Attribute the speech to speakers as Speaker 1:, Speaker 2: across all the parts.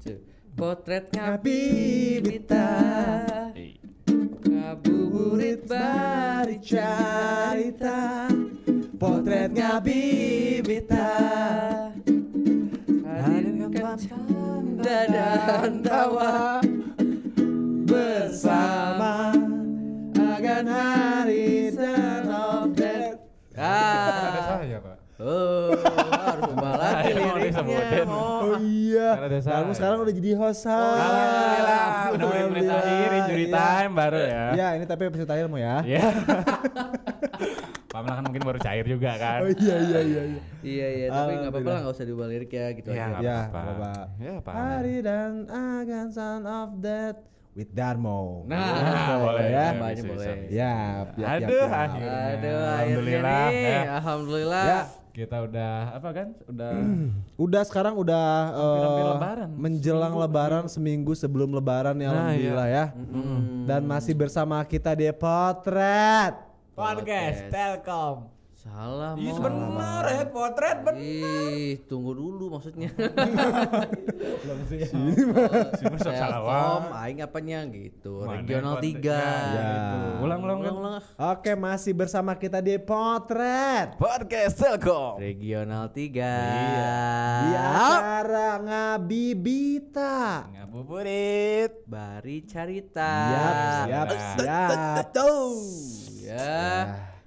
Speaker 1: Cek. Potret ngabibita Ngabuburit bari carita Potret ngabibita Hadirkan canda dan tawa Bersama Agan Haris dan Obdet
Speaker 2: Eh,
Speaker 3: Ada
Speaker 1: Ah,
Speaker 3: saya pak.
Speaker 1: oh, harus berubah lagi
Speaker 4: Emang ada sama
Speaker 1: liriknya.
Speaker 4: Obdet?
Speaker 1: Oh,
Speaker 2: Oh iya.
Speaker 4: Karena ada
Speaker 2: Kamu
Speaker 4: saya.
Speaker 2: sekarang udah jadi host.
Speaker 1: Oh,
Speaker 4: Alhamdulillah. Udah mulai menit
Speaker 2: Alhamdulillah.
Speaker 4: terakhir, injury
Speaker 2: Iya.
Speaker 4: time baru ya.
Speaker 2: Iya, ini tapi episode terakhir mau ya.
Speaker 4: Ya. Pamela kan mungkin baru cair juga kan.
Speaker 2: Oh iya iya iya iya.
Speaker 1: Iya iya, tapi nggak apa-apa lah, nggak usah diubah lirik ya gitu
Speaker 4: Iya,
Speaker 1: aja.
Speaker 4: nggak
Speaker 2: Iya,
Speaker 4: apa-apa.
Speaker 2: apa-apa.
Speaker 4: Ya, apa
Speaker 2: Hari dan agan son of death with Darmo. Iya,
Speaker 1: Nah,
Speaker 4: Ah, boleh
Speaker 2: ya.
Speaker 4: ya,
Speaker 1: Banyak
Speaker 4: bisa,
Speaker 1: boleh.
Speaker 4: bisa, bisa.
Speaker 2: Ya, ya,
Speaker 4: Aduh, akhirnya.
Speaker 1: Aduh, akhirnya
Speaker 4: Alhamdulillah,
Speaker 1: nih,
Speaker 4: ya.
Speaker 1: alhamdulillah.
Speaker 2: Ya.
Speaker 4: Kita udah apa kan? Udah
Speaker 2: Udah sekarang udah
Speaker 4: Hampir-hampir
Speaker 2: eh,
Speaker 4: lebaran.
Speaker 2: menjelang
Speaker 4: Seminggu.
Speaker 2: lebaran seminggu sebelum lebaran ya
Speaker 4: Nah,
Speaker 2: alhamdulillah ya. Dan masih bersama kita di potret.
Speaker 1: Podcast.
Speaker 3: Telkom.
Speaker 1: Salah
Speaker 3: Ih
Speaker 1: mau.
Speaker 3: bener ya potret bener.
Speaker 1: Ih, tunggu dulu maksudnya.
Speaker 4: sih masa salah
Speaker 1: Telkom, aing apanya gitu.
Speaker 4: Mana
Speaker 1: Regional
Speaker 4: konten-
Speaker 1: 3.
Speaker 4: Ya, gitu. Ulang ulang ulang.
Speaker 1: Ulang-ulang.
Speaker 2: Oke, masih bersama kita di potret.
Speaker 4: Podcast Telkom.
Speaker 1: Regional 3.
Speaker 2: Di
Speaker 1: Iya.
Speaker 2: acara ngabibita.
Speaker 4: Ngabuburit.
Speaker 1: Bari carita.
Speaker 2: Siap, siap, siap.
Speaker 1: Ya.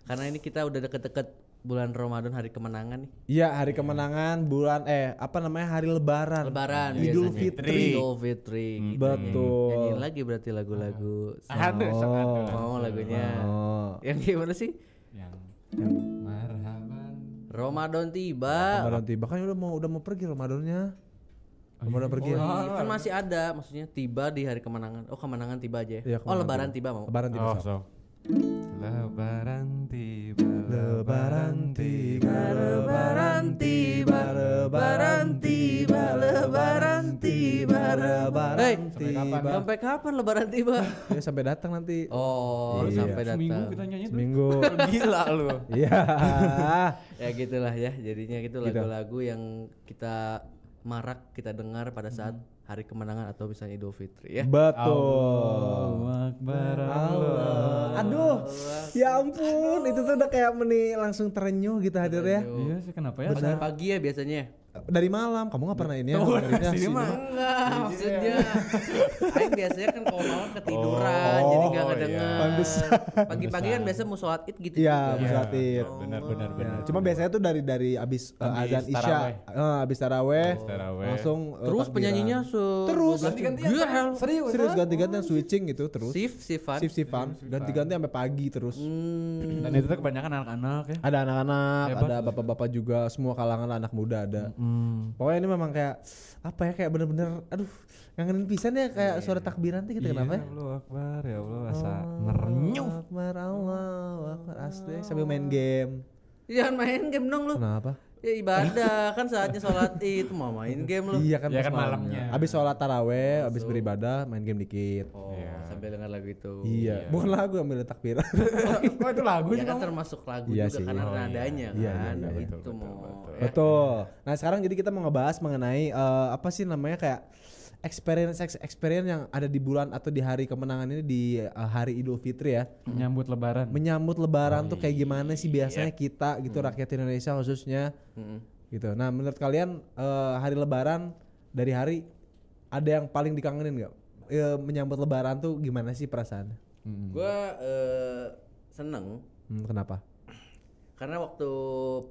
Speaker 1: Karena ini kita udah deket-deket bulan Ramadan hari kemenangan nih.
Speaker 2: Iya, hari kemenangan bulan eh apa namanya? Hari lebaran.
Speaker 1: Lebaran
Speaker 2: Idul
Speaker 1: biasanya.
Speaker 2: Fitri.
Speaker 1: Iya, Idul Fitri. gitu.
Speaker 2: Betul.
Speaker 1: Nyanyiin lagi berarti lagu-lagu.
Speaker 4: Oh. Aduh, sangat tuh.
Speaker 1: Mau lagunya.
Speaker 2: Oh.
Speaker 1: Yang gimana sih?
Speaker 4: Yang marhaban.
Speaker 1: Ramadan tiba.
Speaker 2: Ramadan tiba kan udah mau udah mau pergi Ramadannya. Ramadan pergi.
Speaker 1: Oh,
Speaker 2: ya?
Speaker 1: iya, kan masih ada, maksudnya tiba di hari kemenangan. Oh, kemenangan tiba aja. ya
Speaker 2: Iya,
Speaker 1: oh,
Speaker 2: kemenangan
Speaker 1: lebaran tiba mau.
Speaker 2: Lebaran tiba.
Speaker 4: Oh,
Speaker 2: Sob.
Speaker 4: so. Lebaran tiba.
Speaker 2: Lebaran tiba,
Speaker 1: Lebaran tiba, lebaran tiba, lebaran tiba, lebaran
Speaker 2: Hey,
Speaker 1: tiba. Sampai kapan lebaran tiba?
Speaker 2: Ya, sampai datang nanti
Speaker 1: Oh, sampai
Speaker 4: Seminggu
Speaker 1: datang.
Speaker 4: kita
Speaker 5: iya,
Speaker 4: nyanyi tuh.
Speaker 2: minggu.
Speaker 4: Gila lu.
Speaker 2: Iya.
Speaker 1: Ya gitulah ya, jadinya gitu lagu-lagu yang kita marak kita dengar pada saat
Speaker 2: Hmm.
Speaker 1: hari kemenangan atau misalnya Idul Fitri ya.
Speaker 2: Oh. Betul.
Speaker 4: Akbar
Speaker 2: Allah. Aduh, ya ampun, itu tuh udah kayak meni langsung terenyuh gitu hadir ya.
Speaker 4: Iya sih kenapa ya?
Speaker 1: Pagi-pagi ya biasanya.
Speaker 2: Dari malam, kamu nggak pernah ini ya? dengerinnya?
Speaker 4: Sini mah.
Speaker 1: Enggak, maksudnya Aing biasanya kan kalau malam ketiduran
Speaker 4: Oh,
Speaker 1: Jadi gak
Speaker 4: iya.
Speaker 1: ngedenger
Speaker 2: Pantesan.
Speaker 1: Pagi-pagi kan biasa mau sholat id gitu
Speaker 2: Iya,
Speaker 1: juga.
Speaker 2: bisa hadir.
Speaker 4: Benar benar benar.
Speaker 2: Cuma biasanya tuh dari dari abis eh,
Speaker 4: Abis
Speaker 2: azan isya,
Speaker 4: taraweh.
Speaker 2: eh, abis taraweh,
Speaker 4: Abis taraweh.
Speaker 2: langsung eh,
Speaker 1: Terus
Speaker 2: takbiran.
Speaker 1: penyanyinya se
Speaker 2: terus
Speaker 1: Gila, hell.
Speaker 3: Serius.
Speaker 2: serius ganti-gantian switching gitu terus.
Speaker 1: Sif, sifan
Speaker 2: Sif sifan ganti-ganti sampai pagi terus.
Speaker 1: Hmm,
Speaker 4: Dan itu tuh kebanyakan anak-anak ya.
Speaker 2: Ada anak-anak,
Speaker 4: Hebat.
Speaker 2: ada bapak-bapak juga, semua kalangan anak muda ada.
Speaker 5: Hmm.
Speaker 2: Pokoknya ini memang kayak apa ya kayak bener-bener aduh ngangenin pisan ya kayak suara takbiran tuh gitu kenapa ya?
Speaker 4: Allah Akbar ya Allah asa
Speaker 5: Oh.
Speaker 4: merenyuh.
Speaker 2: Allahu Akbar Allah, Akbar asli sambil main game.
Speaker 1: Jangan main game dong lu
Speaker 2: Kenapa?
Speaker 1: Ya ibadah, kan saatnya sholat id Mau main game lu
Speaker 2: Iya kan,
Speaker 4: Ya
Speaker 2: pas
Speaker 4: kan malamnya.
Speaker 2: Abis sholat taraweh, abis beribadah, main game dikit.
Speaker 1: Oh, sambil denger lagu itu
Speaker 2: Iya, bukan lagu yang milih takbiran.
Speaker 4: Kok itu lagu
Speaker 1: Ya kan termasuk lagu juga
Speaker 2: Iya sih.
Speaker 1: karena
Speaker 2: Oh,
Speaker 1: nadanya
Speaker 2: Iya,
Speaker 1: kan
Speaker 2: iya, iya,
Speaker 1: Itu mau ya.
Speaker 2: Betul. Nah sekarang jadi kita mau ngebahas mengenai eh, apa sih namanya kayak experience experience yang ada di bulan atau di hari kemenangan ini di eh, hari Idul Fitri ya.
Speaker 4: Menyambut lebaran.
Speaker 2: Menyambut Lebaran tuh kayak gimana sih biasanya
Speaker 1: iya.
Speaker 2: kita gitu
Speaker 1: Hmm.
Speaker 2: rakyat Indonesia khususnya gitu. Nah menurut kalian eh, hari Lebaran dari hari ada yang paling dikangenin nggak? Eh, menyambut Lebaran tuh gimana sih perasaannya?
Speaker 1: Gue eh, seneng
Speaker 2: Hmm, kenapa?
Speaker 1: karena waktu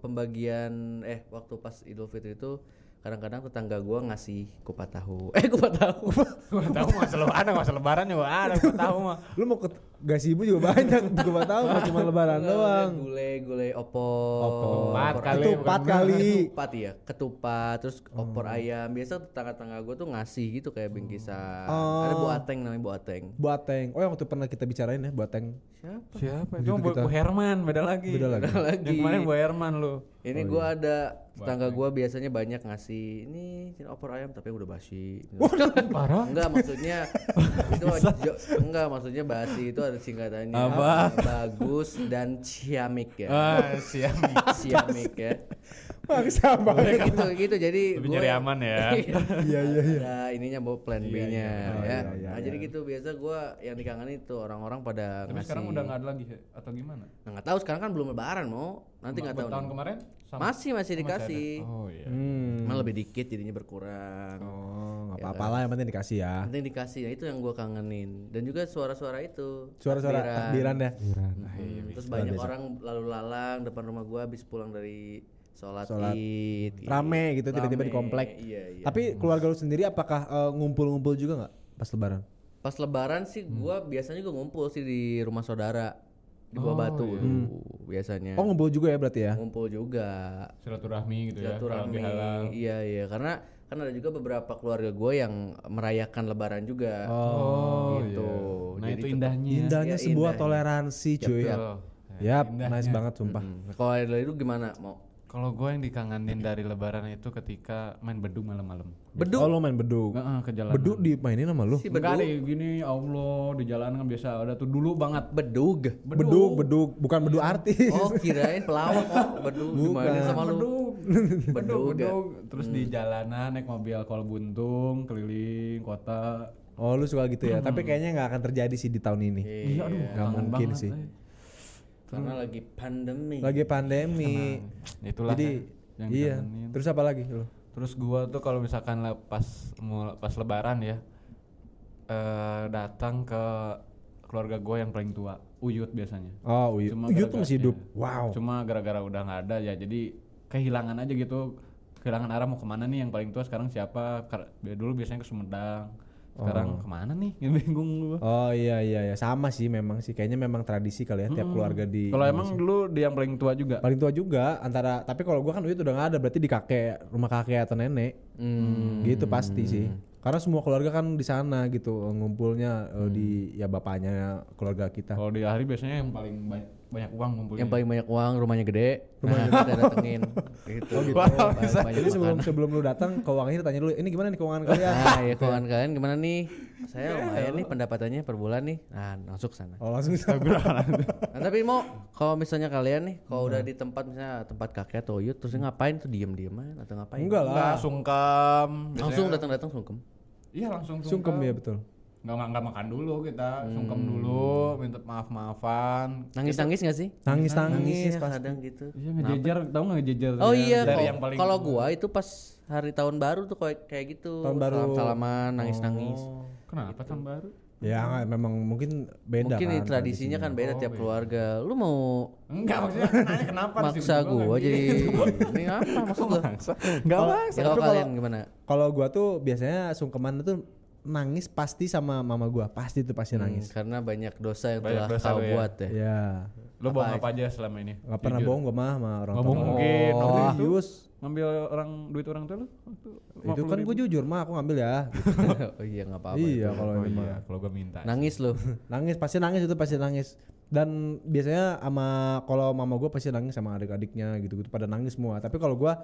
Speaker 1: pembagian eh waktu pas Idul Fitri itu kadang-kadang tetangga gua ngasih kupat tahu eh kupat tahu
Speaker 4: Gua tahu masa lebaran, masa lebaran juga ada gua tahu mah.
Speaker 2: Lu mau ke gasibu juga banyak, gue gak tahu nggak cuma Lebaran
Speaker 1: Iya,
Speaker 2: doang.
Speaker 1: gule gule opor
Speaker 4: Ketupat
Speaker 1: opor
Speaker 4: kali.
Speaker 1: ayam.
Speaker 2: Ketupat
Speaker 4: bukan
Speaker 2: kali. Hmm.
Speaker 1: ketupat ya ketupat terus opor ayam biasa tetangga-tetangga gua tuh ngasih gitu kayak bingkisan
Speaker 2: Oh.
Speaker 1: ada buateng namanya buateng
Speaker 2: Buateng. Oh yang waktu pernah kita bicarain ya Buateng.
Speaker 1: siapa
Speaker 4: Siapa? Itu Bu, Bu Herman, beda lagi.
Speaker 2: Beda lagi.
Speaker 1: lagi
Speaker 4: Yang kemarin Bu Herman lu.
Speaker 1: Ini gua ada tetangga gua biasanya banyak ngasih ini sini opor ayam tapi udah basi.
Speaker 4: Kan Parah.
Speaker 1: enggak maksudnya itu jo- enggak maksudnya basi itu ada singkatannya
Speaker 4: Apa?
Speaker 1: bagus dan ciamik ya.
Speaker 4: Ah, siap.
Speaker 1: Ciamik ya.
Speaker 2: Maksa banget.
Speaker 1: gitu gitu jadi
Speaker 4: Lebih
Speaker 1: gua-
Speaker 4: nyari aman ya.
Speaker 2: Iya iya iya.
Speaker 1: ada ininya bawa plan
Speaker 4: Iya,
Speaker 1: B-nya
Speaker 2: Oh,
Speaker 4: iya.
Speaker 1: ya.
Speaker 2: iya, iya,
Speaker 1: nah,
Speaker 2: iya.
Speaker 1: jadi gitu biasa gua yang dikangenin itu orang-orang pada
Speaker 5: Tapi
Speaker 1: ngasih.
Speaker 5: sekarang udah nggak ada lagi he? atau gimana?
Speaker 1: Nah, nggak tahu sekarang kan belum lebaran mau. Nanti
Speaker 5: Ma-
Speaker 1: nggak
Speaker 5: buat
Speaker 1: tahu.
Speaker 5: Tahun
Speaker 1: nih.
Speaker 5: kemarin sama-
Speaker 1: masih masih
Speaker 5: ada.
Speaker 1: dikasih.
Speaker 4: Oh iya.
Speaker 2: Hmm.
Speaker 1: Cuma lebih dikit jadinya berkurang.
Speaker 2: Oh, nggak apa-apa lah yang penting dikasih ya.
Speaker 1: Nanti dikasih. Nah, itu yang gua kangenin. Dan juga suara-suara itu.
Speaker 2: Suara-suara takbiran ya.
Speaker 1: Hmm, Terus
Speaker 2: iya.
Speaker 1: banyak orang lalu lalang depan rumah gua habis pulang dari sholat,
Speaker 2: Sholat.
Speaker 1: Id. Iya.
Speaker 2: Rame gitu tiba-tiba di
Speaker 1: Rame,
Speaker 2: komplek.
Speaker 1: Iya, iya.
Speaker 2: Tapi keluarga lu sendiri apakah eh, ngumpul-ngumpul juga nggak pas lebaran?
Speaker 1: Pas lebaran sih
Speaker 2: Hmm.
Speaker 1: gua biasanya gua ngumpul sih di rumah saudara di Buah Batu biasanya.
Speaker 2: iya. Hmm. Oh ngumpul juga ya berarti ya?
Speaker 1: Ngumpul juga.
Speaker 5: silaturahmi gitu ya.
Speaker 1: silaturahmi
Speaker 5: halal.
Speaker 1: iya iya karena kan ada juga beberapa keluarga gue yang merayakan lebaran juga
Speaker 5: Oh,
Speaker 1: gitu.
Speaker 5: iya. Nah,
Speaker 1: Jadi
Speaker 5: itu
Speaker 1: tetap-
Speaker 5: indahnya.
Speaker 2: Indahnya Iya,
Speaker 1: Iya,
Speaker 2: sebuah
Speaker 1: indahnya.
Speaker 2: toleransi cuy.
Speaker 1: Yap,
Speaker 5: Tuh.
Speaker 2: Yap, nice banget sumpah.
Speaker 1: Hmm, kalau dari lu gimana mau
Speaker 5: Kalau gue yang dikangenin dari lebaran itu ketika main beduk malam-malam.
Speaker 1: bedu
Speaker 2: Oh lu main beduk.
Speaker 5: Heeh, ke jalan.
Speaker 2: Beduk dimainin sama lu?
Speaker 1: si bedu
Speaker 5: Enggak deh, gini ya Allah di jalanan kan biasa ada tuh dulu banget.
Speaker 1: bedug
Speaker 2: Beduk, beduk, bukan beduk artis.
Speaker 1: oh kirain pelawak oh bedu gimana sama lu
Speaker 5: Beduk, beduk,
Speaker 1: Beduk, ya.
Speaker 5: beduk. Terus
Speaker 2: Hmm.
Speaker 5: di jalanan naik mobil kol buntung keliling kota.
Speaker 2: Oh lu suka gitu ya? Tapi kayaknya nggak akan terjadi sih di tahun ini.
Speaker 5: Iya, aduh,
Speaker 2: Nggak
Speaker 5: kangen
Speaker 2: mungkin
Speaker 5: banget,
Speaker 2: sih.
Speaker 5: eh.
Speaker 1: karena lagi pandemi
Speaker 2: Lagi pandemi.
Speaker 5: Itulah
Speaker 2: Jadi
Speaker 5: ya, yang
Speaker 2: iya.
Speaker 5: dikangenin.
Speaker 2: Terus apa lagi lu?
Speaker 5: Terus gua tuh kalau misalkan le- pas mul- pas lebaran ya eh datang ke keluarga gua yang paling tua, Uyut biasanya.
Speaker 2: Oh, Uyut. Uyut tuh
Speaker 5: gara-gara-
Speaker 2: masih hidup.
Speaker 5: iya.
Speaker 2: Wow.
Speaker 5: Cuma gara-gara udah nggak ada ya jadi kehilangan aja gitu. Kehilangan arah mau kemana nih yang paling tua sekarang siapa? Kar- bi- Dulu biasanya ke Sumedang. Sekarang kemana nih? Ya bingung gua.
Speaker 2: Oh iya iya iya sama sih memang sih kayaknya memang tradisi kali ya tiap keluarga di
Speaker 5: Kalau emang dulu dia yang paling tua juga.
Speaker 2: paling tua juga antara tapi kalau gua kan Uyut udah gak ada berarti di kakek rumah kakek atau nenek
Speaker 1: Hmm,
Speaker 2: gitu pasti sih karena semua keluarga kan di sana gitu eh, ngumpulnya eh, di
Speaker 1: Hmm.
Speaker 2: ya bapaknya keluarga kita
Speaker 1: Oh,
Speaker 5: Kalau di hari biasanya yang paling banyak, banyak uang ngumpulnya.
Speaker 1: yang paling banyak uang rumahnya gede rumahnya nah, kita datengin gitu, Banyak, banyak
Speaker 2: Oh, jadi sebelum
Speaker 1: makan.
Speaker 2: sebelum lu datang keuangannya tanya dulu ini gimana nih keuangan kalian
Speaker 1: Nah, ya kawan kalian gimana nih?
Speaker 2: Iya,
Speaker 1: Saya lumayan nih pendapatannya per bulan nih. Nah, langsung ke sana.
Speaker 2: oh langsung bisa
Speaker 1: Nah, tapi mau kalau misalnya kalian nih, kalau
Speaker 2: Iya.
Speaker 1: udah di tempat misalnya tempat kakek atau yut, terus ngapain tuh diem-dieman atau ngapain?
Speaker 2: enggak
Speaker 4: Enggak,
Speaker 2: lah
Speaker 4: sungkem.
Speaker 1: Langsung datang-datang sungkem.
Speaker 5: Iya langsung
Speaker 2: sungkem ya betul
Speaker 5: nggak ma- nggak makan dulu kita sungkem dulu minta maaf maafan
Speaker 1: Nangis-nangis nggak sih?
Speaker 2: nangis nangis
Speaker 1: ya,
Speaker 2: pas
Speaker 1: kadang gitu.
Speaker 5: iya ngejejer tahu nggak ngejejer
Speaker 1: Oh iya,
Speaker 5: dari
Speaker 1: kalau-
Speaker 5: yang paling
Speaker 1: kalau gua itu pas hari tahun baru tuh kayak kayak gitu.
Speaker 2: Tahun baru.
Speaker 1: Salam-salaman, nangis-nangis.
Speaker 5: Oh, kenapa tahun baru
Speaker 2: ya nggak, memang mungkin beda
Speaker 1: Mungkin
Speaker 2: kan
Speaker 1: ini tradisinya kan beda tiap keluarga. Lu mau
Speaker 5: enggak maksudnya nanya kenapa
Speaker 1: maksa gua jadi ini apa maksud gua?
Speaker 5: enggak
Speaker 2: Kalau-
Speaker 5: maksa
Speaker 1: Ya kalau
Speaker 2: Tapi kalau-
Speaker 1: kalian gimana?
Speaker 2: Kalau gua tuh biasanya sungkeman tuh nangis pasti sama mama gua, pasti tuh pasti nangis.
Speaker 1: Hmm, karena banyak dosa yang
Speaker 5: Banyak
Speaker 1: telah
Speaker 5: dosa
Speaker 1: kau
Speaker 5: lu ya.
Speaker 1: buat ya.
Speaker 2: Ya,
Speaker 5: lo bohong apa aja selama ini
Speaker 2: nggak pernah bohong gua mah sama
Speaker 5: nggak
Speaker 2: orang tua.
Speaker 5: bohong mungkin waktu itu
Speaker 2: Serius?
Speaker 5: ngambil orang duit orang tua lo
Speaker 2: Oh. Itu kan gua jujur mah aku ngambil ya.
Speaker 1: oh iya nggak apa-apa.
Speaker 2: iya kalau
Speaker 5: Oh,
Speaker 2: ini mah.
Speaker 5: kalau gue minta
Speaker 2: Nah.
Speaker 1: Nangis lu.
Speaker 2: Nangis pasti nangis itu pasti nangis. Dan biasanya sama kalau mama gua pasti nangis sama adik-adiknya gitu-gitu pada nangis semua. Tapi kalau gua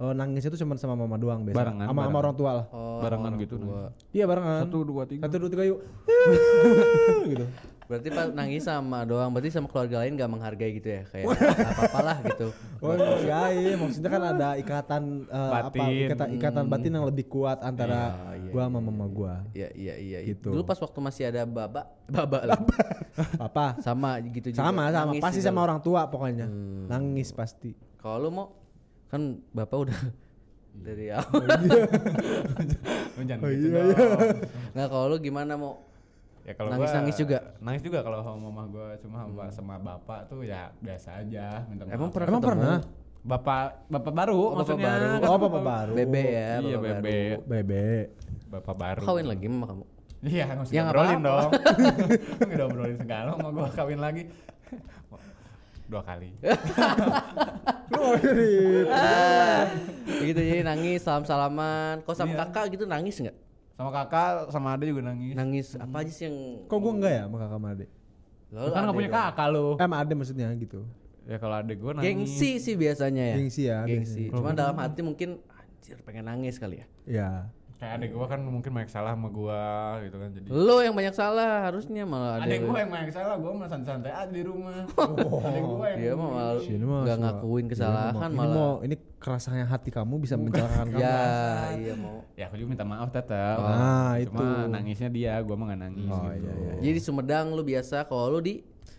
Speaker 2: eh, nangis itu cuma sama mama doang biasa.
Speaker 5: Barengan,
Speaker 2: sama sama
Speaker 5: barengan.
Speaker 2: orang tua lah.
Speaker 1: Oh,
Speaker 5: barengan
Speaker 1: orang
Speaker 5: gitu
Speaker 1: tua.
Speaker 5: nangis.
Speaker 2: Iya barengan.
Speaker 5: satu dua tiga
Speaker 2: Satu, dua tiga yuk. gitu.
Speaker 1: Berarti pas nangis sama doang, berarti sama keluarga lain nggak menghargai gitu ya kayak nggak apa-apa lah gitu.
Speaker 2: Oh enggak, iya. maksudnya kan ada ikatan eh, apa
Speaker 5: Batin.
Speaker 2: ikatan, ikatan batin yang lebih kuat antara gua sama mama gua.
Speaker 1: Iya iya iya. iya.
Speaker 2: Gitu.
Speaker 1: Dulu pas waktu masih ada baba, baba lah.
Speaker 2: Apa?
Speaker 1: sama gitu juga.
Speaker 2: Sama sama
Speaker 1: Nangis
Speaker 2: pasti
Speaker 1: juga.
Speaker 2: sama orang tua pokoknya. Nangis pasti.
Speaker 1: Kalau lu mau kan bapak udah dari
Speaker 2: Iya.
Speaker 1: awal.
Speaker 5: Lo jangan
Speaker 2: Oh
Speaker 5: gitu dong.
Speaker 1: Nggak kalau lu gimana mau?
Speaker 5: ya kalau
Speaker 1: Nangis-nangis
Speaker 5: gua-
Speaker 1: juga? Hmm.
Speaker 5: nangis juga kalau sama mama gue cuma sama, sama bapak tuh ya biasa aja minta maaf
Speaker 1: Emang pernah
Speaker 2: Emang
Speaker 1: ketemu?
Speaker 2: pernah?
Speaker 5: bapak bapak baru
Speaker 1: bapak
Speaker 5: maksudnya
Speaker 1: baru.
Speaker 5: Kan
Speaker 2: Oh, papa baru.
Speaker 1: Bebe ya,
Speaker 5: iya
Speaker 1: bapak
Speaker 5: bebe
Speaker 1: baru.
Speaker 2: Bebe.
Speaker 5: bapak baru
Speaker 1: Kawin lagi sama kamu.
Speaker 5: iya nggak
Speaker 1: Ya,
Speaker 5: usah
Speaker 1: nggak
Speaker 5: ngobrolin dong nggak ngobrolin segala mau gua kawin lagi dua kali
Speaker 1: Eh. gitu jadi nangis salam salaman kok
Speaker 2: Iya.
Speaker 1: sama kakak gitu nangis nggak
Speaker 5: sama kakak sama ade juga nangis
Speaker 1: nangis apa aja sih yang
Speaker 2: Kok gua enggak ya sama kakak sama Ade?
Speaker 1: Lalu
Speaker 5: kan nggak
Speaker 1: ada ya?
Speaker 5: punya
Speaker 1: dong.
Speaker 5: kakak lu
Speaker 2: Eh sama Ade maksudnya gitu.
Speaker 5: ya kalau ade gua nangis
Speaker 1: gengsi sih biasanya ya
Speaker 2: Gengsi ya,
Speaker 1: gengsi cuma dalam hati mungkin anjir pengen nangis kali ya
Speaker 2: Ya.
Speaker 4: Kayak adek gua kan mungkin banyak salah sama gua gitu kan
Speaker 2: Iya.
Speaker 4: jadi.
Speaker 1: Lo yang banyak salah harusnya malah ada.
Speaker 5: Adek gua yang banyak salah, gua mah santai-santai aja di rumah. Adek gua yang
Speaker 1: Dia mah Iya, malah
Speaker 2: Sini Oh, Iya, mah
Speaker 1: nggak
Speaker 2: semua-
Speaker 1: ngakuin
Speaker 2: ini
Speaker 1: kesalahan
Speaker 2: mau- ini
Speaker 1: malah.
Speaker 2: mau ini kerasanya hati kamu bisa mencelakakan kamu.
Speaker 1: Ya, iya mau.
Speaker 5: Ya aku juga minta maaf tetap. Cuma
Speaker 2: Ah, itu.
Speaker 5: nangisnya dia, gua mah nggak nangis.
Speaker 2: Oh
Speaker 5: gitu.
Speaker 2: iya iya.
Speaker 1: Jadi Sumedang lu biasa kalau lu di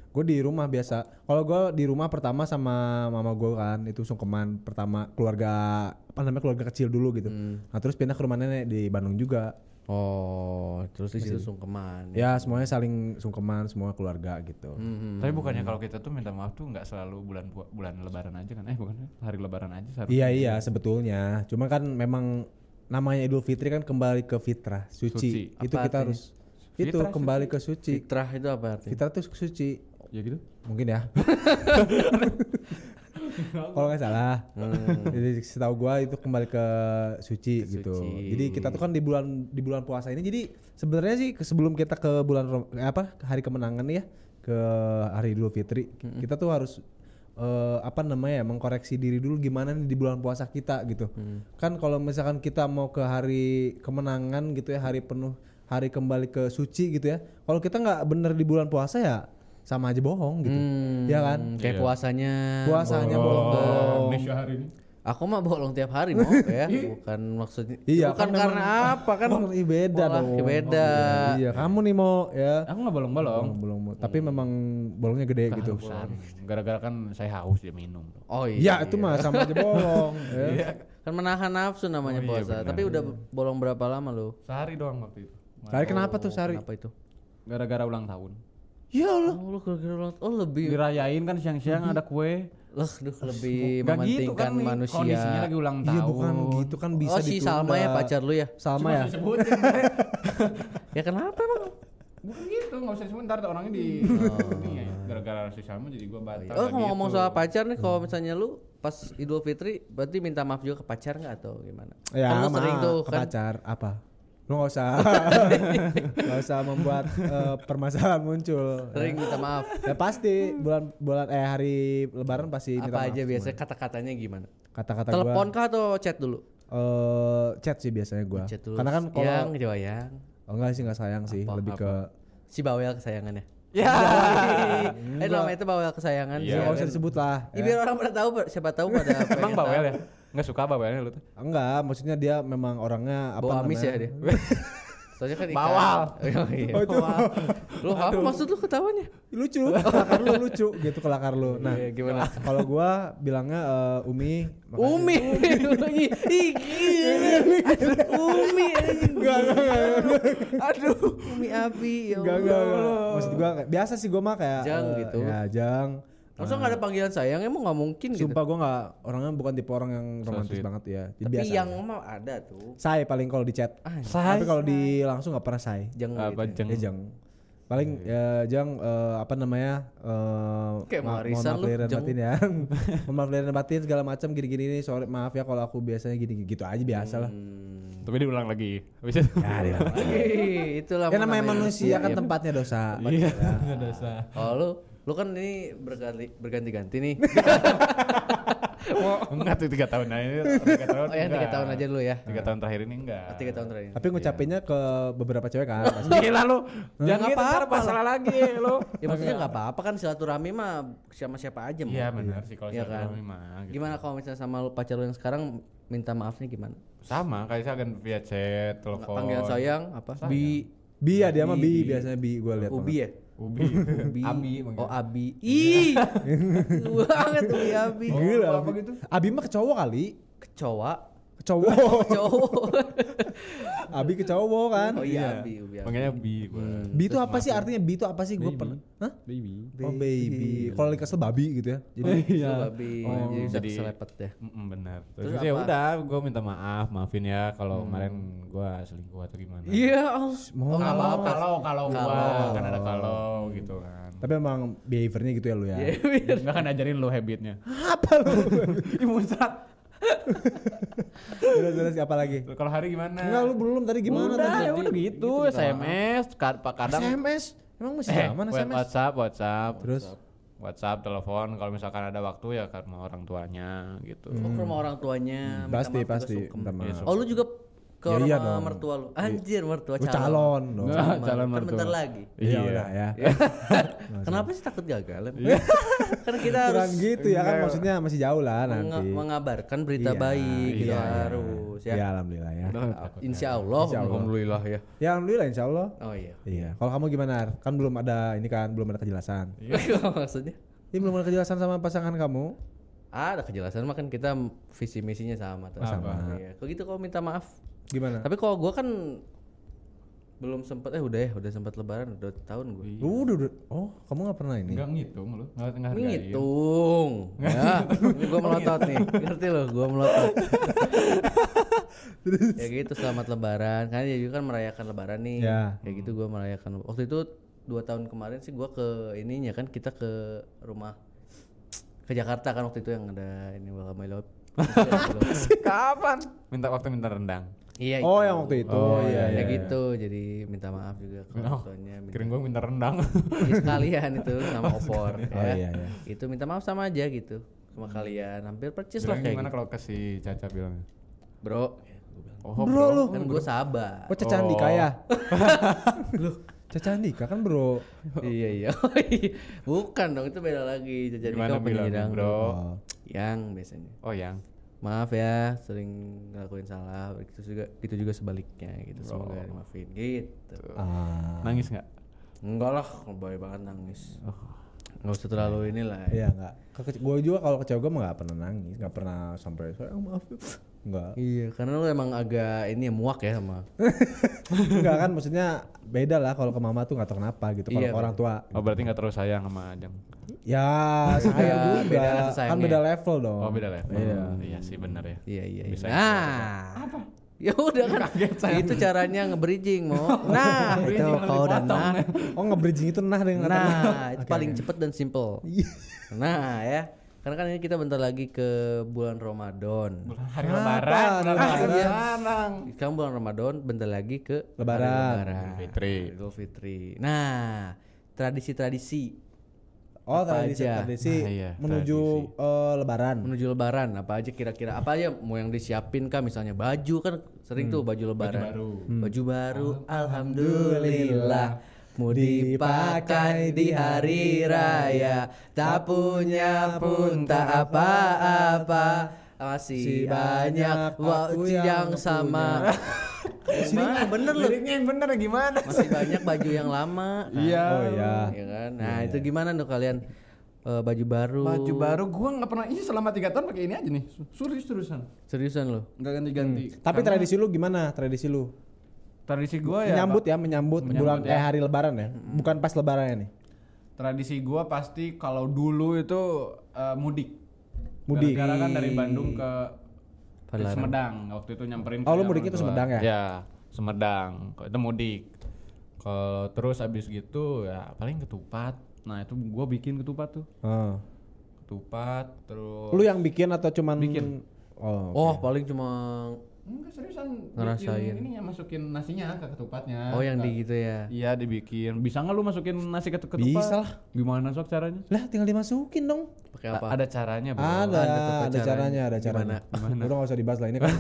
Speaker 2: Gue di rumah biasa. Kalau gue di rumah pertama sama mama gue kan itu sungkeman pertama keluarga apa namanya keluarga kecil dulu gitu.
Speaker 1: Hmm.
Speaker 2: Nah terus pindah ke rumah nenek di Bandung juga.
Speaker 1: Oh, terus di situ sungkeman.
Speaker 2: Ya semuanya saling sungkeman semua keluarga gitu.
Speaker 5: Tapi bukannya kalau kita tuh minta maaf tuh nggak selalu bulan pu- bulan lebaran aja kan? Eh bukan hari lebaran aja seharusnya.
Speaker 2: Iya iya sebetulnya. Cuma kan memang namanya Idul Fitri kan kembali ke fitrah
Speaker 5: Suci.
Speaker 2: suci. Itu
Speaker 1: Apa
Speaker 2: kita
Speaker 1: artinya?
Speaker 2: harus itu kembali ke suci.
Speaker 1: Fitrah itu apa artinya?
Speaker 2: Fitrah tuh suci.
Speaker 5: Ya gitu.
Speaker 2: Mungkin ya. Kalau nggak salah. Jadi setahu gua itu kembali ke suci gitu. Jadi kita tuh kan di bulan di bulan puasa ini jadi sebenarnya sih ke- sebelum kita ke bulan Rom- eh, apa ke hari kemenangan nih ya ke hari Idul Fitri kita tuh harus eh, apa namanya ya, mengkoreksi diri dulu gimana nih di bulan puasa kita gitu. Kan kalau misalkan kita mau ke hari kemenangan gitu ya hari penuh hari kembali ke suci gitu ya. Kalau kita nggak bener di bulan puasa ya sama aja bohong gitu. Ya kan?
Speaker 1: Hmm, kayak puasanya.
Speaker 2: Puasanya bolong.
Speaker 5: Indonesia hari ini.
Speaker 1: Aku mah bolong tiap hari mau ya, bukan maksudnya.
Speaker 2: Iya,
Speaker 1: bukan
Speaker 2: kan memang-
Speaker 1: karena apa kan?
Speaker 2: Wah, ih, beda
Speaker 1: Pola
Speaker 2: dong.
Speaker 1: beda.
Speaker 2: Iya, kamu nih mau ya.
Speaker 5: Aku nggak bolong-bolong.
Speaker 2: Belum, tapi memang bolongnya gede gitu.
Speaker 5: Gara-gara kan saya haus dia minum.
Speaker 1: Oh iya.
Speaker 2: Ya itu mah sama aja bolong. ya.
Speaker 5: Iya.
Speaker 1: Kan menahan nafsu namanya puasa. Tapi udah bolong berapa lama lu?
Speaker 5: Sehari doang waktu itu.
Speaker 2: Sari kenapa tuh Iya, Sari?
Speaker 1: Apa itu?
Speaker 5: Gara-gara ulang tahun.
Speaker 2: Ya Allah.
Speaker 1: Oh, lu kira-kira ulang Oh, lebih
Speaker 5: Dirayain kan siang-siang
Speaker 2: Mm-hmm.
Speaker 5: ada kue.
Speaker 1: lah, duh, lebih
Speaker 5: Gak gitu
Speaker 1: mementingkan
Speaker 5: kan nih,
Speaker 1: manusia.
Speaker 5: kondisinya lagi ulang tahun.
Speaker 2: Iya bukan gitu kan bisa
Speaker 1: oh, si
Speaker 2: ditunda.
Speaker 1: Salma ya pacar lu ya?
Speaker 2: Salma
Speaker 5: Iya.
Speaker 2: ya.
Speaker 1: Ya kenapa emang?
Speaker 5: Bukan gitu, nggak usah sebentar tuh orangnya di ini ya. Gara-gara si Salma jadi gua batal.
Speaker 1: Oh,
Speaker 5: nggak
Speaker 1: kalau ngomong
Speaker 5: gitu.
Speaker 1: soal pacar nih,
Speaker 2: Hmm.
Speaker 1: kalau misalnya lu pas Idul Fitri berarti minta maaf juga ke pacar nggak atau gimana?
Speaker 2: Ya,
Speaker 1: kan lu
Speaker 2: maaf,
Speaker 1: sering tuh
Speaker 2: ke
Speaker 1: kan.
Speaker 2: pacar apa? Lu nggak usah, nggak usah membuat eh, permasalahan muncul.
Speaker 1: Sering minta maaf.
Speaker 2: Ya pasti bulan bulan eh hari Lebaran pasti minta
Speaker 1: Apa aja
Speaker 2: maaf semua.
Speaker 1: biasanya kata-katanya gimana?
Speaker 2: kata-kata gua.
Speaker 1: Telepon kah atau chat dulu?
Speaker 2: eh, chat sih biasanya gua.
Speaker 1: Chat dulu.
Speaker 2: Karena kan kalau
Speaker 1: yang coba yang
Speaker 2: oh, enggak sih nggak sayang sih, lebih ke
Speaker 1: si bawel kesayangannya. Ya. eh namanya itu bawel kesayangan.
Speaker 2: Ya, nggak usah disebut lah.
Speaker 1: Ya, Iya, biar orang pada tahu siapa tahu pada
Speaker 5: Emang bawel ya? Nggak suka bawelnya lu tuh?
Speaker 2: Hmm. Enggak, maksudnya dia memang orangnya apa
Speaker 1: Bau amis ya
Speaker 2: namanya?
Speaker 1: dia. Soalnya kan ikan.
Speaker 5: Bawal.
Speaker 1: Oh, iya. Lu apa maksud lu ketawanya?
Speaker 2: Lucu, kelakar lu lucu gitu kelakar lu. Nah,
Speaker 1: Iya, Uh, gimana?
Speaker 2: kalau gua bilangnya eh, Umi makasih.
Speaker 1: Umi. Ih, ih, gila. Umi. Enggak, Aduh, Umi Abi ya
Speaker 2: Enggak,
Speaker 1: Allah.
Speaker 2: enggak, enggak. Maksud gua kayak- biasa sih gua mah kayak
Speaker 1: Jang
Speaker 2: eh,
Speaker 1: gitu.
Speaker 2: Ya, jang.
Speaker 1: Masa enggak ada panggilan sayang emang enggak mungkin gitu.
Speaker 2: Sumpah gua enggak orangnya bukan tipe orang yang romantis banget ya.
Speaker 1: Tapi
Speaker 2: biasa.
Speaker 1: yang Ah, mah ada tuh.
Speaker 2: Say paling kalau di chat. Tapi kalau di langsung enggak pernah say.
Speaker 1: Jangan
Speaker 5: Apa
Speaker 1: gitu.
Speaker 5: jeng?
Speaker 2: Ya jang.
Speaker 5: Iya,
Speaker 2: Paling ya jang eh, apa namanya? eh,
Speaker 1: Kayak
Speaker 2: ma-
Speaker 1: warisan
Speaker 2: mohon maaf
Speaker 1: lu,
Speaker 2: lahir dan
Speaker 1: Jang.
Speaker 2: batin ya. Mohon maaf lahir dan batin segala macam gini-gini ini. Sorry maaf ya kalau aku biasanya gini gitu aja biasa lah.
Speaker 5: Hmm.
Speaker 1: Hmm.
Speaker 5: Tapi diulang lagi. Habis itu.
Speaker 1: Ya, Ih, Itulah
Speaker 2: Ya
Speaker 1: namanya.
Speaker 2: namanya
Speaker 1: iya.
Speaker 2: manusia kan tempatnya dosa.
Speaker 5: Iya, nggak dosa.
Speaker 1: Oh lu, lu kan ini berganti berganti-ganti nih.
Speaker 5: Enggak tuh tiga tahun aja. Tiga tahun.
Speaker 1: Oh yang tiga
Speaker 5: enggak.
Speaker 1: tahun aja dulu ya.
Speaker 5: Tiga tahun terakhir ini enggak.
Speaker 1: Tiga tahun terakhir.
Speaker 2: Tapi ngucapinnya ke beberapa cewek kan. pasti.
Speaker 5: Gila lu. Jangan
Speaker 1: Nggak
Speaker 5: gitu ntar
Speaker 1: apa-apa
Speaker 5: masalah lagi lu.
Speaker 1: Ya maksudnya nggak apa-apa kan silaturahmi mah sama siapa aja mah.
Speaker 5: Iya benar sih kalau
Speaker 1: Iya kan?
Speaker 5: silaturahmi mah. gitu.
Speaker 1: Gimana kalau misalnya sama lu pacar lu yang sekarang minta maafnya gimana?
Speaker 5: Sama kayak saya akan via chat, telepon.
Speaker 1: Panggilan sayang apa? Bi
Speaker 2: Bi ya dia mah bi biasanya bi gue lihat.
Speaker 1: Ubi ya?
Speaker 5: Ubi.
Speaker 1: Bi.
Speaker 5: Abi
Speaker 2: ya?
Speaker 1: Oh Abi. Ih. Gua banget Ubi Abi.
Speaker 2: Oh, Gila. Abi.
Speaker 1: gitu?
Speaker 2: Abi mah ke cowok kali.
Speaker 1: Kecoa.
Speaker 2: Ke cowok.
Speaker 1: Cowok.
Speaker 2: Abi ke cowok kan.
Speaker 1: Oh iya Abi, Ubi Abi.
Speaker 5: Panggilnya Bi gua.
Speaker 1: Hmm.
Speaker 2: Bi itu apa sih artinya? Bi itu apa sih? Gue pernah. Hah?
Speaker 5: Baby.
Speaker 2: Oh baby. Kalau lagi kesel babi gitu ya. Jadi
Speaker 1: Iya. Abi.
Speaker 2: Oh,
Speaker 1: Jadi bisa
Speaker 5: jadi-
Speaker 1: keselepet
Speaker 2: Iya.
Speaker 1: ya.
Speaker 5: Mm-mm, benar.
Speaker 1: Terus
Speaker 5: Terus, ya
Speaker 1: apa? Hmm.
Speaker 5: udah, gua minta maaf, maafin ya kalau kemarin gua selingkuh atau gimana.
Speaker 1: Iya, Allah.
Speaker 2: mau
Speaker 1: nggak
Speaker 5: Kalau
Speaker 1: apa-apa.
Speaker 5: kalau kalau
Speaker 1: Kalau.
Speaker 5: gua kan ada kalau gitu kan.
Speaker 2: Tapi emang behaviornya gitu ya lu ya.
Speaker 5: Gak kan ajarin lo habitnya.
Speaker 2: Apa lu? terus terus apa lagi?
Speaker 5: Kalau hari gimana?
Speaker 2: Enggak lu belum tadi gimana
Speaker 5: udah,
Speaker 2: tadi?
Speaker 5: ya udah gitu, SMS, kad- pak kadang
Speaker 2: SMS. Emang masih
Speaker 5: eh,
Speaker 2: zaman
Speaker 5: wa-
Speaker 2: SMS?
Speaker 5: WhatsApp, WhatsApp.
Speaker 2: Terus
Speaker 5: WhatsApp, telepon kalau misalkan ada waktu ya ke rumah orang tuanya gitu.
Speaker 2: Hmm.
Speaker 1: Oh, hmm. ke rumah orang tuanya. minta
Speaker 2: pasti
Speaker 1: maaf juga
Speaker 2: pasti
Speaker 5: Iya,
Speaker 1: sungkem.
Speaker 2: minta maaf.
Speaker 1: Oh lu juga ke
Speaker 2: Ya
Speaker 1: rumah
Speaker 2: iya dong.
Speaker 1: mertua lu. Anjir, mertua
Speaker 2: Oh,
Speaker 1: calon.
Speaker 2: calon dong.
Speaker 5: Nah,
Speaker 1: Calon.
Speaker 5: calon
Speaker 1: Kan
Speaker 5: mertua.
Speaker 1: bentar lagi.
Speaker 2: Iya udah ya.
Speaker 1: Kenapa sih takut gagal? Karena kita
Speaker 2: Iya. Kurang
Speaker 1: harus
Speaker 2: gitu ya kan maksudnya masih jauh lah
Speaker 1: menge-
Speaker 2: nanti.
Speaker 1: mengabarkan berita
Speaker 2: Iya,
Speaker 1: baik ya
Speaker 2: iya, iya.
Speaker 1: harus ya.
Speaker 2: Ya alhamdulillah ya.
Speaker 5: Udah,
Speaker 1: Insya Allah.
Speaker 2: Insya Allah.
Speaker 5: Alhamdulillah ya.
Speaker 2: Ya alhamdulillah insya Allah.
Speaker 1: Oh iya.
Speaker 2: Iya. Kalau kamu gimana? Ar? Kan belum ada ini kan belum ada kejelasan.
Speaker 1: Maksudnya
Speaker 2: Ini belum ada kejelasan sama pasangan kamu.
Speaker 1: ada kejelasan mah kan kita visi misinya sama tuh.
Speaker 2: Sama. Nah.
Speaker 1: Iya. Kalau gitu kau minta maaf.
Speaker 5: Iya.
Speaker 2: Gimana?
Speaker 1: Tapi kalau gua kan belum sempat eh udah ya udah sempat lebaran udah tahun gue
Speaker 2: Lu udah, udah- oh kamu nggak pernah ini?
Speaker 5: Enggak ngitung lu, enggak ngargain.
Speaker 1: ngitung ya gue melotot nih ngerti loh gue melotot ya gitu selamat lebaran kan ya juga kan merayakan lebaran nih
Speaker 2: Ya.
Speaker 1: ya gitu gue merayakan waktu itu dua tahun kemarin sih gue ke ininya kan kita ke rumah ke Jakarta kan waktu itu yang ada ini bakal Milo
Speaker 4: Kapan?
Speaker 5: Minta waktu minta rendang.
Speaker 1: iya
Speaker 2: Oh
Speaker 1: itu.
Speaker 2: yang waktu itu.
Speaker 1: Oh,
Speaker 2: iya,
Speaker 1: ya
Speaker 2: iya. Oh,
Speaker 1: gitu jadi minta maaf juga ke orang tuanya minta
Speaker 5: Kirain gua minta rendang.
Speaker 1: Ya, sekalian itu sama opor
Speaker 2: Oh,
Speaker 5: Eh.
Speaker 1: ya.
Speaker 2: iya, iya.
Speaker 1: itu minta maaf sama aja gitu sama kalian hampir percis lah
Speaker 5: Bilang
Speaker 1: kayak
Speaker 5: gimana
Speaker 1: gitu.
Speaker 5: kalau ke si Caca bilangnya?
Speaker 1: bro ya,
Speaker 5: Oh,
Speaker 2: Bro lu.
Speaker 1: kan gue sabar
Speaker 2: Oh Caca Andika ya? Loh Caca Andika kan bro.
Speaker 1: iya iya bukan dong itu beda lagi jadi
Speaker 5: Gimana
Speaker 1: kau penyerang
Speaker 5: bilangnya, bro?
Speaker 2: Oh.
Speaker 1: yang biasanya
Speaker 5: Oh, yang.
Speaker 1: maaf ya sering ngelakuin salah itu juga itu juga sebaliknya gitu semoga dimaafin gitu
Speaker 2: Ah.
Speaker 5: Nangis enggak?
Speaker 1: enggak lah baik banget nangis
Speaker 5: Oh.
Speaker 1: nggak usah terlalu inilah ya.
Speaker 2: Iya nggak. Gue juga kalau kecewa gue nggak pernah nangis, nggak pernah sampai sayang maaf ya." nggak.
Speaker 1: iya karena lu emang agak ini ya, muak ya sama
Speaker 2: nggak kan maksudnya beda lah kalau ke mama tuh nggak tahu kenapa gitu. Kalau
Speaker 1: Iya,
Speaker 2: ke orang tua
Speaker 5: Oh, berarti enggak terlalu sayang sama Ajeng.
Speaker 2: ya sayang juga.
Speaker 1: Iya, beda rasa
Speaker 2: kan
Speaker 1: sayangnya.
Speaker 2: beda level dong.
Speaker 5: Oh, beda level. Iya,
Speaker 2: Hmm.
Speaker 5: sih benar ya.
Speaker 1: Iya iya. iya.
Speaker 5: Bisa
Speaker 1: Nah. Apa? Ya udah kan. itu caranya nge-bridging, Mo. Nah, itu kau dan nah.
Speaker 2: Oh nge-bridging itu nah dengan kata-
Speaker 1: Nah, itu paling cepet dan simple.
Speaker 2: Iya.
Speaker 1: Nah, ya. Karena kan ini kita bentar lagi ke bulan Ramadan.
Speaker 5: Hari lebaran,
Speaker 1: Hari Sekarang bulan Ramadan, bentar lagi ke hari
Speaker 2: Lebaran.
Speaker 1: Lebaran.
Speaker 5: Fitri.
Speaker 1: Idul Fitri. Nah, tradisi-tradisi
Speaker 2: Oh
Speaker 1: Apa
Speaker 2: tradisi
Speaker 1: aja? Nah,
Speaker 2: tradisi
Speaker 5: Nah, iya,
Speaker 2: menuju eh, Lebaran.
Speaker 1: menuju lebaran apa aja kira-kira apa aja mau yang disiapin kah misalnya baju kan sering
Speaker 2: Hmm.
Speaker 1: tuh baju lebaran baju baru, alhamdulillah mau dipakai di hari raya tak punya pun tak apa-apa masih
Speaker 2: Si banyak
Speaker 1: banyak
Speaker 2: aku
Speaker 1: waktu
Speaker 2: yang
Speaker 1: yang sama Gimana? bener loh
Speaker 4: Liriknya yang bener gimana?
Speaker 1: masih banyak baju yang lama kan?
Speaker 5: Iya.
Speaker 2: Oh iya.
Speaker 1: Iya kan nah itu gimana tuh kalian Eh, baju baru
Speaker 5: Baju baru gua nggak pernah ini selama 3 tahun pakai ini aja nih. Serius terusan.
Speaker 1: seriusan loh
Speaker 5: Enggak ganti-ganti.
Speaker 2: Tapi tradisi lu gimana? Tradisi lu?
Speaker 5: Tradisi gua ya
Speaker 2: menyambut ya, menyambut, bulan eh hari lebaran ya. Bukan pas lebaran ya nih.
Speaker 5: tradisi gua pasti kalau dulu itu eh, mudik.
Speaker 2: Mudik.
Speaker 5: Gara-gara kan dari Bandung ke
Speaker 1: Palaran.
Speaker 5: Semedang waktu itu nyamperin.
Speaker 2: Oh, lu
Speaker 5: punya orang
Speaker 2: mudiknya ke
Speaker 5: tua.
Speaker 2: Sumedang ya?
Speaker 5: Ya, Semedang. Itu mudik. Kalau terus abis gitu ya paling ketupat. Nah itu gua bikin ketupat tuh.
Speaker 2: Heeh.
Speaker 5: Ketupat terus.
Speaker 2: Oh. Lu yang bikin atau cuman
Speaker 5: Bikin.
Speaker 2: Oh.
Speaker 1: Oh, paling cuma
Speaker 5: Enggak seriusan.
Speaker 1: Ngerasain.
Speaker 5: Ini yang masukin nasinya ke ketupatnya.
Speaker 1: oh yang
Speaker 5: Nggak-
Speaker 1: di gitu ya.
Speaker 5: Iya dibikin. Bisa nggak lu masukin nasi ke ketupat?
Speaker 2: Bisa lah.
Speaker 5: Gimana sok caranya?
Speaker 2: Lah tinggal dimasukin dong.
Speaker 1: Pakai apa?
Speaker 5: Ada caranya, Ya, Bro.
Speaker 2: Ada,
Speaker 1: ada tetap
Speaker 2: ada caranya, ada caranya. Udah gak usah dibahas lah ini kan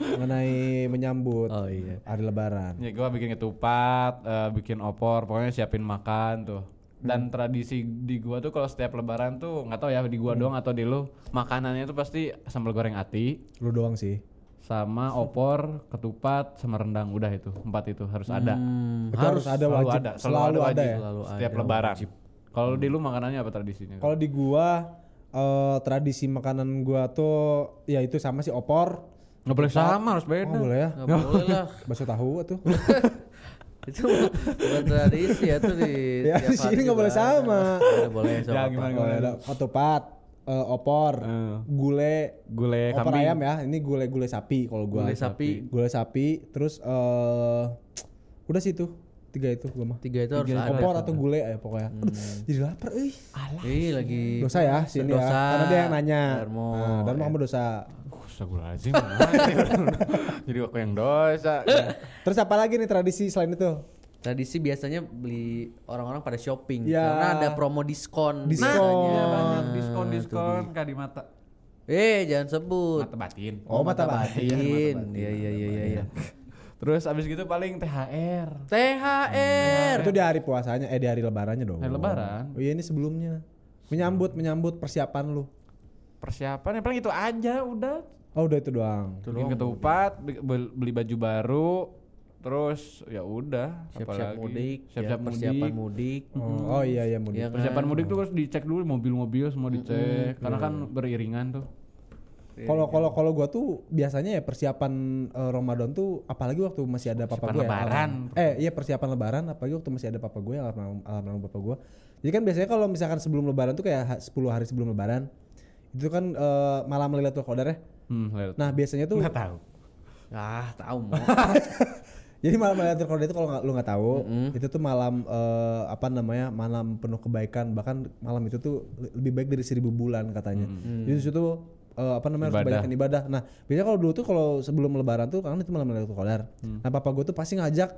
Speaker 2: mengenai menyambut
Speaker 1: Oh iya.
Speaker 2: hari lebaran.
Speaker 5: Ya gua bikin ketupat, eh, bikin opor, pokoknya siapin makan tuh. Dan
Speaker 2: Hmm.
Speaker 5: tradisi di gua tuh kalau setiap lebaran tuh nggak tahu ya di
Speaker 2: Hmm.
Speaker 5: gua doang atau di lu, makanannya tuh pasti sambal goreng ati
Speaker 2: Lu doang sih.
Speaker 5: sama
Speaker 2: Hmm.
Speaker 5: opor, ketupat, sama rendang udah itu. Empat itu harus ada.
Speaker 1: Hmm,
Speaker 2: Itu
Speaker 1: harus
Speaker 2: harus, ada
Speaker 5: Selalu
Speaker 2: wajib,
Speaker 5: ada,
Speaker 2: selalu, ada, ya. Hmm.
Speaker 1: selalu
Speaker 5: Setiap
Speaker 1: ada
Speaker 5: lebaran. Kalau di lu makanannya apa tradisinya?
Speaker 2: Kalau di gua eh, tradisi makanan gua tuh ya itu sama sih opor.
Speaker 5: Nggak boleh sama, harus
Speaker 2: Oh,
Speaker 5: beda.
Speaker 2: boleh ya.
Speaker 1: Nggak boleh lah.
Speaker 2: Bakso tahu tuh.
Speaker 1: Itu bukan tradisi ya tuh di
Speaker 2: Ya,
Speaker 1: tiap
Speaker 2: di sini
Speaker 1: hari
Speaker 2: nggak boleh
Speaker 1: lebaran.
Speaker 2: sama.
Speaker 1: Nggak boleh sama.
Speaker 5: Ya,
Speaker 1: apa.
Speaker 5: gimana?
Speaker 2: Oh, ada ketupat, eh, opor,
Speaker 5: Eh.
Speaker 2: gule,
Speaker 5: Gulai
Speaker 2: opor
Speaker 5: kambing.
Speaker 2: ayam ya. Ini gule gule sapi kalau gua.
Speaker 1: Gulai sapi.
Speaker 2: Gulai sapi, terus eh udah sih itu tiga itu gua mah.
Speaker 1: Tiga itu harus ada. Hmm.
Speaker 2: Opor atau gulai ya pokoknya. Aduh, Jadi lapar euy.
Speaker 1: Ih, lagi
Speaker 2: Dosa ya sini
Speaker 1: Iya,
Speaker 2: ya.
Speaker 1: Dosa.
Speaker 2: Karena dia yang nanya.
Speaker 1: Darmo. Iya.
Speaker 2: Nah, Darmo kamu dosa.
Speaker 5: Astagfirullahaladzim Jadi aku yang dosa ya.
Speaker 2: Terus apa lagi nih tradisi selain itu?
Speaker 1: Tradisi biasanya beli orang-orang pada shopping
Speaker 2: Ya.
Speaker 1: karena ada promo diskon.
Speaker 2: Diskon.
Speaker 1: biasanya.
Speaker 2: Iya,
Speaker 5: Banyak diskon-diskon kah di mata
Speaker 1: Eh, Eh, jangan sebut.
Speaker 5: mata batin.
Speaker 2: Oh, mata batin.
Speaker 1: Iya, iya, iya, iya, iya.
Speaker 5: Terus abis gitu paling THR.
Speaker 1: THR.
Speaker 2: Itu di hari puasanya, eh di hari lebarannya dong.
Speaker 5: Hari lebaran.
Speaker 2: Oh iya ini sebelumnya. Menyambut menyambut persiapan lu.
Speaker 5: Persiapan ya paling itu aja udah.
Speaker 2: Oh udah itu doang.
Speaker 5: Bikin ketupat, be- be- beli baju baru, terus ya udah
Speaker 1: Siap-siap
Speaker 5: apalagi.
Speaker 1: mudik, ya,
Speaker 5: siap-siap mudik.
Speaker 1: persiapan mudik.
Speaker 2: Oh, oh iya iya mudik.
Speaker 1: Iya kan?
Speaker 5: Persiapan mudik tuh harus dicek dulu mobil-mobil semua dicek karena kan beriringan tuh.
Speaker 2: Kalau kalau kalau gua tuh biasanya ya persiapan eh, Ramadan tuh apalagi waktu masih ada papa
Speaker 5: Persiapan
Speaker 2: gue. ya,
Speaker 5: lebaran.
Speaker 2: alarm- eh iya persiapan lebaran apalagi waktu masih ada papa gue alarm alarm alarm papa gue. Jadi kan biasanya kalau misalkan sebelum lebaran tuh kayak ha- 10 hari sebelum lebaran itu kan eh, malam Lailatul Qadar ya.
Speaker 5: Hmm, lihat.
Speaker 2: Nah, biasanya tuh
Speaker 4: Nggak tahu.
Speaker 1: Ah, tahu mau.
Speaker 2: Jadi malam Lailatul Qadar itu kalau nggak- lu nggak tahu, itu tuh malam eh, apa namanya? malam penuh kebaikan, bahkan malam itu tuh le- lebih baik dari seribu bulan katanya. Jadi itu tuh eh, apa namanya? harus
Speaker 5: Ibadah.
Speaker 2: kebanyakan ibadah. Nah, biasanya kalau dulu tuh kalau sebelum lebaran tuh kan itu malam Lailatul Qadar. Nah, papa gue tuh pasti ngajak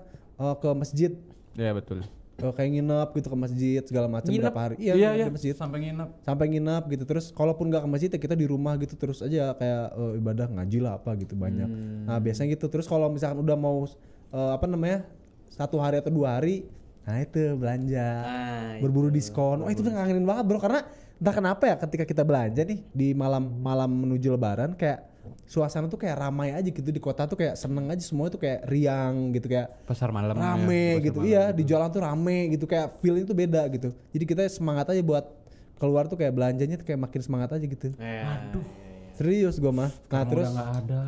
Speaker 2: eh, ke masjid
Speaker 5: Ya betul.
Speaker 2: Eh, kayak nginep gitu ke masjid segala macam
Speaker 1: Nginep?
Speaker 2: berapa hari. Iya, nginep di masjid.
Speaker 5: Sampai nginep.
Speaker 2: Sampai nginep gitu terus kalaupun nggak ke masjid ya kita di rumah gitu terus aja kayak eh, ibadah ngaji lah apa gitu banyak. Nah, biasanya gitu. Terus kalau misalkan udah mau eh, apa namanya? satu hari atau dua hari nah itu belanja
Speaker 1: Nah,
Speaker 2: berburu diskon wah itu udah ngangenin banget bro karena entah kenapa ya ketika kita belanja nih di malam malam menuju lebaran kayak suasana tuh kayak ramai aja gitu di kota tuh kayak seneng aja semua tuh kayak riang gitu kayak
Speaker 5: Pasar malam. ya,
Speaker 2: rame
Speaker 5: pasar
Speaker 2: gitu
Speaker 5: malam.
Speaker 2: iya di jalan tuh rame gitu kayak feeling tuh beda gitu jadi kita semangat aja buat keluar tuh kayak belanjanya tuh kayak makin semangat aja gitu
Speaker 1: Aduh.
Speaker 2: serius gua mah nah
Speaker 5: Karena
Speaker 2: terus
Speaker 5: udah nggak Iya. ada.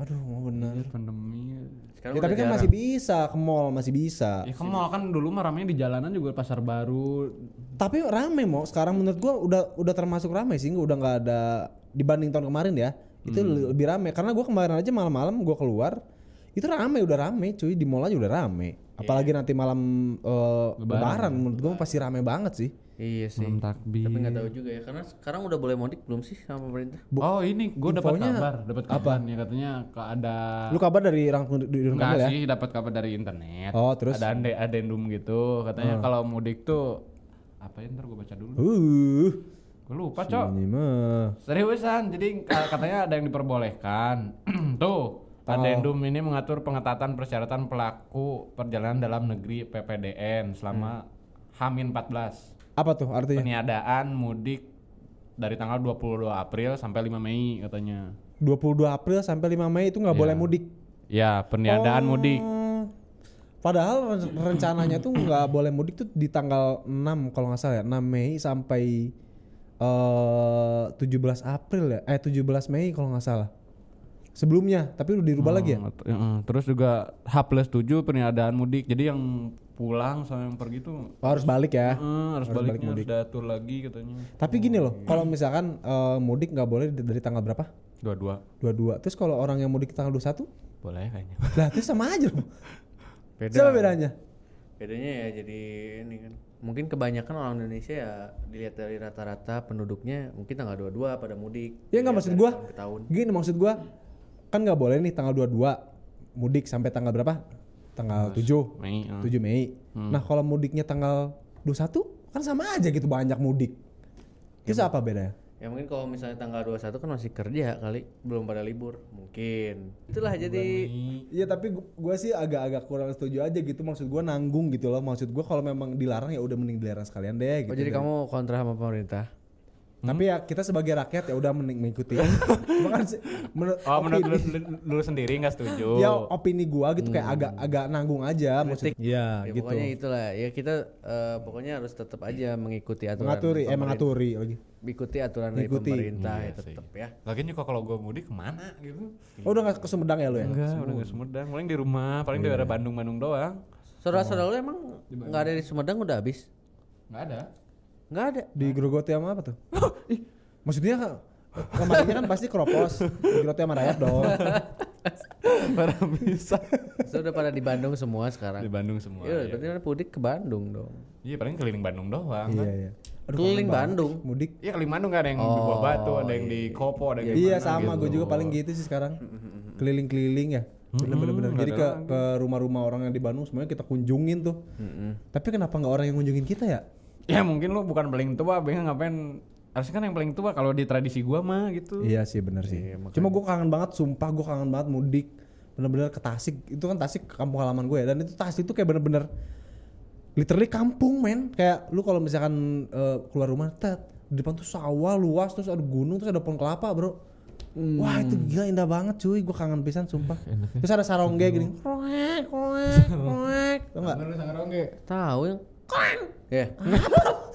Speaker 2: aduh mau bener
Speaker 5: Pandemi.
Speaker 1: Sekarang
Speaker 2: Ya, tapi
Speaker 1: udah
Speaker 2: kan
Speaker 1: jarang.
Speaker 2: masih bisa ke mall masih bisa
Speaker 5: Ya ke mall kan dulu mah ramenya di jalanan juga pasar baru.
Speaker 2: tapi rame mau sekarang menurut gua udah udah termasuk rame sih udah nggak ada dibanding tahun kemarin ya itu
Speaker 5: Hmm.
Speaker 2: le- lebih rame karena gua kemarin aja malam-malam gua keluar itu rame udah rame cuy di mall aja udah rame
Speaker 5: Iya.
Speaker 2: apalagi nanti malam eh, lebaran. menurut gua pasti rame banget sih
Speaker 1: Iya sih.
Speaker 5: Malam takbir.
Speaker 1: Tapi nggak tahu juga ya karena sekarang udah boleh mudik belum sih sama pemerintah?
Speaker 5: oh ini gue dapat
Speaker 2: infonya
Speaker 5: kabar, dapat kabar nih katanya ke ada
Speaker 2: lu kabar dari orang di- di rumah
Speaker 5: Enggak
Speaker 2: ya
Speaker 5: sih, dapat kabar dari internet.
Speaker 2: Oh, terus? Hmm.
Speaker 5: ada ande- adendum gitu, katanya kalau mudik tuh apa ya ntar gue baca dulu.
Speaker 2: uh
Speaker 5: Gue lupa, Cok.
Speaker 2: ini mah
Speaker 5: Seriusan, jadi ka- katanya ada yang diperbolehkan. Tuh, Adendum
Speaker 2: Oh.
Speaker 5: ini mengatur pengetatan persyaratan pelaku perjalanan dalam negeri PPDN selama
Speaker 2: Hmm.
Speaker 5: Hamin 14.
Speaker 2: apa tuh artinya
Speaker 5: Peniadaan mudik dari tanggal 22 April sampai 5 Mei katanya.
Speaker 2: 22 April sampai 5 Mei itu nggak boleh mudik
Speaker 5: Ya, peniadaan Iya. mudik.
Speaker 2: Oh. Padahal ren- rencananya tuh nggak boleh mudik tuh di tanggal 6 kalau nggak salah ya, 6 Mei sampai eh 17 April ya. Eh 17 Mei kalau nggak salah. Sebelumnya, tapi udah dirubah lagi ya.
Speaker 5: Hmm, t- heeh. Terus juga H plus 7 peniadaan mudik. Jadi yang pulang sama yang pergi tuh
Speaker 2: Oh, harus balik ya.
Speaker 5: eh, harus, baliknya harus datur lagi katanya.
Speaker 2: Tapi gini loh, kalau misalkan eh, mudik nggak boleh di- dari tanggal berapa?
Speaker 5: Dua-dua
Speaker 2: 22. Terus kalau orang yang mudik tanggal 21,
Speaker 5: boleh kayaknya.
Speaker 2: lah itu sama aja loh.
Speaker 1: Beda.
Speaker 2: Siapa bedanya?
Speaker 1: Bedanya ya jadi ini kan. Mungkin kebanyakan orang Indonesia ya dilihat dari rata-rata penduduknya mungkin tanggal 22 pada mudik.
Speaker 2: Ya nggak
Speaker 1: Dilihat
Speaker 2: maksud
Speaker 1: dari
Speaker 2: gua.
Speaker 1: tahun ke tahun.
Speaker 2: Gini maksud gua kan nggak boleh nih tanggal 22 mudik sampai tanggal berapa? Tanggal 7.
Speaker 5: Mei. eh.
Speaker 2: 7 Mei. Nah, kalau mudiknya tanggal 21 kan sama aja gitu banyak mudik. Terus apa bedanya?
Speaker 1: Ya mungkin kalau misalnya tanggal 21 kan masih kerja kali, belum pada libur. Mungkin. Itulah jadi
Speaker 2: Iya tapi gu- gua sih agak-agak kurang setuju aja gitu maksud gua nanggung gitu loh maksud gua kalau memang dilarang ya udah mending dilarang sekalian deh
Speaker 1: Oh,
Speaker 2: gitu.
Speaker 1: jadi kamu kontra sama pemerintah?
Speaker 5: Hmm?
Speaker 2: Tapi ya kita sebagai rakyat ya udah mending mengikuti. Cuma kan se- menurut
Speaker 5: Oh, menurut
Speaker 2: opini-
Speaker 5: lu, lu- lu sendiri nggak setuju.
Speaker 2: ya opini gua gitu kayak
Speaker 5: Hmm.
Speaker 2: agak-agak nanggung aja maksud. Iya
Speaker 1: Ya,
Speaker 2: gitu.
Speaker 1: Pokoknya itulah. Ya kita eh, pokoknya harus tetap aja mengikuti aturan.
Speaker 2: Mengaturi, eh mengaturi lagi.
Speaker 1: Ikuti aturan dari
Speaker 2: Mengikuti.
Speaker 1: pemerintah
Speaker 5: Iya
Speaker 1: ya
Speaker 5: sih.
Speaker 1: tetap ya.
Speaker 5: Lagian juga kalau gue mudik kemana gitu?
Speaker 2: Oh udah gak ke Sumedang ya lu ya?
Speaker 5: Enggak, Ah, udah nggak Sumedang. Paling di rumah, paling daerah Bandung-Bandung doang.
Speaker 1: Saudara-saudara lu emang nggak ada di Sumedang udah habis?
Speaker 5: Nggak ada.
Speaker 1: Nggak ada.
Speaker 2: Digerogoti sama apa tuh? Maksudnya kemarinnya kan pasti keropos, digerogoti sama rayap dong.
Speaker 5: Para bisa.
Speaker 1: Sudah pada di Bandung semua sekarang.
Speaker 5: Di Bandung semua.
Speaker 1: Iya,
Speaker 5: Iya,
Speaker 1: berarti kan mudik ke Bandung dong.
Speaker 5: Iya, paling keliling Bandung doang. kan.
Speaker 2: Iya iya.
Speaker 1: Keliling
Speaker 2: kangen banget
Speaker 1: Bandung.
Speaker 2: sih Mudik.
Speaker 5: Iya kali Bandung kan ada yang di Buah Batu, ada yang di Kopo, ada yang di
Speaker 2: Oh, Iya
Speaker 5: mana
Speaker 2: sama,
Speaker 5: gitu. Mm,
Speaker 2: gue juga paling gitu sih sekarang. Keliling-keliling ya. Bener-bener. Jadi ke ke rumah-rumah orang yang di Bandung semuanya kita kunjungin
Speaker 5: Mm,
Speaker 2: tuh. Tapi kenapa nggak orang yang ngunjungin kita ya?
Speaker 5: Ya mungkin lu bukan paling tua, pengen ngapain harusnya kan yang paling tua kalau di tradisi gua mah gitu.
Speaker 2: Iya sih bener sih. Cuma gue kangen banget, sumpah gue kangen banget mudik. Bener-bener ke Tasik. Itu kan Tasik kampung halaman gue ya. Dan itu Tasik itu kayak bener-bener literally kampung men. Kayak lu kalau misalkan eh, keluar rumah, tet, di depan tuh sawah luas, terus ada gunung, terus ada pohon kelapa bro. Wah itu gila indah banget cuy, gue kangen pisan sumpah. Terus ada sarongge gini, kroek, kroek, kroek, tau nggak?
Speaker 1: Tahu yang Ya.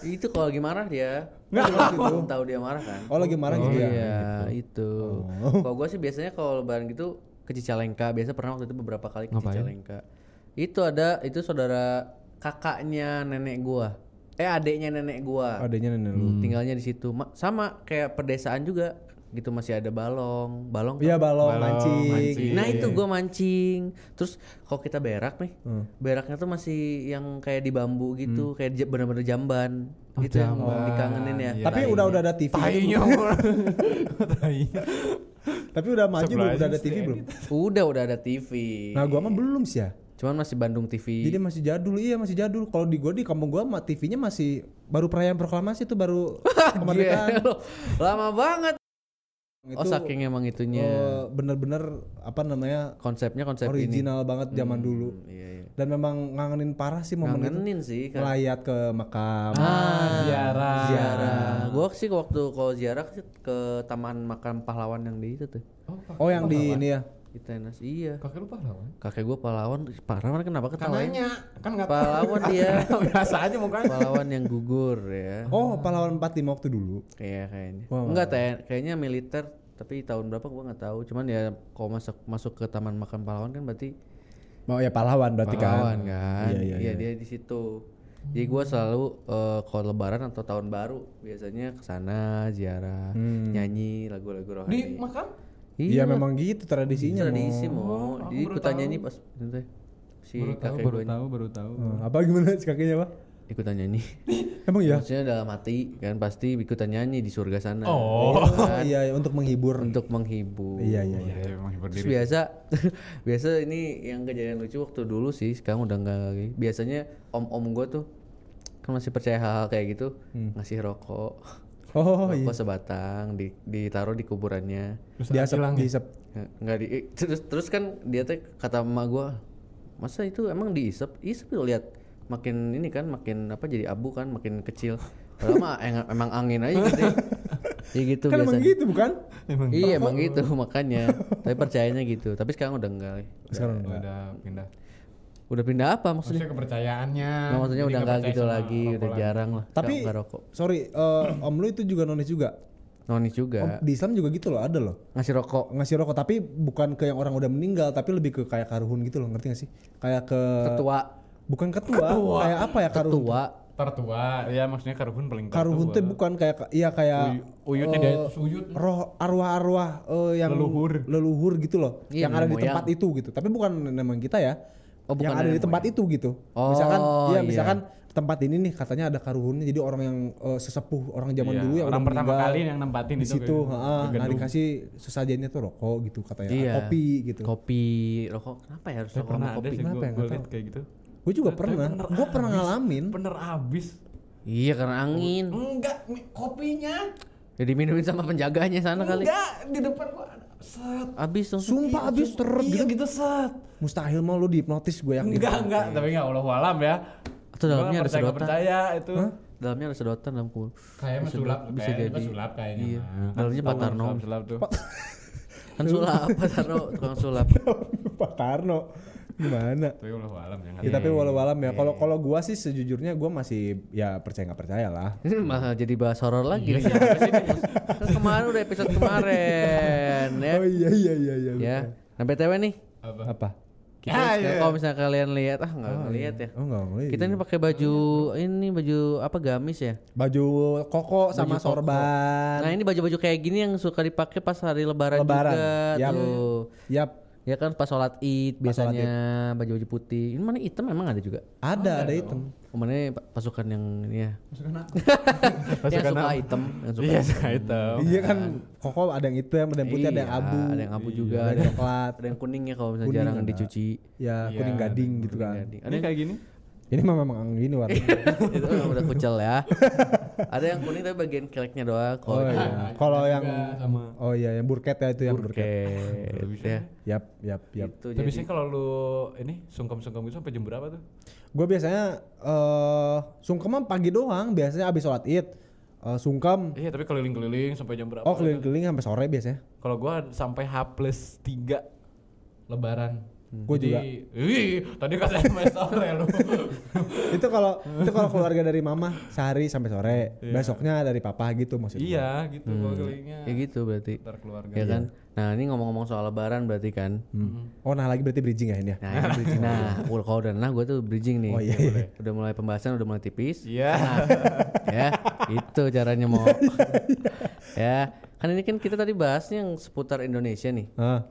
Speaker 1: itu kalau lagi marah dia.
Speaker 2: Nggak,
Speaker 1: Belum tahu dia marah kan.
Speaker 2: Oh lagi marah gitu ya?
Speaker 1: Iya, itu. Kalau gua sih biasanya kalau lebaran gitu ke Cicalengka, biasa pernah waktu itu beberapa kali ke Cicalengka. Itu ada itu saudara kakaknya nenek gua. Eh adeknya nenek gua.
Speaker 2: Adanya nenek Oh, lu.
Speaker 1: Hmm. Tinggalnya di situ. Ma- sama kayak pedesaan juga. Gitu masih ada balong, balong.
Speaker 2: Iya
Speaker 1: tau
Speaker 2: balong, mancing.
Speaker 1: Nah itu gua mancing. Terus kalau kita berak nih,
Speaker 2: Hmm.
Speaker 1: beraknya tuh masih yang kayak di bambu gitu, kayak j- bener-bener jamban. gitu yang dikangenin ya.
Speaker 2: Oh, Tapi udah udah ada TV.
Speaker 5: Iya.
Speaker 4: Tainya. Tainya.
Speaker 2: Tapi udah maju belum?
Speaker 4: Sebelah
Speaker 2: Udah ada
Speaker 4: aja
Speaker 2: TV belum?
Speaker 1: udah udah ada TV.
Speaker 2: Nah gua mah belum sih ya.
Speaker 1: Cuman masih Bandung TV.
Speaker 2: Jadi masih jadul, iya masih jadul. Kalau di gua di kampung gua mah TV-nya masih baru perayaan proklamasi tuh baru kemerdekaan.
Speaker 1: Gelo, Lama banget.
Speaker 2: Itu
Speaker 1: oh saking emang itunya.
Speaker 2: eh, bener-bener apa namanya
Speaker 1: Konsepnya konsep ini.
Speaker 2: original banget zaman dulu.
Speaker 1: Iya, iya.
Speaker 2: Dan memang ngangenin parah sih momen itu.
Speaker 1: Ngangenin sih kan.
Speaker 2: Melayat ke makam.
Speaker 5: Ziarah.
Speaker 1: Ah, Ziarah. Gua sih waktu kalau ziarah sih ke Taman Makam Pahlawan yang di itu tuh.
Speaker 2: Oh yang di ini ya.
Speaker 1: Di Tenas. Iya.
Speaker 5: Kakek lu pahlawan.
Speaker 1: Kakek gua pahlawan, pahlawan kenapa ketawain?
Speaker 5: Nanya, kan enggak
Speaker 1: Pahlawan dia.
Speaker 5: biasa aja mukanya.
Speaker 1: pahlawan yang gugur ya.
Speaker 2: Oh pahlawan 45 waktu dulu.
Speaker 1: Kayak kayaknya.
Speaker 2: Wah,
Speaker 1: Enggak TN, kayaknya militer tapi tahun berapa gua nggak tahu. Cuman ya kalau masuk masuk ke Taman Makam Pahlawan kan berarti
Speaker 2: Oh ya pahlawan berarti
Speaker 1: pahlawan
Speaker 2: kan.
Speaker 1: kan.
Speaker 2: Iya, iya,
Speaker 1: dia di situ. Jadi gua selalu eh, kalau lebaran atau tahun baru biasanya ke sana ziarah, nyanyi lagu-lagu rohani.
Speaker 5: Di makan?
Speaker 1: Iya,
Speaker 2: Iya memang gitu tradisinya.
Speaker 1: bisa
Speaker 2: Mo.
Speaker 1: diisi mau.
Speaker 5: aku
Speaker 1: Jadi
Speaker 5: baru
Speaker 1: ikutan
Speaker 5: tahu.
Speaker 1: nyanyi pas itu teh. si
Speaker 5: Baru tahu,
Speaker 1: kakek
Speaker 5: baru
Speaker 1: gua
Speaker 5: tahu, baru tahu.
Speaker 2: Eh, apa gimana si kakinya pak?
Speaker 1: ikutan nyanyi.
Speaker 2: Emang ya?
Speaker 1: Maksudnya dalam hati kan pasti ikutan nyanyi di surga sana.
Speaker 5: Oh.
Speaker 2: Oh iya untuk menghibur.
Speaker 1: Untuk menghibur.
Speaker 2: Iya iya iya.
Speaker 5: Ya emang
Speaker 1: Terus
Speaker 5: berdiri.
Speaker 1: biasa biasa ini yang kejadian lucu waktu dulu sih sekarang udah enggak lagi biasanya om-om gue tuh kan masih percaya hal-hal kayak gitu ngasih rokok
Speaker 2: Hmm. Oh iya.
Speaker 1: rokok sebatang di, ditaruh di kuburannya
Speaker 2: Diasap, diisep.
Speaker 1: Nggak- nggak di eh, terus terus kan dia tuh kata emak gue masa itu emang diisep isep tuh lihat makin ini kan makin apa jadi abu kan makin kecil padahal mah eng- emang angin aja gitu ya gitu
Speaker 2: Kan emang
Speaker 1: biasanya
Speaker 2: gitu bukan?
Speaker 1: iya emang gitu makanya tapi percayanya gitu tapi sekarang udah enggak
Speaker 2: Sekarang enggak.
Speaker 5: Oh, Udah pindah.
Speaker 1: udah pindah apa maksudnya
Speaker 5: Maksudnya kepercayaannya.
Speaker 1: Nah, maksudnya
Speaker 5: Jadi
Speaker 1: udah nggak
Speaker 5: percaya
Speaker 1: gitu
Speaker 5: sama
Speaker 1: lagi
Speaker 5: rokok
Speaker 1: udah jarang lah
Speaker 2: Tapi
Speaker 1: nggak nggak rokok
Speaker 2: sorry, eh, om lu itu juga nonis juga.
Speaker 1: nonis juga
Speaker 2: Om, di Islam juga gitu loh, ada loh.
Speaker 1: ngasih rokok
Speaker 2: Ngasih rokok tapi bukan ke yang orang udah meninggal, tapi lebih ke kayak karuhun gitu loh, ngerti gak sih? Kayak ke
Speaker 1: ketua
Speaker 2: bukan ketua, kayak apa ya karuhun?
Speaker 1: ketua
Speaker 5: Tertua, ya maksudnya karuhun paling tertua.
Speaker 2: Karuhun tuh bukan kayak iya kayak
Speaker 5: Uyutnya dia
Speaker 1: Oh.
Speaker 5: itu suyut.
Speaker 2: roh arwah-arwah eh, yang
Speaker 5: Leluhur.
Speaker 2: leluhur gitu loh,
Speaker 1: Iya,
Speaker 2: yang ada di
Speaker 1: nenek moyang.
Speaker 2: tempat itu gitu. Tapi bukan memang kita ya.
Speaker 1: Oh, bukan
Speaker 2: yang ada di
Speaker 1: nenek
Speaker 2: tempat itu gitu.
Speaker 1: Oh,
Speaker 2: misalkan iya
Speaker 1: iya.
Speaker 2: misalkan tempat ini nih katanya ada karuhunnya jadi orang yang eh, sesepuh orang zaman
Speaker 5: Iya,
Speaker 2: dulu yang
Speaker 5: orang
Speaker 2: udah
Speaker 5: pertama
Speaker 2: meninggal.
Speaker 5: kali yang nempatin
Speaker 2: di
Speaker 5: itu
Speaker 2: situ
Speaker 5: ke-
Speaker 2: heeh,
Speaker 5: ke
Speaker 2: nah
Speaker 5: gedung.
Speaker 2: dikasih sesajennya tuh rokok gitu katanya
Speaker 1: Iya.
Speaker 2: kopi gitu
Speaker 1: kopi rokok kenapa ya harus
Speaker 5: Saya
Speaker 1: rokok sama
Speaker 5: pernah Nah, ada
Speaker 1: kopi
Speaker 5: sih
Speaker 2: Kenapa
Speaker 5: gue
Speaker 2: ya? Nggak
Speaker 5: liat kayak gitu.
Speaker 2: gue juga
Speaker 5: Tapi
Speaker 2: pernah
Speaker 5: bener
Speaker 2: gue pernah
Speaker 5: abis.
Speaker 2: ngalamin
Speaker 5: Bener abis.
Speaker 1: iya karena angin
Speaker 5: Oh.
Speaker 3: Enggak, mi- kopinya
Speaker 1: jadi minumin sama penjaganya sana kali
Speaker 3: enggak di depan gua ada. Set.
Speaker 1: habis langsung
Speaker 2: sumpah abis teret
Speaker 3: Iya
Speaker 2: gitu
Speaker 3: gitu set.
Speaker 2: mustahil mau lu dihipnotis gue yakin
Speaker 5: Enggak, enggak. Tapi enggak Allah walam ya.
Speaker 1: Atau dalamnya
Speaker 5: Gua
Speaker 1: ada
Speaker 5: percaya, nggak
Speaker 1: sedotan
Speaker 5: percaya itu.
Speaker 1: dalamnya ada sedotan dalam kubur
Speaker 5: Kayak mah sulap,
Speaker 1: bisa
Speaker 5: kayaknya
Speaker 1: jadi.
Speaker 5: mah sulap kayaknya.
Speaker 1: Iya.
Speaker 5: mah.
Speaker 1: Dalamnya
Speaker 5: Sulap,
Speaker 1: Oh. Pak Tarno.
Speaker 5: sulap,
Speaker 1: kan
Speaker 5: Sulap tuh.
Speaker 1: sulap Pak Tarno tukang sulap
Speaker 2: Pak Tarno gimana
Speaker 5: Tapi Allah walam ya. nggak
Speaker 1: Iya.
Speaker 2: Ya, tapi walau-walam ya. Kalau kalau gua sih sejujurnya gua masih ya percaya nggak percaya lah.
Speaker 1: Ini malah jadi bahas horor lagi nih. Kan kemarin udah episode kemarin ya.
Speaker 2: Oh iya iya iya iya.
Speaker 1: Ya. Nah, BTW nih,
Speaker 5: Apa?
Speaker 2: Apa?
Speaker 1: kita
Speaker 5: Ah,
Speaker 1: sekarang kalau misalnya kalian lihat ah enggak lihat ya.
Speaker 2: Oh enggak boleh.
Speaker 1: Kita ini pakai baju ini baju apa gamis ya?
Speaker 2: baju koko
Speaker 1: Baju
Speaker 2: sama
Speaker 1: koko.
Speaker 2: sorban.
Speaker 1: Nah, ini baju-baju kayak gini yang suka dipakai pas hari lebaran,
Speaker 2: Lebaran,
Speaker 1: juga
Speaker 2: yap.
Speaker 1: tuh.
Speaker 2: Yap,
Speaker 1: Ya kan pas sholat Id biasanya baju-baju putih. Ini mana hitam emang ada juga. Oh,
Speaker 2: ada ada hitam.
Speaker 1: Kemarin pasukan yang ini ya. yang
Speaker 5: Pasukan
Speaker 1: suka
Speaker 5: apa?
Speaker 1: hitam, yang suka
Speaker 5: Iya, itu.
Speaker 2: Iya kan koko ada yang hitam, ada yang putih, ada yang
Speaker 1: Iya,
Speaker 2: abu.
Speaker 1: ada yang abu juga,
Speaker 2: ada
Speaker 1: ada
Speaker 2: yang
Speaker 1: yang-
Speaker 2: coklat.
Speaker 1: Ada yang kuning ya kalau misalnya
Speaker 2: Kuning
Speaker 1: jarang
Speaker 2: ada.
Speaker 1: dicuci.
Speaker 2: Ya kuning gading gitu kan.
Speaker 1: Gading. Ada
Speaker 5: Ini
Speaker 1: yang
Speaker 5: kayak gini.
Speaker 2: Ini mah memang gini warnanya.
Speaker 1: itu memang udah kucel ya ada yang kuning tapi bagian keleknya doang kok
Speaker 2: Oh iya. Kalau yang
Speaker 5: sama.
Speaker 2: Oh iya yang burket ya itu yang burket.
Speaker 1: ya
Speaker 2: Yap, yap,
Speaker 1: itu
Speaker 5: Tapi
Speaker 2: yap.
Speaker 1: Gitu, jadi
Speaker 5: biasanya kalau lu ini sungkem-sungkem gitu sampai jam berapa tuh?
Speaker 2: Gue biasanya eh sungkeman pagi doang, biasanya abis sholat Id. Eh sungkem.
Speaker 5: Iya, Hmm, tapi keliling-keliling sampai jam berapa?
Speaker 2: Oh, keliling-keliling sampai sore biasanya.
Speaker 5: Kalau gua sampai H plus 3 lebaran.
Speaker 2: Gua
Speaker 5: Jadi,
Speaker 2: juga.
Speaker 5: Ih, tadi kata SMS sore lu.
Speaker 2: itu kalau itu kalau keluarga dari mama sehari sampai sore. Besoknya dari papa gitu maksudnya.
Speaker 5: iya, gitu gua kelilingnya.
Speaker 1: ya gitu berarti
Speaker 5: Ntar keluarga.
Speaker 2: iya.
Speaker 1: ya kan nah ini ngomong-ngomong soal lebaran berarti kan
Speaker 2: Oh, nah lagi berarti bridging ya ini ya.
Speaker 1: nah ini bridging nah wul- kalau udah nah gue tuh bridging nih
Speaker 2: Oh, iya, iya.
Speaker 1: udah mulai pembahasan udah mulai tipis
Speaker 5: Iya.
Speaker 1: ya itu caranya mau
Speaker 2: Iya.
Speaker 1: ya kan ini kan kita tadi bahasnya yang seputar Indonesia nih
Speaker 2: Ah.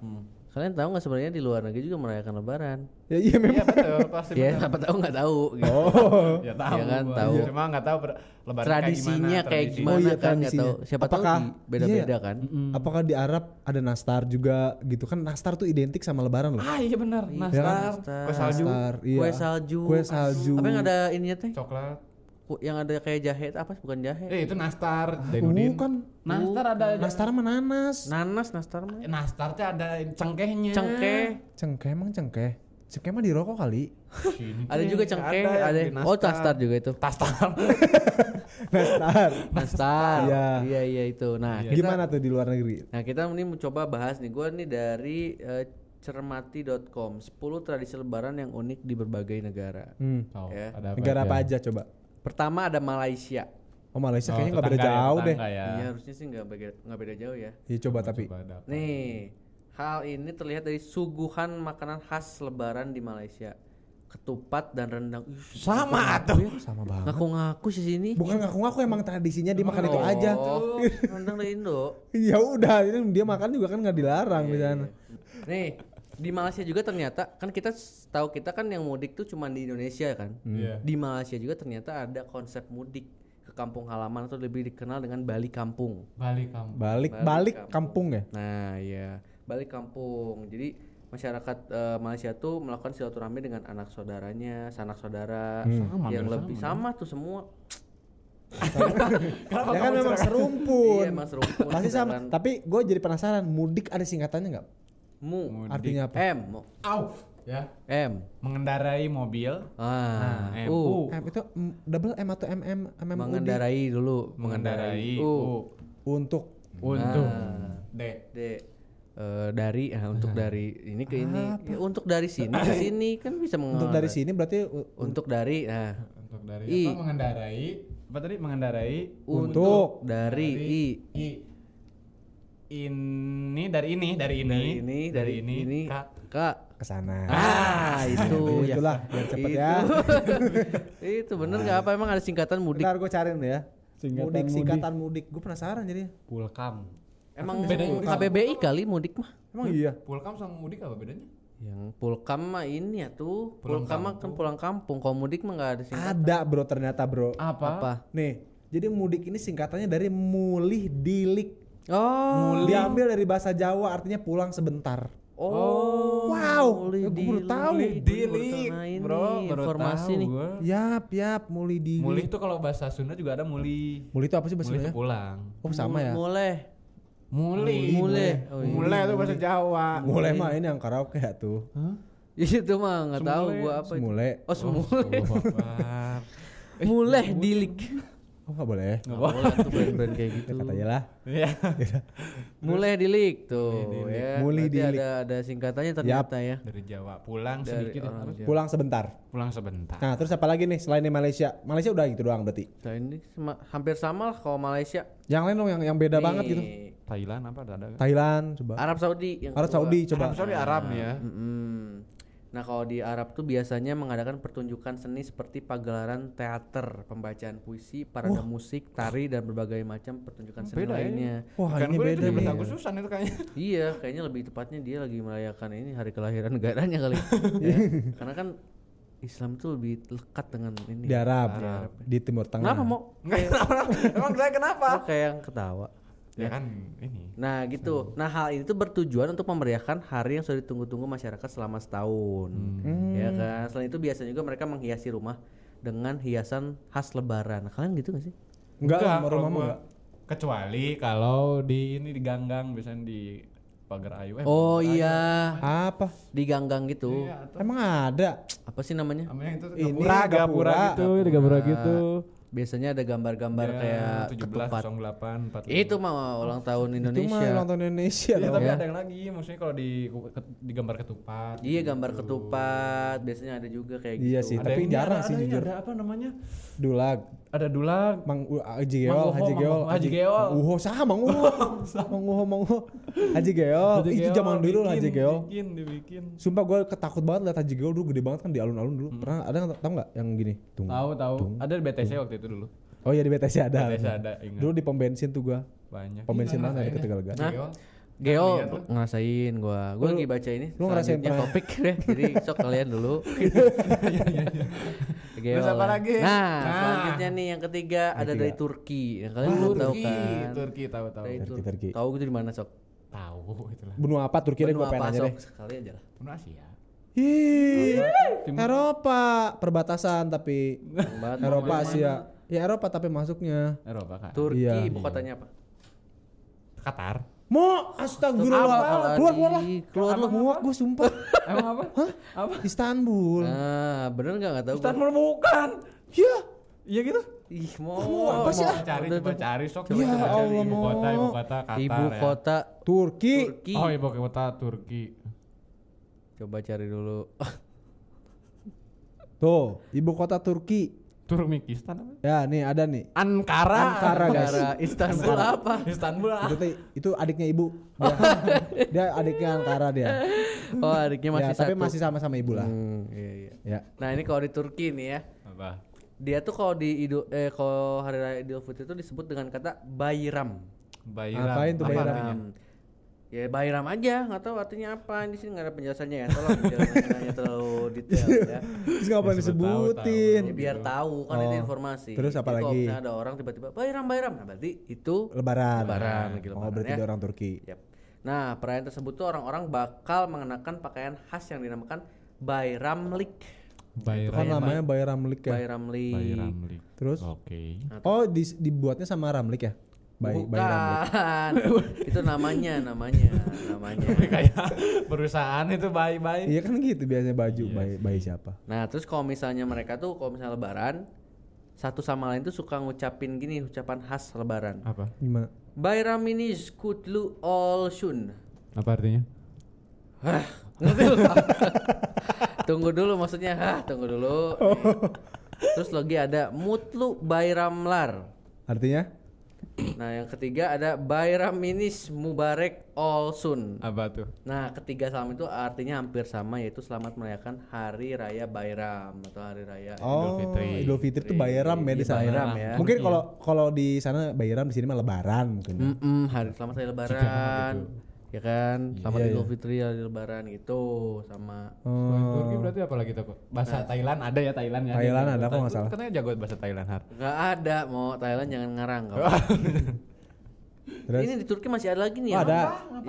Speaker 1: kalian tahu nggak sebenarnya di luar negeri juga merayakan lebaran
Speaker 2: Ya iya memang.
Speaker 5: Iya, betul, pasti.
Speaker 2: kan
Speaker 1: ya
Speaker 5: betul.
Speaker 1: apa tahu nggak tahu
Speaker 2: Oh,
Speaker 1: gitu.
Speaker 5: Ya tahu.
Speaker 1: Iya kan,
Speaker 5: gua.
Speaker 1: tahu.
Speaker 5: Cuma enggak tahu ber- lebaran
Speaker 1: tradisinya kayak
Speaker 5: tradisi.
Speaker 1: gimana,
Speaker 2: Oh,
Speaker 1: kan
Speaker 2: iya,
Speaker 1: nggak tahu
Speaker 2: tradisinya.
Speaker 1: siapa
Speaker 2: Apakah-
Speaker 1: tahu di- beda-beda
Speaker 2: iya.
Speaker 1: kan
Speaker 5: Hmm.
Speaker 2: Apakah di Arab ada nastar juga gitu kan? Nastar tuh identik sama lebaran loh.
Speaker 5: Ah, iya benar.
Speaker 2: Iya kan?
Speaker 5: Nastar, kue salju,
Speaker 2: Nastar, iya.
Speaker 1: kue salju
Speaker 2: Kue salju.
Speaker 1: apa yang ada ininya teh
Speaker 5: coklat.
Speaker 1: Ku- yang ada kayak jahe apa bukan jahe
Speaker 5: Eh, itu nastar. Zainuddin.
Speaker 2: Bukan.
Speaker 5: Nastar ada
Speaker 2: Nastar sama nanas.
Speaker 1: nanas nastar mah
Speaker 5: nastar teh ada cengkehnya.
Speaker 1: cengkeh
Speaker 2: Cengkeh emang cengkeh. Cengkeh mah dirokok kali.
Speaker 5: Sini.
Speaker 1: ada juga cengkeh
Speaker 5: yang
Speaker 1: ada,
Speaker 5: di
Speaker 1: oh nastar juga itu
Speaker 5: Nastar.
Speaker 2: Nastar.
Speaker 1: nastar
Speaker 2: Iya.
Speaker 1: iya iya itu nah kita
Speaker 2: Gimana tuh di luar negeri?
Speaker 1: nah kita ini mencoba bahas nih gua nih dari eh, cermati.com 10 tradisi lebaran yang unik di berbagai negara
Speaker 2: Hmm.
Speaker 5: Oh,
Speaker 1: Ya.
Speaker 5: ada
Speaker 2: Negara apa aja coba?
Speaker 1: pertama ada Malaysia
Speaker 2: Oh Malaysia kayaknya nggak beda
Speaker 5: tetangga ya,
Speaker 2: jauh deh.
Speaker 5: tetangga Ya.
Speaker 1: iya harusnya sih nggak beda nggak beda jauh ya
Speaker 2: Iya coba tapi.
Speaker 5: Coba ada apa.
Speaker 1: Nih, hal ini terlihat dari suguhan makanan khas lebaran di Malaysia. Ketupat dan rendang. Ih,
Speaker 5: Sama atuh.
Speaker 2: Iya, Sama banget.
Speaker 1: Ngaku-ngaku sih sini.
Speaker 2: Bukan ngaku-ngaku emang tradisinya dimakan itu aja.
Speaker 1: Oh, rendang dari Indo.
Speaker 2: ya udah, ini dia makan juga kan nggak dilarang di sana.
Speaker 1: Nih, di Malaysia juga ternyata kan kita s- tahu kita kan yang mudik tuh cuma di Indonesia kan.
Speaker 5: Iya.
Speaker 1: Di Malaysia juga ternyata ada konsep mudik ke kampung halaman atau lebih dikenal dengan Bali kampung.
Speaker 5: Balik kamu.
Speaker 2: Balik
Speaker 1: Balik
Speaker 2: balik kampung ya.
Speaker 1: Nah, ya balik kampung. Jadi masyarakat eh, Malaysia tuh melakukan silaturahmi dengan anak saudaranya, sanak saudara,
Speaker 2: Hmm.
Speaker 5: Sama,
Speaker 1: yang
Speaker 5: hampir
Speaker 1: lebih sama, tuh semua.
Speaker 2: ya kan memang
Speaker 1: Iya,
Speaker 2: serumpun.
Speaker 1: Mas Rumpun.
Speaker 2: Pasti sama.
Speaker 1: beneran.
Speaker 2: Tapi gue jadi penasaran, mudik ada singkatannya nggak?
Speaker 1: Mu.
Speaker 2: Artinya apa?
Speaker 1: M. Mu-
Speaker 5: Au. Ya.
Speaker 1: M.
Speaker 5: Mengendarai mobil.
Speaker 1: Ah,
Speaker 5: Nah, M.
Speaker 1: U.
Speaker 2: M itu mm, double M atau MM MM
Speaker 1: Mengendarai dulu.
Speaker 5: Mengendarai. Nah.
Speaker 1: U.
Speaker 5: U.
Speaker 2: untuk
Speaker 5: Untuk. D.
Speaker 1: D. Eh, dari ah, untuk
Speaker 2: Nah.
Speaker 1: dari ini ke ini Ya, untuk dari sini ke sini kan bisa
Speaker 2: Ah, untuk
Speaker 1: mengendarai
Speaker 2: dari sini berarti u-
Speaker 1: untuk dari nah
Speaker 5: Untuk dari
Speaker 1: I.
Speaker 5: apa? Mengendarai. Apa tadi? Mengendarai.
Speaker 1: untuk dari i
Speaker 5: I. Ini dari ini, dari ini,
Speaker 1: dari ini dari ini,
Speaker 5: Kak.
Speaker 1: kak
Speaker 2: ke sana.
Speaker 1: ah itu ya.
Speaker 2: itulah biar cepet
Speaker 1: Itu.
Speaker 2: ya. Nah.
Speaker 1: itu bener nggak apa emang ada singkatan mudik
Speaker 2: Bentar gue cariin ya. mudik singkatan mudik. Gue penasaran jadi.
Speaker 5: Pulkam.
Speaker 1: emang
Speaker 5: Beda juga.
Speaker 1: KBBI kali mudik mah
Speaker 2: Emang iya.
Speaker 5: Pulkam sama mudik apa bedanya?
Speaker 1: yang pulkam mah ini ya tuh pulkam mah kan pulang kampung kalau mudik mah nggak ada singkatan
Speaker 2: Ada bro ternyata bro.
Speaker 5: Apa?
Speaker 1: apa
Speaker 2: Nih, jadi mudik ini singkatannya dari mulih dilik.
Speaker 1: oh
Speaker 2: Diambil dari bahasa Jawa artinya pulang sebentar.
Speaker 1: oh
Speaker 2: Wow,
Speaker 1: mulai
Speaker 2: ya gua baru
Speaker 1: dilik,
Speaker 2: tahu.
Speaker 1: mulai
Speaker 5: Dilik,
Speaker 1: Nah, ini
Speaker 5: bro, baru
Speaker 1: informasi
Speaker 5: tahu
Speaker 1: nih
Speaker 5: gua.
Speaker 2: Yap, yap, mulih dilik.
Speaker 5: Mulih itu kalau bahasa Sunda juga ada muli.
Speaker 2: Mulih itu apa sih bahasa
Speaker 5: Mulih itu
Speaker 2: Sundanya?
Speaker 5: pulang.
Speaker 2: Oh sama ya.
Speaker 1: mulai
Speaker 5: Muli.
Speaker 1: Mulih. Oh, iya.
Speaker 5: Mulai itu bahasa Jawa.
Speaker 2: Mulai mah ini yang karaoke ya tuh.
Speaker 1: itu mah nggak tahu gua apa itu
Speaker 2: Mulai.
Speaker 1: oh semule
Speaker 5: Allahu Akbar.
Speaker 1: mulai dilik
Speaker 2: Oh nggak boleh.
Speaker 1: nggak boleh Eh, tuh brand-brand kayak gitu
Speaker 2: Kata aja lah.
Speaker 5: Iya.
Speaker 1: Mulai dilik tuh ya.
Speaker 2: Mulai
Speaker 1: Berarti
Speaker 2: dilik.
Speaker 1: Ada ada singkatannya ternyata ya.
Speaker 5: Dari Jawa pulang
Speaker 1: Dari
Speaker 5: sedikit ya.
Speaker 1: orang Jawa.
Speaker 2: Pulang sebentar.
Speaker 5: pulang sebentar.
Speaker 2: Nah terus apa lagi nih selain di Malaysia? Malaysia udah gitu doang berarti.
Speaker 1: Nah, ini sama- hampir sama lah kalau Malaysia.
Speaker 2: Yang lain dong yang yang beda
Speaker 1: Nih,
Speaker 2: banget gitu.
Speaker 5: Thailand apa ada? kan?
Speaker 2: Thailand coba.
Speaker 1: Arab Saudi yang
Speaker 2: Arab
Speaker 1: kedua.
Speaker 2: Saudi coba.
Speaker 5: Arab Saudi Arab nih ya.
Speaker 1: Mm-mm. Nah, kalau di Arab tuh biasanya mengadakan pertunjukan seni seperti pagelaran teater, pembacaan puisi, parade musik, tari dan berbagai macam pertunjukan seni
Speaker 5: Beda ya.
Speaker 1: lainnya.
Speaker 2: Wah
Speaker 5: Bukan
Speaker 2: Oh, ini
Speaker 5: gue
Speaker 2: beda
Speaker 5: itu
Speaker 2: nih.
Speaker 5: 17 Agustusan itu kayaknya.
Speaker 1: Iya, kayaknya lebih tepatnya dia lagi merayakan ini hari kelahiran negaranya kali. ya. Karena kan Islam tuh lebih lekat dengan ini.
Speaker 2: Di Arab,
Speaker 1: Di Arab.
Speaker 2: di Timur Tengah.
Speaker 1: Kenapa mau?
Speaker 5: Enggak
Speaker 2: Iya.
Speaker 5: kenapa. Emang saya kenapa?
Speaker 1: Lo kayak yang ketawa.
Speaker 5: Ya kan ini.
Speaker 1: Nah
Speaker 2: Hmm.
Speaker 1: gitu. Nah hal
Speaker 2: Hmm.
Speaker 1: ini tuh bertujuan untuk memeriahkan hari yang sudah ditunggu-tunggu masyarakat selama setahun, ya kan? Nah, selain itu biasanya juga mereka menghiasi rumah dengan hiasan khas lebaran. Kalian gitu gak sih?
Speaker 2: Enggak,
Speaker 5: kalau
Speaker 2: rumah mah
Speaker 5: gua-
Speaker 2: enggak.
Speaker 5: Kecuali kalau di ini di ganggang biasanya di pagar ayu. Eh,
Speaker 1: Oh
Speaker 5: pagar ayu.
Speaker 1: iya,
Speaker 2: Apa?
Speaker 1: diganggang gitu.
Speaker 5: Iya, atau
Speaker 2: Emang ada?
Speaker 1: Apa sih namanya?
Speaker 5: namanya itu
Speaker 2: Ini
Speaker 5: gapura,
Speaker 2: gapura, Iya,
Speaker 5: gapura gitu, di gapura gitu.
Speaker 1: Biasanya ada gambar-gambar
Speaker 5: Ya,
Speaker 1: kayak ketupat.
Speaker 5: 17 08 45.
Speaker 1: Itu mah ulang tahun
Speaker 2: Itu mah ulang
Speaker 1: Indonesia.
Speaker 2: tahun Indonesia
Speaker 5: Iya,
Speaker 2: loh.
Speaker 5: tapi
Speaker 1: Ya.
Speaker 5: ada yang lagi, maksudnya kalau di di gambar ketupat.
Speaker 1: Iya, gambar ketupat. Biasanya ada juga kayak gitu.
Speaker 2: Iya sih,
Speaker 5: Ada
Speaker 2: tapi
Speaker 5: ini,
Speaker 2: jarang
Speaker 5: ada-
Speaker 2: sih
Speaker 5: ada ini,
Speaker 2: jujur.
Speaker 5: Ada apa namanya?
Speaker 2: Dulag,
Speaker 5: Ada dulag.
Speaker 2: Mang U- Haji Geol,
Speaker 5: Uho,
Speaker 2: Haji
Speaker 5: Mang
Speaker 2: Geol,
Speaker 5: Uho, Haji Geol.
Speaker 2: Mang Uho sama Mang Uho. Mang Uho, Mang Uho. Haji Geol.
Speaker 5: Haji
Speaker 2: Oh, Itu
Speaker 5: Geol,
Speaker 2: zaman dulu lah
Speaker 5: bikin,
Speaker 2: Haji Geol.
Speaker 5: Dibikin, dibikin.
Speaker 2: Sumpah gue ketakut banget liat Haji Geol dulu gede banget kan di alun-alun
Speaker 5: Hmm.
Speaker 2: dulu. Pernah ada nggak- tau nggak yang gini? Hmm. Tung.
Speaker 5: Tahu, tahu. Ada di BTC waktu itu dulu.
Speaker 2: Oh iya di BTC ada.
Speaker 5: BTC ada, Iya, ingat.
Speaker 2: Dulu di pom bensin tuh gue.
Speaker 5: Banyak.
Speaker 2: Pom bensin mana ada ke Tegalga.
Speaker 1: Hah? Geo ngerasain gua. Gua lagi baca ini.
Speaker 2: lu ngerasain
Speaker 1: selanjutnya
Speaker 2: pernah?
Speaker 1: topik deh. Jadi sok kalian dulu. Geo.
Speaker 5: Terus apa
Speaker 1: lah.
Speaker 5: lagi?
Speaker 1: Nah,
Speaker 5: Nah. Ah,
Speaker 1: selanjutnya nih yang ketiga ada dari Turki. Yang kalian belum tahu
Speaker 5: Turki,
Speaker 1: kan.
Speaker 5: Turki tahu tahu.
Speaker 1: Dari
Speaker 2: Turki,
Speaker 1: Turki.
Speaker 2: Turki.
Speaker 1: Tahu gitu di mana sok?
Speaker 5: Tahu itulah.
Speaker 2: Benua apa Turki deh gue
Speaker 1: Benua
Speaker 2: pengen
Speaker 1: apa,
Speaker 2: nanya
Speaker 1: Sok?
Speaker 2: deh.
Speaker 1: Sekali aja lah.
Speaker 5: Pun Asia.
Speaker 2: Ih,
Speaker 5: Timur.
Speaker 2: Eropa perbatasan tapi
Speaker 1: Banget.
Speaker 2: Eropa Asia. Ya Eropa tapi masuknya.
Speaker 5: Eropa kan.
Speaker 1: Turki
Speaker 2: Iya.
Speaker 1: ibu kotanya apa?
Speaker 5: Qatar.
Speaker 2: Mo, astagfirullah. Keluar, keluar lah.
Speaker 1: Apalagi. Keluar lu.
Speaker 2: Muak gue sumpah.
Speaker 5: Emang apa? Hah? Apa?
Speaker 2: Istanbul.
Speaker 1: Nah, bener nggak nggak tahu. gua.
Speaker 5: Istanbul bukan.
Speaker 2: Ya,
Speaker 5: Iya gitu.
Speaker 1: Ih, mau
Speaker 5: Apa sih?
Speaker 1: mau.
Speaker 5: Oh, Cari
Speaker 1: Udah
Speaker 5: coba
Speaker 1: tuh.
Speaker 5: cari sok coba
Speaker 2: Ya
Speaker 5: cari
Speaker 2: Allah,
Speaker 5: ibu
Speaker 2: Mo.
Speaker 5: kota ibu kota Qatar
Speaker 1: Ibu
Speaker 5: ya.
Speaker 1: kota
Speaker 2: Turki.
Speaker 1: Turki.
Speaker 5: Oh ibu kota Turki.
Speaker 1: Coba cari dulu.
Speaker 2: Tuh, ibu kota Turki.
Speaker 5: Turkmenistan apa?
Speaker 2: Ya, nih ada nih.
Speaker 5: Ankara.
Speaker 2: Ankara, guys.
Speaker 1: Negara Istanbul apa?
Speaker 5: Istanbul ah.
Speaker 2: Itu, teh- itu adiknya ibu. Dia, dia adiknya Ankara dia.
Speaker 1: Oh, adiknya
Speaker 2: Ya,
Speaker 1: masih satu.
Speaker 2: tapi masih sama-sama ibu lah.
Speaker 1: Hmm, iya, iya.
Speaker 2: Ya.
Speaker 1: Nah, ini kalau di Turki nih ya.
Speaker 5: Apa?
Speaker 1: Dia tuh kalau di Idul eh kalau hari raya Idul Fitri itu disebut dengan kata Bayram.
Speaker 5: Bayram.
Speaker 2: Apain tuh
Speaker 5: Apa
Speaker 2: Bayram?
Speaker 5: artinya?
Speaker 1: Ya Bayram aja, nggak tahu artinya apa. Di sini nggak ada penjelasannya ya. Tolong penjelasannya terlalu detail ya.
Speaker 2: Terus ngapain
Speaker 5: Ya, sebut
Speaker 2: disebutin?
Speaker 1: Ya, biar tahu kan itu informasi.
Speaker 2: Iya. Oh. Terus apa
Speaker 1: Jadi Kalau
Speaker 2: lagi?
Speaker 1: misalnya ada orang tiba-tiba Bayram Bayram, nah berarti itu
Speaker 2: Lebaran.
Speaker 1: Lebaran, lagi
Speaker 2: oh,
Speaker 1: lebaran
Speaker 2: berarti
Speaker 1: ya.
Speaker 2: dia orang Turki.
Speaker 1: Yap. Nah, perayaan tersebut tuh orang-orang bakal mengenakan pakaian khas yang dinamakan Bayramlik.
Speaker 2: Itu
Speaker 5: Bayram.
Speaker 2: kan namanya Bayi Ramlik ya.
Speaker 1: Bayramlik.
Speaker 5: Bayramlik.
Speaker 2: Terus?
Speaker 5: Oke.
Speaker 2: Oh, di- dibuatnya sama Ramlik ya? Bay, Bayi Ramlik.
Speaker 1: Bukan. itu namanya, namanya, namanya.
Speaker 5: kayak perusahaan itu bye-bye.
Speaker 2: Iya kan gitu biasanya baju
Speaker 1: Iya
Speaker 2: Bayi, bayi siapa?
Speaker 1: Nah, terus kalau misalnya mereka tuh kalau misalnya lebaran satu sama lain tuh suka ngucapin gini ucapan khas lebaran.
Speaker 5: Apa?
Speaker 2: Gimana?
Speaker 1: Bayram ini skutlu all shun.
Speaker 5: Apa artinya?
Speaker 1: Hah, ngerti lu? tunggu dulu maksudnya. Hah, tunggu dulu.
Speaker 2: Oh.
Speaker 1: Nih. Terus lagi ada mutlu bayramlar.
Speaker 2: Artinya?
Speaker 1: Nah, yang ketiga ada bayram minis mubarek all sun.
Speaker 5: Apa tuh?
Speaker 1: Nah, ketiga salam itu artinya hampir sama yaitu selamat merayakan hari raya Bayram atau hari raya.
Speaker 2: Oh,
Speaker 5: Fitri.
Speaker 2: Idul Fitri tuh Bayram ya
Speaker 1: Iya, Hmm.
Speaker 2: di sana.
Speaker 1: Bayram ya.
Speaker 2: Mungkin kalau kalau di sana Bayram di sini mah Lebaran mungkin.
Speaker 1: Mm-mm, hari selamat hari lebaran. Ya kan? Selamat
Speaker 2: Iya,
Speaker 1: Idul Fitri hari lebaran gitu sama
Speaker 5: Selain Turki berarti apa lagi tuh? kok? Bahasa Thailand ada ya Thailand ya?
Speaker 2: Hmm. Thailand ada, kok
Speaker 5: Lu
Speaker 2: nggak salah.
Speaker 5: Katanya jago bahasa Thailand har.
Speaker 1: Gak ada mau Thailand jangan ngarang kamu.
Speaker 2: Terus?
Speaker 1: Ini di Turki masih ada lagi nih
Speaker 2: Oh,
Speaker 1: yang-
Speaker 2: ada.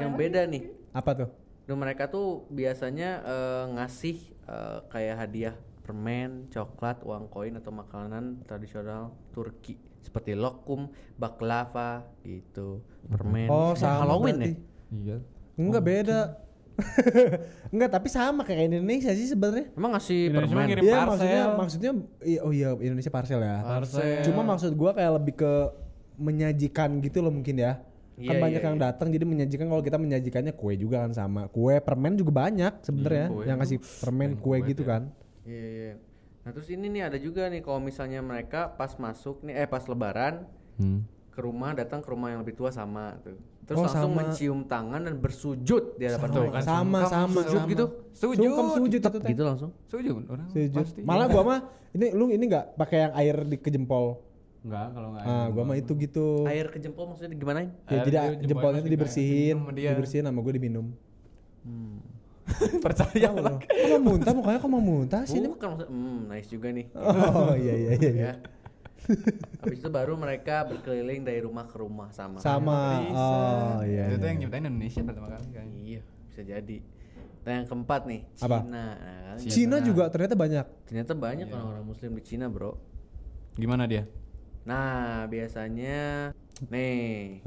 Speaker 1: yang beda nih.
Speaker 2: Apa tuh?
Speaker 1: Duh, mereka tuh biasanya eh, ngasih eh, kayak hadiah permen, coklat, uang koin atau makanan tradisional Turki seperti lokum, baklava gitu, permen.
Speaker 2: Oh,
Speaker 1: Kayak
Speaker 2: sama
Speaker 1: Halloween
Speaker 2: berarti.
Speaker 1: ya?
Speaker 5: Iya.
Speaker 2: Enggak beda. Enggak, tapi sama kayak Indonesia sih sebenarnya.
Speaker 1: Emang ngasih
Speaker 5: Indonesia
Speaker 1: permen.
Speaker 5: mah ngirim-
Speaker 2: Iya,
Speaker 5: parcel.
Speaker 2: maksudnya maksudnya iya, oh iya Indonesia parcel ya.
Speaker 5: Parcel.
Speaker 2: Cuma maksud gua kayak lebih ke menyajikan gitu loh mungkin ya. Kan
Speaker 1: Iya,
Speaker 2: banyak
Speaker 1: iya,
Speaker 2: yang
Speaker 1: iya.
Speaker 2: datang jadi menyajikan kalau kita menyajikannya kue juga kan sama. Kue permen juga banyak sebenarnya
Speaker 5: kue
Speaker 2: yang
Speaker 5: tuh.
Speaker 2: kasih permen kue, gitu kan.
Speaker 1: Iya, iya. Nah, terus ini nih ada juga nih kalau misalnya mereka pas masuk nih eh pas lebaran
Speaker 5: Hmm.
Speaker 1: ke rumah datang ke rumah yang lebih tua sama tuh. Terus
Speaker 2: Oh,
Speaker 1: langsung
Speaker 2: sama.
Speaker 1: mencium tangan dan bersujud di hadapan
Speaker 5: Sama,
Speaker 1: mereka.
Speaker 2: sama,
Speaker 1: kan? Sungkem,
Speaker 2: sama,
Speaker 1: sujud
Speaker 2: sama.
Speaker 1: gitu.
Speaker 5: Sujud.
Speaker 2: Sungkem sujud itu teh.
Speaker 1: Gitu langsung.
Speaker 5: Sujud orang
Speaker 2: Sujud.
Speaker 5: pasti. Iya.
Speaker 2: Malah gua mah ini lu ini enggak pakai yang air di ke jempol.
Speaker 5: Enggak kalau enggak.
Speaker 2: Ah, gua mah itu gitu.
Speaker 1: Air ke jempol maksudnya gimanain?
Speaker 2: Ya
Speaker 5: Air di
Speaker 2: tidak
Speaker 5: jempolnya
Speaker 2: jempolnya itu
Speaker 5: masih
Speaker 2: dibersihin,
Speaker 5: diminum sama dia.
Speaker 2: dibersihin sama gue diminum.
Speaker 5: Percaya
Speaker 2: Kok mau muntah mukanya kok mau muntah sih ini?
Speaker 1: Bukan maksudnya, hmm, nice juga nih.
Speaker 2: Oh iya iya iya. iya.
Speaker 1: ya. Habis itu baru mereka berkeliling dari rumah ke rumah sama.
Speaker 2: Sama oh iya.
Speaker 5: Itu tuh kan?
Speaker 2: iya.
Speaker 5: yang nyiptain Indonesia pertama kali kayaknya.
Speaker 1: Iya, bisa Iya, jadi. Nah, yang keempat nih,
Speaker 2: Apa?
Speaker 1: Cina. Nah, kan
Speaker 2: Cina juga ternyata banyak.
Speaker 1: ternyata
Speaker 5: Iya.
Speaker 1: banyak orang-orang muslim di Cina, Bro.
Speaker 5: Gimana dia?
Speaker 1: Nah, biasanya nih,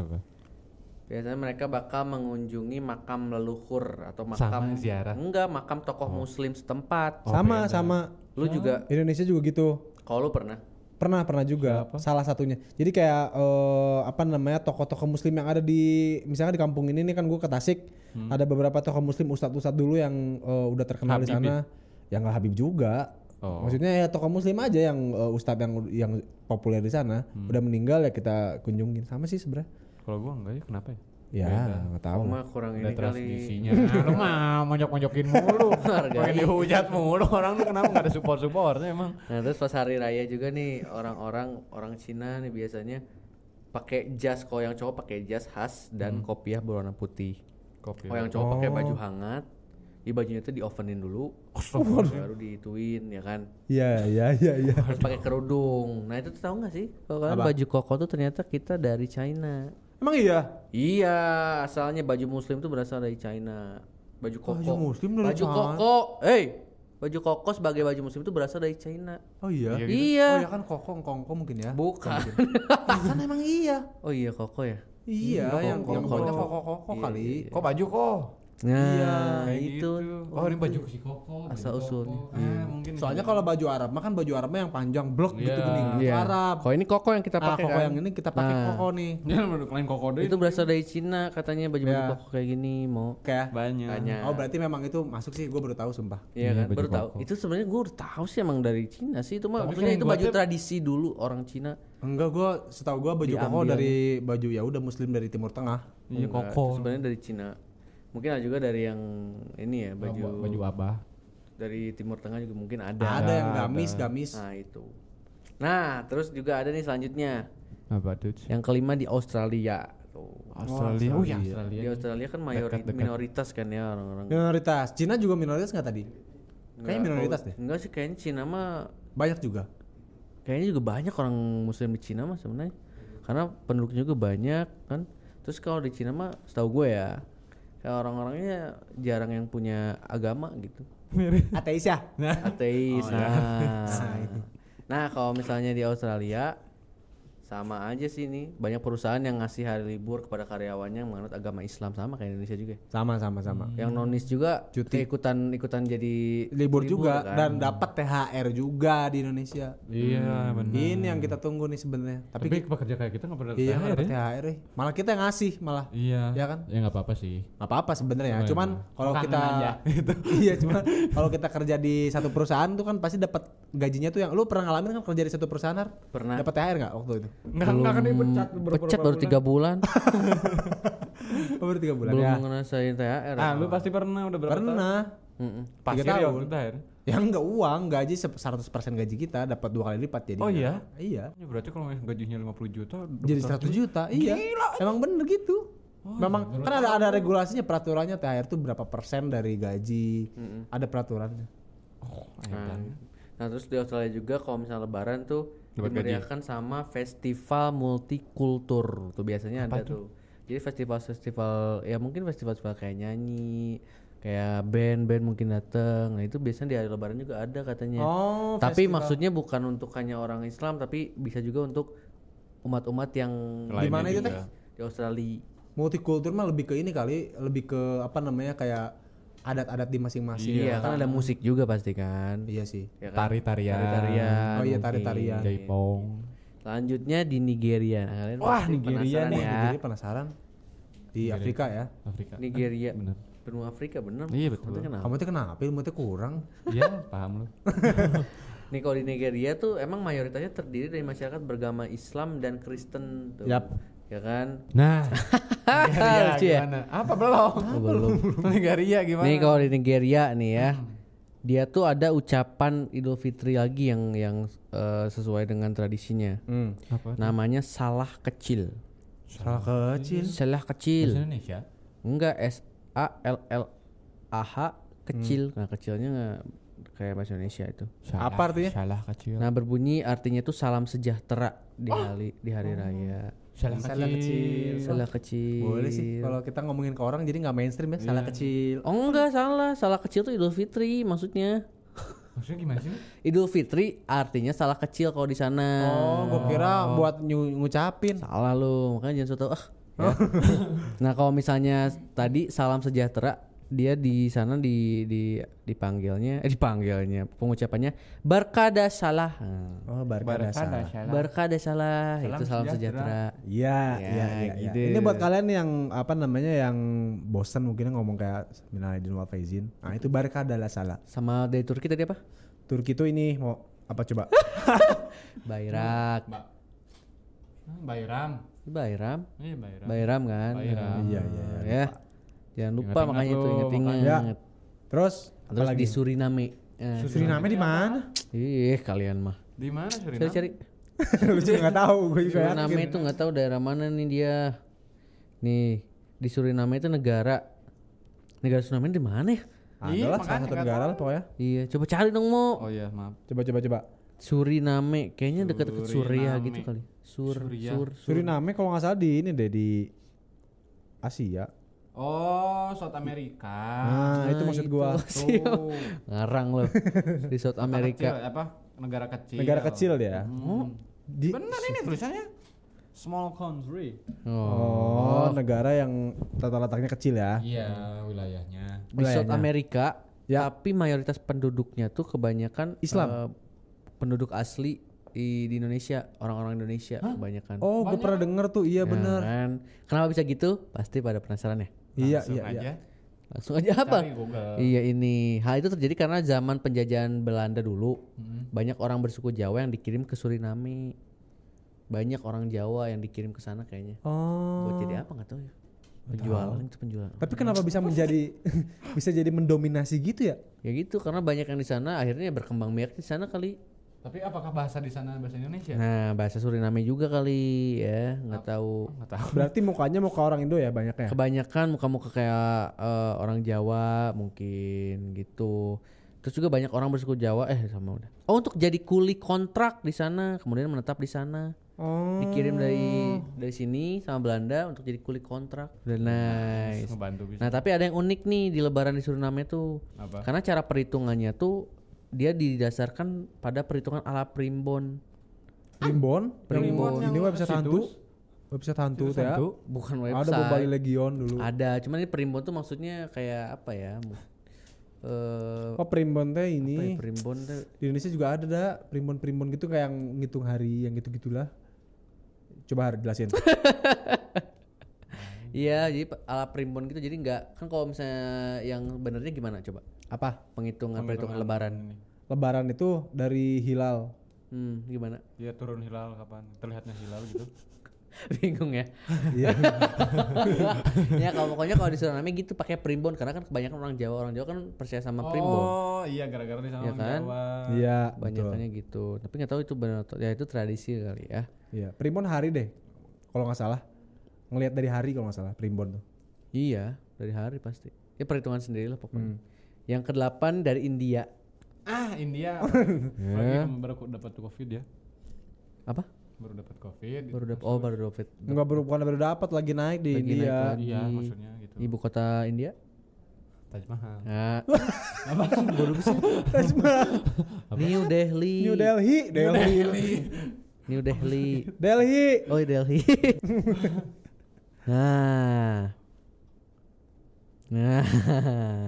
Speaker 1: biasanya mereka bakal mengunjungi makam leluhur atau makam
Speaker 5: Sama ziarah. Oh.
Speaker 1: Enggak, makam tokoh muslim setempat.
Speaker 2: sama sama.
Speaker 1: Lu Oh, juga
Speaker 2: Indonesia juga gitu.
Speaker 1: kalau lu pernah
Speaker 2: Pernah pernah juga salah satunya. Jadi kayak eh, apa namanya tokoh-tokoh muslim yang ada di misalnya di kampung ini nih kan gue ke Tasik, ada beberapa tokoh muslim ustadz-ustadz dulu yang eh, udah terkenal di
Speaker 5: Habib
Speaker 2: sana. Yang nggak Habib juga.
Speaker 5: Oh.
Speaker 2: Maksudnya ya tokoh muslim aja yang eh, ustadz yang yang populer di sana udah meninggal ya kita kunjungin sama sih sebenarnya.
Speaker 5: Kalau gua enggak ya kenapa ya?
Speaker 2: Ya, nggak tahu.
Speaker 1: cuma
Speaker 2: lah.
Speaker 1: kurang
Speaker 5: Ada
Speaker 1: ini kali.
Speaker 5: transmisinya. Nah, lu mah monjok-monjokin mulu. Pengen dihujat mulu orang tuh kenapa enggak ada support-supportnya emang?
Speaker 1: Nah, terus pas hari raya juga nih orang-orang orang Cina nih biasanya pakai jas kalau yang cowok pakai jas khas
Speaker 2: Hmm.
Speaker 1: dan kopiah berwarna putih.
Speaker 5: Kopi.
Speaker 1: Kalau yang cowok pakai baju
Speaker 2: Oh.
Speaker 1: hangat, di bajunya itu di ovenin dulu, baru diituin ya kan.
Speaker 2: Iya, iya, iya, iya.
Speaker 1: Terus pakai kerudung. Nah, itu tuh tahu nggak sih? Kalau kalian baju koko tuh ternyata kita dari China.
Speaker 2: Emang iya?
Speaker 1: Iya, asalnya baju muslim tuh berasal dari China. Baju koko.
Speaker 2: Baju muslim dari
Speaker 1: Baju
Speaker 2: China.
Speaker 1: koko. Eh, baju koko sebagai baju muslim itu berasal dari China.
Speaker 2: Oh iya.
Speaker 5: Iya gitu.
Speaker 1: Iya.
Speaker 2: Oh ya kan kokong kongko mungkin ya.
Speaker 1: Bukan.
Speaker 2: kan emang iya.
Speaker 1: Oh iya koko ya.
Speaker 2: Iya, yang
Speaker 1: kongko.
Speaker 2: yang kokong kokong
Speaker 1: Iya,
Speaker 2: kali.
Speaker 5: Kok baju kok?
Speaker 1: Nah,
Speaker 5: Kayak
Speaker 1: itu.
Speaker 5: gitu. Oh, ini baju si Koko. baju
Speaker 1: Asal
Speaker 5: Koko.
Speaker 1: usulnya.
Speaker 5: Ah, mungkin
Speaker 2: Soalnya kalau baju Arab mah kan baju Arabnya yang panjang blok gitu
Speaker 5: Iya.
Speaker 2: bening.
Speaker 1: Iya.
Speaker 2: Arab.
Speaker 1: Kalau ini koko yang kita
Speaker 2: Nah,
Speaker 1: pakai
Speaker 2: koko
Speaker 1: kan?
Speaker 2: yang ini kita pakai
Speaker 1: Nah.
Speaker 2: koko nih.
Speaker 5: Dia menurut kalian Koko deh.
Speaker 1: Itu berasal dari Cina katanya baju-baju
Speaker 2: Ya.
Speaker 1: koko kayak gini mau.
Speaker 2: Oke. ya.
Speaker 5: banyak.
Speaker 1: Tanya.
Speaker 2: Oh berarti memang itu masuk sih gue baru tahu sumpah.
Speaker 1: Iya kan,
Speaker 5: baju
Speaker 1: baru tahu.
Speaker 5: koko.
Speaker 1: Itu sebenarnya gue udah tahu sih emang dari Cina sih itu mah.
Speaker 5: Tapi
Speaker 1: Maksudnya
Speaker 5: kan
Speaker 1: itu
Speaker 5: gua
Speaker 1: baju
Speaker 5: tuh-
Speaker 1: tradisi dulu orang Cina.
Speaker 2: Enggak gue setahu gue baju koko
Speaker 1: Diambil.
Speaker 2: dari baju ya udah muslim dari timur tengah.
Speaker 5: Iya
Speaker 1: Enggak,
Speaker 5: Koko.
Speaker 1: itu Sebenarnya dari Cina. Mungkin ada juga dari yang ini ya baju
Speaker 5: baju abah.
Speaker 1: dari Timur Tengah juga mungkin ada.
Speaker 2: Ada yang gamis gamis.
Speaker 1: Nah itu. Nah terus juga ada nih selanjutnya
Speaker 5: Apa tuh?
Speaker 1: yang kelima di Australia. Tuh.
Speaker 5: Australia. Oh iya Australia.
Speaker 1: Di Australia kan mayoritas minoritas kan ya orang-orang.
Speaker 2: Minoritas. Cina juga minoritas nggak tadi? Kayaknya minoritas deh.
Speaker 1: Enggak sih kayaknya Cina mah
Speaker 2: Banyak juga.
Speaker 1: kayaknya juga banyak orang muslim di Cina mah sebenarnya karena penduduknya juga banyak kan terus kalau di Cina mah setahu gue ya kayak orang-orangnya jarang yang punya agama gitu
Speaker 2: Ateis ya?
Speaker 1: ateis
Speaker 2: Oh, iya.
Speaker 1: nah nah kalau misalnya di Australia sama aja sih ini banyak perusahaan yang ngasih hari libur kepada karyawannya yang menganut agama Islam sama kayak Indonesia juga ya.
Speaker 2: Sama sama sama.
Speaker 1: yang nonis juga
Speaker 2: Cuti.
Speaker 1: ikutan ikutan jadi
Speaker 2: libur juga
Speaker 1: kan.
Speaker 2: dan dapat THR juga di Indonesia.
Speaker 5: Iya benar.
Speaker 2: Ini yang kita tunggu nih sebenarnya. Tapi,
Speaker 5: Tapi pekerja kayak kita nggak pernah
Speaker 2: iya nggak
Speaker 5: tanya
Speaker 2: dapat
Speaker 5: ya.
Speaker 2: THR, eh. malah kita yang ngasih malah.
Speaker 5: Iya.
Speaker 2: Iya kan?
Speaker 5: Ya nggak apa-apa sih.
Speaker 2: Nggak apa-apa sebenarnya.
Speaker 5: Iya.
Speaker 2: Cuman kalau
Speaker 5: Kangen
Speaker 2: kita
Speaker 5: aja.
Speaker 2: iya cuman kalau kita kerja di satu perusahaan tuh kan pasti dapat gajinya tuh yang lu pernah ngalamin kan kerja di satu perusahaan? Har?
Speaker 1: Pernah. Hmm.
Speaker 2: Dapat THR nggak waktu itu?
Speaker 5: Enggak enggak kan dipecat
Speaker 1: pecat baru tiga bulan
Speaker 2: Oh, baru tiga bulan
Speaker 1: belum
Speaker 2: ya.
Speaker 1: ngerasain THR
Speaker 5: Ah, lu pasti pernah udah berapa? tahun?
Speaker 2: Pernah.
Speaker 1: Mm-mm.
Speaker 5: Pasir
Speaker 2: Tiga
Speaker 5: ya
Speaker 2: tahun.
Speaker 5: waktu itu akhir.
Speaker 2: Ya enggak uang, gaji se- 100% gaji kita dapat dua kali lipat jadi.
Speaker 5: Oh iya?
Speaker 2: Iya.
Speaker 5: Ya, berarti kalau gajinya 50 juta
Speaker 2: Jadi 100 juta, iya. Emang bener gitu. Memang kan ada ada regulasinya peraturannya THR tuh berapa persen dari gaji. Ada peraturannya.
Speaker 1: Nah, nah, terus di Australia juga kalau misalnya Lebaran tuh
Speaker 5: Dapat
Speaker 1: dimeriahkan sama festival multikultur tuh biasanya ada tuh. Jadi festival-festival ya mungkin festival-festival kayak nyanyi, kayak band-band mungkin dateng. Nah itu biasanya di hari Lebaran juga ada katanya.
Speaker 2: Oh,
Speaker 1: tapi maksudnya bukan untuk hanya orang Islam, tapi bisa juga untuk umat-umat yang
Speaker 2: Di mana itu teh?
Speaker 1: di Australia.
Speaker 2: Multikultur mah lebih ke ini kali, lebih ke apa namanya kayak adat-adat di masing-masing.
Speaker 1: Iya, kan ada musik juga pasti kan.
Speaker 2: Iya sih.
Speaker 1: Ya kan?
Speaker 5: Tari-tarian.
Speaker 1: Tari-tarian.
Speaker 2: Oh iya
Speaker 1: mungkin.
Speaker 2: tari-tarian.
Speaker 5: Jaipong.
Speaker 1: Selanjutnya di Nigeria. Nah, Kalian Wah, Nigeria
Speaker 2: Iya Nih,
Speaker 1: ya.
Speaker 2: gitu, Jadi penasaran di Afrika ya.
Speaker 5: Afrika.
Speaker 1: Nigeria.
Speaker 5: Bener.
Speaker 1: Benua Afrika bener.
Speaker 5: Iya, betul.
Speaker 1: Maksudnya kenapa?
Speaker 2: Kamu tuh kenapa ilmu tuh kurang?
Speaker 5: Iya, paham lu.
Speaker 1: Nih kalau di Nigeria tuh emang mayoritasnya terdiri dari masyarakat beragama Islam dan Kristen tuh.
Speaker 2: Yap. Iya,
Speaker 1: Ya kan?
Speaker 5: Nah,
Speaker 1: Lucu ya?
Speaker 5: gimana? Apa belum?
Speaker 1: belum.
Speaker 5: Nigeria gimana?
Speaker 1: Nih kalau di Nigeria nih ya.
Speaker 2: Hmm.
Speaker 1: Dia tuh ada ucapan Idul Fitri lagi yang yang eh, sesuai dengan tradisinya.
Speaker 2: Hmm.
Speaker 5: Apa?
Speaker 1: Namanya salah kecil.
Speaker 2: Salah kecil.
Speaker 1: Salah
Speaker 5: Bahasa
Speaker 1: kecil.
Speaker 5: Indonesia.
Speaker 1: Enggak S A L L A H kecil.
Speaker 2: Hmm.
Speaker 1: Nah, kecilnya nggak kayak bahasa Indonesia itu.
Speaker 5: Salah-
Speaker 2: Apa artinya?
Speaker 5: Salah kecil.
Speaker 2: Oh!
Speaker 1: Nah berbunyi artinya tuh salam sejahtera di hari di hari raya.
Speaker 5: Salah
Speaker 2: Salah kecil.
Speaker 1: salah kecil
Speaker 2: Iya. Boleh sih kalau kita ngomongin ke orang jadi nggak mainstream ya, salah kecil.
Speaker 1: oh enggak salah salah kecil tuh Idul Fitri maksudnya
Speaker 5: Maksudnya gimana sih?
Speaker 1: Idul Fitri artinya salah kecil kalau di sana
Speaker 2: Oh, gua kira buat nyu- ngucapin.
Speaker 1: salah lu makanya jangan so tau ah ya. nah kalau misalnya tadi salam sejahtera dia di sana di di dipanggilnya eh dipanggilnya pengucapannya barkada salah Nah,
Speaker 2: Oh, barkada
Speaker 5: Barkada
Speaker 2: salah.
Speaker 5: salah.
Speaker 1: barkada salah
Speaker 5: Salam
Speaker 1: itu salam
Speaker 5: sejahtera.
Speaker 1: sejahtera,
Speaker 2: Iya,
Speaker 1: Ya,
Speaker 2: iya, iya, iya.
Speaker 1: gitu.
Speaker 2: Ini buat kalian yang apa namanya yang bosan mungkin ngomong kayak Minalaidin wal Faizin. Nah, itu barkada lah salah.
Speaker 1: sama dari Turki tadi apa
Speaker 2: Turki tuh ini mau apa coba?
Speaker 1: Bayrak
Speaker 5: Mbak. Hmm, Bayram.
Speaker 1: Bayram
Speaker 5: Iya, Bayram.
Speaker 1: Bayram kan
Speaker 5: Bayram.
Speaker 2: Iya, iya, iya,
Speaker 1: ya jangan lupa
Speaker 5: Ingat-ingat
Speaker 1: makanya
Speaker 5: lu,
Speaker 1: itu inget-inget
Speaker 2: makanya. Terus
Speaker 1: terus di Suriname Eh,
Speaker 2: Suriname di mana?
Speaker 1: ih kalian mah
Speaker 5: Di mana
Speaker 1: cari
Speaker 5: Suriname?
Speaker 1: cari
Speaker 2: Lu juga nggak tahu, gue juga yakin.
Speaker 1: Suriname itu nggak tahu daerah mana nih dia nih di Suriname itu negara negara Suriname di mana ya
Speaker 2: Ada lah salah satu negara lah pokoknya.
Speaker 1: iya coba cari dong mau
Speaker 5: Oh iya, maaf.
Speaker 2: Coba coba coba.
Speaker 1: Suriname kayaknya dekat-dekat Suria
Speaker 5: Suriname.
Speaker 1: gitu kali Sur
Speaker 5: Suria.
Speaker 1: Sur
Speaker 2: Suriname kalau nggak salah di ini deh di Asia.
Speaker 5: Oh, South America.
Speaker 2: Nah, itu maksud gua. Oh.
Speaker 1: sih ngarang loh di South Amerika
Speaker 5: Kecil, apa? Negara kecil.
Speaker 2: Negara kecil dia.
Speaker 5: Hmm.
Speaker 2: Di
Speaker 5: Benar ini tulisannya. Small country.
Speaker 1: oh.
Speaker 2: Oh, negara yang tata letaknya kecil ya.
Speaker 5: Iya, wilayahnya.
Speaker 1: di South Amerika
Speaker 2: Ya.
Speaker 1: tapi mayoritas penduduknya tuh kebanyakan
Speaker 2: Islam.
Speaker 1: eh, penduduk asli di, di Indonesia orang-orang Indonesia kebanyakan
Speaker 2: Oh, gue pernah denger tuh. Iya
Speaker 1: Ya
Speaker 2: bener.
Speaker 1: kan? Kenapa bisa gitu? Pasti pada penasaran ya.
Speaker 2: Iya,
Speaker 5: Langsung
Speaker 2: iya, iya.
Speaker 5: aja.
Speaker 1: Langsung aja apa?
Speaker 5: Cari Google.
Speaker 1: Iya ini. Hal itu terjadi karena zaman penjajahan Belanda dulu.
Speaker 5: Hmm.
Speaker 1: Banyak orang bersuku Jawa yang dikirim ke Suriname. Banyak orang Jawa yang dikirim ke sana kayaknya.
Speaker 2: Oh.
Speaker 1: Buat jadi apa nggak tahu ya. Penjualan itu penjualan.
Speaker 2: Tapi kenapa bisa menjadi bisa jadi mendominasi gitu ya?
Speaker 1: Ya gitu karena banyak yang di sana akhirnya berkembang biak di sana kali.
Speaker 5: Tapi apakah bahasa di sana bahasa
Speaker 2: Iya.
Speaker 5: Indonesia?
Speaker 1: Nah, bahasa Suriname juga kali ya, nggak tahu.
Speaker 5: Enggak tahu.
Speaker 2: Berarti mukanya muka orang Indo ya
Speaker 5: Iya.
Speaker 2: banyaknya.
Speaker 1: kebanyakan muka-muka kayak eh, orang Jawa mungkin gitu. Terus juga banyak orang bersuku Jawa eh sama udah. Oh, untuk jadi kuli kontrak di sana, kemudian menetap di sana.
Speaker 5: Hmm.
Speaker 2: Oh.
Speaker 1: Dikirim dari dari sini sama Belanda untuk jadi kuli kontrak. Udah nice.
Speaker 5: Ngebantu bisa.
Speaker 1: Nah, tapi ada yang unik nih di lebaran di Suriname tuh.
Speaker 5: Apa?
Speaker 1: Karena cara perhitungannya tuh dia didasarkan pada perhitungan ala primbon.
Speaker 2: Primbon,
Speaker 5: Primbon
Speaker 2: Ini
Speaker 5: yang
Speaker 2: website
Speaker 5: situs.
Speaker 2: hantu. Website hantu tuh ya.
Speaker 1: Bukan
Speaker 2: Ada
Speaker 1: website.
Speaker 2: Bobali Legion dulu.
Speaker 1: Ada, cuman ini primbon tuh maksudnya kayak apa ya? Mu- Eh,
Speaker 2: Oh, Primbon teh
Speaker 1: apa ya,
Speaker 2: ini.
Speaker 1: primbon tuh
Speaker 2: Di Indonesia juga ada dah primbon-primbon gitu kayak yang ngitung hari yang gitu-gitulah. Coba Har, jelasin.
Speaker 1: Iya, jadi pe- ala primbon gitu. Jadi nggak kan kalau misalnya yang benernya gimana coba? Apa penghitungan perhitungan lebaran?
Speaker 2: Lebaran itu dari hilal.
Speaker 1: Hmm, gimana?
Speaker 5: Dia turun hilal kapan? Terlihatnya hilal gitu.
Speaker 1: Bingung ya.
Speaker 2: Iya.
Speaker 1: ya kalau pokoknya kalau di Suriname gitu pakai primbon karena kan kebanyakan orang Jawa orang Jawa kan percaya sama primbon.
Speaker 5: Oh, iya gara-gara di sana
Speaker 1: Iya
Speaker 5: orang
Speaker 1: kan?
Speaker 5: Jawa.
Speaker 2: Iya, betul.
Speaker 1: Banyakannya gitu. Tapi nggak tahu itu benar atau ya itu tradisi kali ya.
Speaker 2: Iya, primbon hari deh. Kalau nggak salah. Ngelihat dari hari kalau nggak salah primbon tuh.
Speaker 1: Iya, dari hari pasti. Ya perhitungan sendiri lah pokoknya.
Speaker 2: Hmm.
Speaker 1: Yang kedelapan dari India.
Speaker 5: Ah, India.
Speaker 2: Ya.
Speaker 5: Lagi kemarin baru dapat Covid ya.
Speaker 1: Apa?
Speaker 5: Baru dapat Covid.
Speaker 1: Baru dap- oh baru dapat
Speaker 2: Enggak baru bukan baru dapat lagi naik di
Speaker 1: Lagi
Speaker 2: India.
Speaker 1: naik
Speaker 5: Iya,
Speaker 1: lagi.
Speaker 5: maksudnya gitu.
Speaker 1: ibu kota India.
Speaker 5: Taj Mahal.
Speaker 1: Nah. New Delhi.
Speaker 2: New Delhi, Delhi,
Speaker 1: New Delhi.
Speaker 2: Delhi.
Speaker 1: Oh, Delhi. nah. Nah.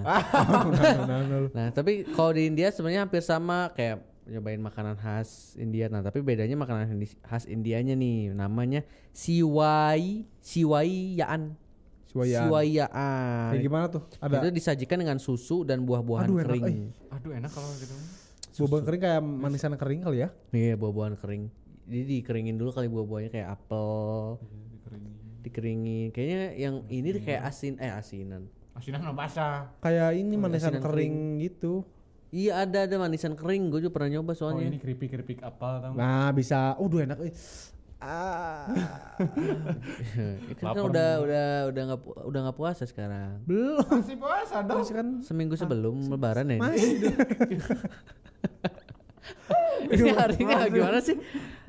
Speaker 2: Ah.
Speaker 1: nah, tapi kalau di India sebenarnya hampir sama kayak nyobain makanan khas India. Nah, tapi bedanya makanan Indi- khas Indianya nih namanya siwai siwaiyaan.
Speaker 2: Siwayaan.
Speaker 1: Siwayaan.
Speaker 2: Kayak gimana tuh?
Speaker 1: Itu
Speaker 2: Ada
Speaker 1: disajikan dengan susu dan buah-buahan
Speaker 2: Aduh, enak,
Speaker 1: kering.
Speaker 2: eh.
Speaker 5: Aduh, enak kalau gitu.
Speaker 2: bubang kering kayak manisan kering kali ya?
Speaker 1: Iya buah-buahan kering. Jadi dikeringin dulu kali buah-buahnya kayak apel,
Speaker 5: Iya, Dikeringin.
Speaker 1: dikeringin. Kayaknya yang ini deh kayak asin, eh asinan.
Speaker 5: Asinan sama basah.
Speaker 2: Kayak ini manisan
Speaker 1: asinan
Speaker 2: kering, gitu.
Speaker 1: Iya ada ada manisan kering, gue juga pernah nyoba
Speaker 5: Oh,
Speaker 1: soalnya.
Speaker 5: ini keripik-keripik apal tau. nggak?
Speaker 2: Nah, bisa. Oh, duh enak. eh. Ah.
Speaker 1: Ya kan, kan udah udah udah nggak pu- udah nggak puasa sekarang.
Speaker 2: Belum
Speaker 5: Masih puasa dong.
Speaker 2: sih kan Iya.
Speaker 1: Seminggu sebelum lebaran ya. ini. Ini harinya gimana sih?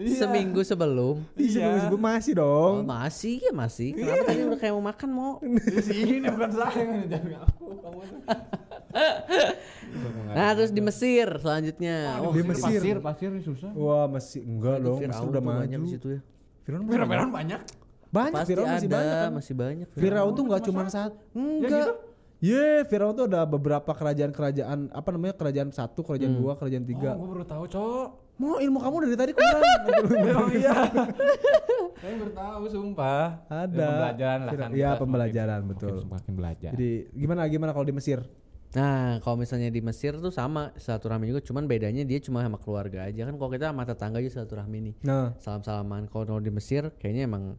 Speaker 1: Seminggu sebelum.
Speaker 2: Iya.
Speaker 4: Iya.
Speaker 2: sebelum- masih
Speaker 1: Oh,
Speaker 2: dong.
Speaker 1: masih ya masih.
Speaker 2: Iya.
Speaker 1: Kenapa tadi udah kayak mau makan mau?
Speaker 4: ini bukan saya yang ngejar aku. Kamu
Speaker 1: Nah, terus di Mesir selanjutnya.
Speaker 2: Waduh,
Speaker 1: Oh,
Speaker 2: di Mesir. Oh,
Speaker 5: Pasir, pasir ini susah.
Speaker 2: Wah masih enggak
Speaker 1: itu
Speaker 2: dong,
Speaker 1: Firaun
Speaker 2: Mesir udah
Speaker 1: tuh
Speaker 2: maju.
Speaker 1: banyak di situ ya.
Speaker 2: Firaun banyak.
Speaker 4: Firaun banyak.
Speaker 2: Banyak
Speaker 1: Pasti
Speaker 2: Firaun
Speaker 1: ada,
Speaker 2: masih banyak. kan?
Speaker 1: masih banyak.
Speaker 2: Firaun tuh nggak cuma satu,
Speaker 4: Ya
Speaker 2: enggak.
Speaker 4: gitu?
Speaker 2: Ye, Firaun tuh ada beberapa kerajaan-kerajaan apa namanya kerajaan satu, kerajaan dua, kerajaan tiga.
Speaker 4: Oh, gue baru tahu, Cok.
Speaker 2: Mau ilmu kamu dari tadi kurang.
Speaker 4: iya. Saya baru tahu, sumpah.
Speaker 2: Ada.
Speaker 4: Ya, pembelajaran lah
Speaker 2: Firaun-
Speaker 4: kan.
Speaker 2: Iya,
Speaker 4: kita
Speaker 2: pembelajaran,
Speaker 4: makin-
Speaker 2: betul.
Speaker 5: Makin, makin belajar.
Speaker 2: Jadi gimana gimana kalau di Mesir?
Speaker 1: Nah, kalau misalnya di Mesir tuh sama silaturahmi juga, cuman bedanya dia cuma sama keluarga aja kan. Kalau kita sama tetangga aja silaturahmi nih.
Speaker 2: Nah,
Speaker 1: Salam-salaman. Kalau di Mesir kayaknya emang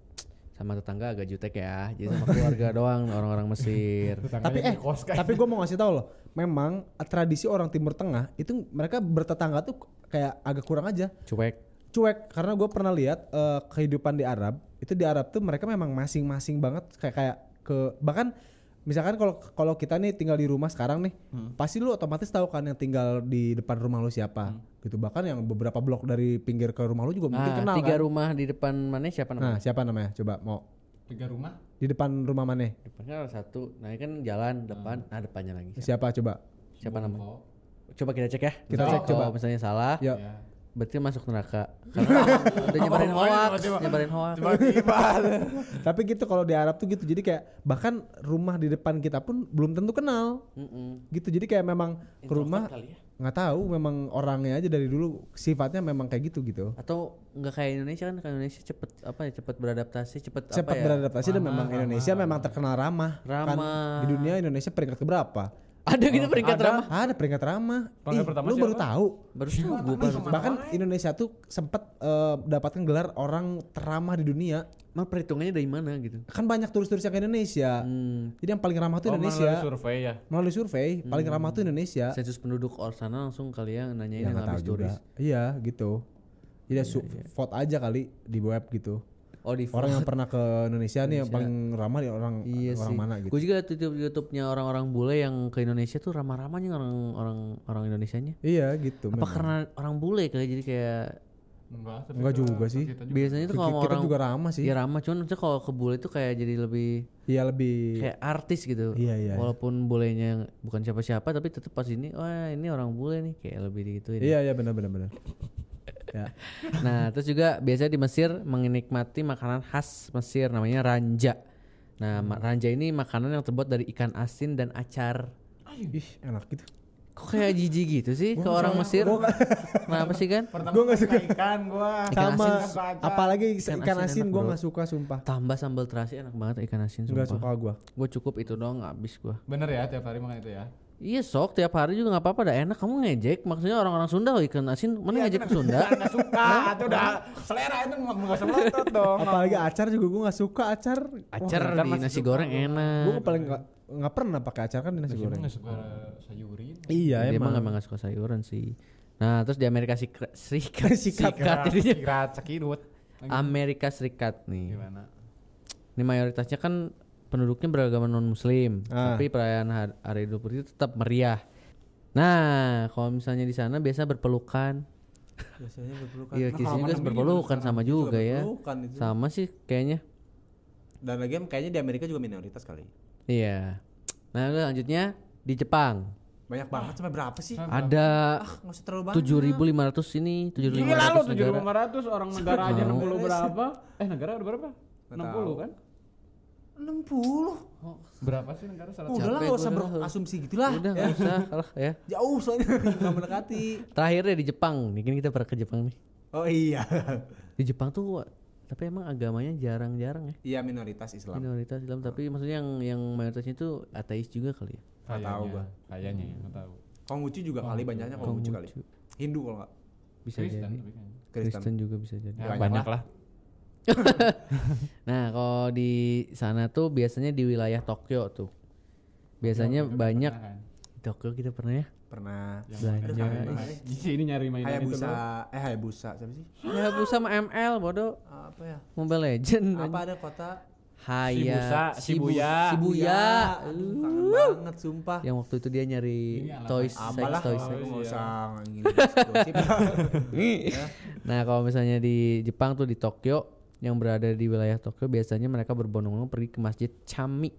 Speaker 1: sama tetangga agak jutek ya. Jadi sama keluarga doang orang-orang Mesir.
Speaker 2: tapi eh tapi
Speaker 4: gitu.
Speaker 2: gue mau ngasih tahu loh, memang tradisi orang Timur Tengah itu mereka bertetangga tuh kayak agak kurang aja.
Speaker 1: Cuek.
Speaker 2: cuek karena gue pernah lihat eh, kehidupan di Arab itu di Arab tuh mereka memang masing-masing banget kayak kayak ke bahkan misalkan kalau kalau kita nih tinggal di rumah sekarang nih
Speaker 1: Hmm.
Speaker 2: pasti lu otomatis tahu kan yang tinggal di depan rumah lu siapa
Speaker 1: Hmm.
Speaker 2: gitu bahkan yang beberapa blok dari pinggir ke rumah lu juga
Speaker 1: Nah,
Speaker 2: mungkin kenal
Speaker 1: tiga
Speaker 2: kan
Speaker 1: rumah di depan mana siapa
Speaker 2: nah
Speaker 1: namanya?
Speaker 2: siapa namanya coba mau
Speaker 5: Tiga rumah.
Speaker 2: di depan rumah mana
Speaker 1: Depan kan ada satu. Nah, ini kan jalan
Speaker 2: Hmm.
Speaker 1: depan, nah depannya lagi. Siapa,
Speaker 2: siapa coba
Speaker 1: siapa namanya? Coba kita cek ya.
Speaker 2: Kita cek,
Speaker 1: Kalau
Speaker 2: coba.
Speaker 1: misalnya salah,
Speaker 2: ya
Speaker 1: berarti masuk neraka. Karena udah nyebarin
Speaker 4: Apa-apaan
Speaker 1: hoax,
Speaker 4: tiba-tiba.
Speaker 1: nyebarin hoax.
Speaker 4: Tiba-tiba.
Speaker 2: tapi gitu kalau di Arab tuh gitu jadi kayak bahkan rumah di depan kita pun belum tentu kenal
Speaker 1: Mm-mm.
Speaker 2: gitu jadi kayak memang ke rumah
Speaker 1: kali ya?
Speaker 2: nggak tahu memang orangnya aja dari dulu sifatnya memang kayak gitu gitu
Speaker 1: atau nggak kayak Indonesia kan kalau Indonesia cepet apa ya cepet beradaptasi cepet, apa
Speaker 2: cepat
Speaker 1: ya
Speaker 2: beradaptasi dan memang Indonesia memang terkenal ramah Kan
Speaker 1: Ramah.
Speaker 2: di dunia Indonesia peringkat keberapa
Speaker 1: ada gitu peringkat ramah
Speaker 2: ada Iya, peringkat ramah
Speaker 5: Peringkat
Speaker 2: Ih,
Speaker 5: pertama
Speaker 2: lu
Speaker 5: siapa?
Speaker 2: baru tahu
Speaker 1: baru tahu gue baru
Speaker 2: bahkan Indonesia tuh sempat eh, mendapatkan gelar orang teramah di dunia
Speaker 1: mah perhitungannya dari mana gitu
Speaker 2: kan banyak turis-turis yang ke Indonesia
Speaker 1: hmm,
Speaker 2: jadi yang paling ramah tuh
Speaker 4: Oh, melalui
Speaker 2: Indonesia
Speaker 5: Survei ya.
Speaker 2: melalui survei paling ramah tuh Indonesia Ya,
Speaker 1: sensus penduduk orang sana langsung kali ya nanyain Hmm. yang
Speaker 2: Iya. nggak tahu
Speaker 1: habis turis Iya,
Speaker 2: juga. iya gitu jadi su- vote aja kali di web gitu
Speaker 1: oh di
Speaker 2: orang yang pernah ke Indonesia, nih yang paling ramah di orang
Speaker 1: iya sih
Speaker 2: orang mana gitu.
Speaker 1: gue juga tutup YouTube-nya orang-orang bule yang ke Indonesia tuh ramah-ramahnya orang orang orang Indonesianya
Speaker 2: Iya gitu.
Speaker 1: apa karena orang bule kayak jadi kayak
Speaker 5: Enggak, tapi
Speaker 2: Enggak
Speaker 5: ke-
Speaker 2: juga sih.
Speaker 5: kita juga.
Speaker 1: biasanya tuh
Speaker 2: Kita,
Speaker 1: kalau sama orang
Speaker 2: juga ramah sih.
Speaker 1: ya ramah cuman maksudnya kalau ke bule tuh kayak jadi lebih
Speaker 2: Iya lebih
Speaker 1: kayak artis gitu.
Speaker 2: Iya, iya.
Speaker 1: Walaupun bolehnya yang bukan siapa-siapa tapi tetap pas ini wah ini orang bule nih kayak lebih digituin.
Speaker 2: Iya iya benar benar benar. ya.
Speaker 1: Nah, terus juga biasanya di Mesir menikmati makanan khas Mesir namanya ranja. Nah, ma-
Speaker 2: Hmm.
Speaker 1: ranja ini makanan yang terbuat dari ikan asin dan acar.
Speaker 2: Ih, enak gitu.
Speaker 1: Kok kayak jijik gitu sih ke orang Mesir? Kenapa sih kan?
Speaker 4: Pertama
Speaker 2: Gua nggak suka.
Speaker 4: ikan gua.
Speaker 1: Ikan
Speaker 2: Sama
Speaker 1: asin
Speaker 4: suka aja.
Speaker 2: apalagi
Speaker 1: Ikan
Speaker 2: ikan,
Speaker 1: asin
Speaker 2: asin,
Speaker 1: enak,
Speaker 2: gua
Speaker 1: bro.
Speaker 2: nggak suka sumpah.
Speaker 1: Tambah sambal terasi enak banget ikan asin
Speaker 2: Enggak
Speaker 1: sumpah.
Speaker 2: suka gua.
Speaker 1: Gue cukup itu doang nggak habis gua.
Speaker 5: Bener ya tiap hari makan itu ya.
Speaker 1: Iya sok tiap hari juga nggak apa-apa dah enak kamu ngejek maksudnya orang-orang Sunda loh ikan asin
Speaker 2: Iya,
Speaker 1: mana ngejek Sunda
Speaker 4: Enggak suka. Itu udah selera itu nggak nggak usah melotot dong.
Speaker 2: Apalagi acar juga gua nggak suka acar.
Speaker 1: Acar di nasi goreng enak.
Speaker 2: Gua paling nggak nggak pernah pakai acar kan di nasi goreng.
Speaker 5: Enggak suka sayurin.
Speaker 2: Iya
Speaker 1: dia emang
Speaker 2: emang.
Speaker 1: emang gak suka sayuran sih. Nah terus di Amerika Sikra- Serikat,
Speaker 2: Sikat.
Speaker 1: Sikat, jadinya.
Speaker 5: Kira cekidut.
Speaker 1: Amerika Serikat nih.
Speaker 5: Gimana?
Speaker 1: Ini mayoritasnya kan penduduknya beragama non Muslim,
Speaker 2: Ah.
Speaker 1: tapi perayaan har- Hari Idul Fitri tetap meriah. Nah kalau misalnya di sana biasa berpelukan.
Speaker 2: Biasanya berpelukan.
Speaker 3: Nah,
Speaker 1: Iya, di sini juga berpelukan sama juga, ya. Sama sih kayaknya.
Speaker 3: Dan lagi kayaknya di Amerika juga minoritas kali.
Speaker 1: Iya. Nah lalu lanjutnya di Jepang
Speaker 3: Banyak banget sampai berapa sih? Ah,
Speaker 1: ada
Speaker 3: Nggak usah terlalu banyak.
Speaker 1: 7.500 ini 7.500
Speaker 5: Gila lu
Speaker 1: negara.
Speaker 5: 7500 orang negara aja 60 berapa? Eh negara ada berapa? 60 kan?
Speaker 3: 60.
Speaker 5: Berapa sih negara
Speaker 3: Udah
Speaker 5: 100?
Speaker 3: lah
Speaker 1: Capek
Speaker 3: nggak
Speaker 1: gua
Speaker 3: usah
Speaker 1: dah.
Speaker 3: berasumsi gitulah.
Speaker 1: Udah nggak usah kalah ya.
Speaker 3: Jauh soalnya nggak mendekati.
Speaker 1: Terakhirnya di Jepang, nih kan kita pernah ke Jepang nih.
Speaker 3: Oh iya.
Speaker 1: Di Jepang tuh tapi emang agamanya jarang-jarang ya
Speaker 3: Iya minoritas Islam.
Speaker 1: minoritas Islam tapi maksudnya yang yang mayoritasnya itu ateis juga kali ya.
Speaker 3: Nggak tahu gua.
Speaker 5: Kayaknya ya, nggak tahu.
Speaker 3: Konghucu juga kali banyaknya
Speaker 2: Oh,
Speaker 3: Konghucu kali. Hindu kalau nggak.
Speaker 1: Bisa
Speaker 5: Kristen
Speaker 1: jadi.
Speaker 5: tapi kayaknya.
Speaker 1: Kristen.
Speaker 3: Kristen.
Speaker 1: juga bisa jadi.
Speaker 5: Ya,
Speaker 3: Banyak
Speaker 5: banyak lah.
Speaker 1: Nah, kalau di sana tuh biasanya di wilayah Tokyo tuh. Biasanya banyak
Speaker 5: Nah, kan.
Speaker 1: Tokyo kita pernah ya.
Speaker 3: Pernah.
Speaker 1: Belanja.
Speaker 5: Di sini nyari mainan itu
Speaker 3: Hayabusa,
Speaker 5: loh.
Speaker 3: eh Hayabusa siapa sih?
Speaker 1: Ya, bu sama ML bodoh.
Speaker 3: Apa ya?
Speaker 1: Mobile Legend.
Speaker 3: Apa ada kota?
Speaker 5: Shibusa,
Speaker 1: Haya Shibu-
Speaker 5: Shibuya.
Speaker 1: Shibuya.
Speaker 2: Aduh, kangen banget sumpah.
Speaker 1: Yang waktu itu dia nyari
Speaker 5: Ini alamat
Speaker 1: toys, sex
Speaker 3: Iya, kan. Apalah,
Speaker 1: toys. Iya.
Speaker 3: aku
Speaker 1: sex.
Speaker 3: nggak usah gosip. Iya.
Speaker 1: Nah, kalau misalnya di Jepang tuh di Tokyo yang berada di wilayah Tokyo biasanya mereka berbondong-bondong pergi ke masjid Chami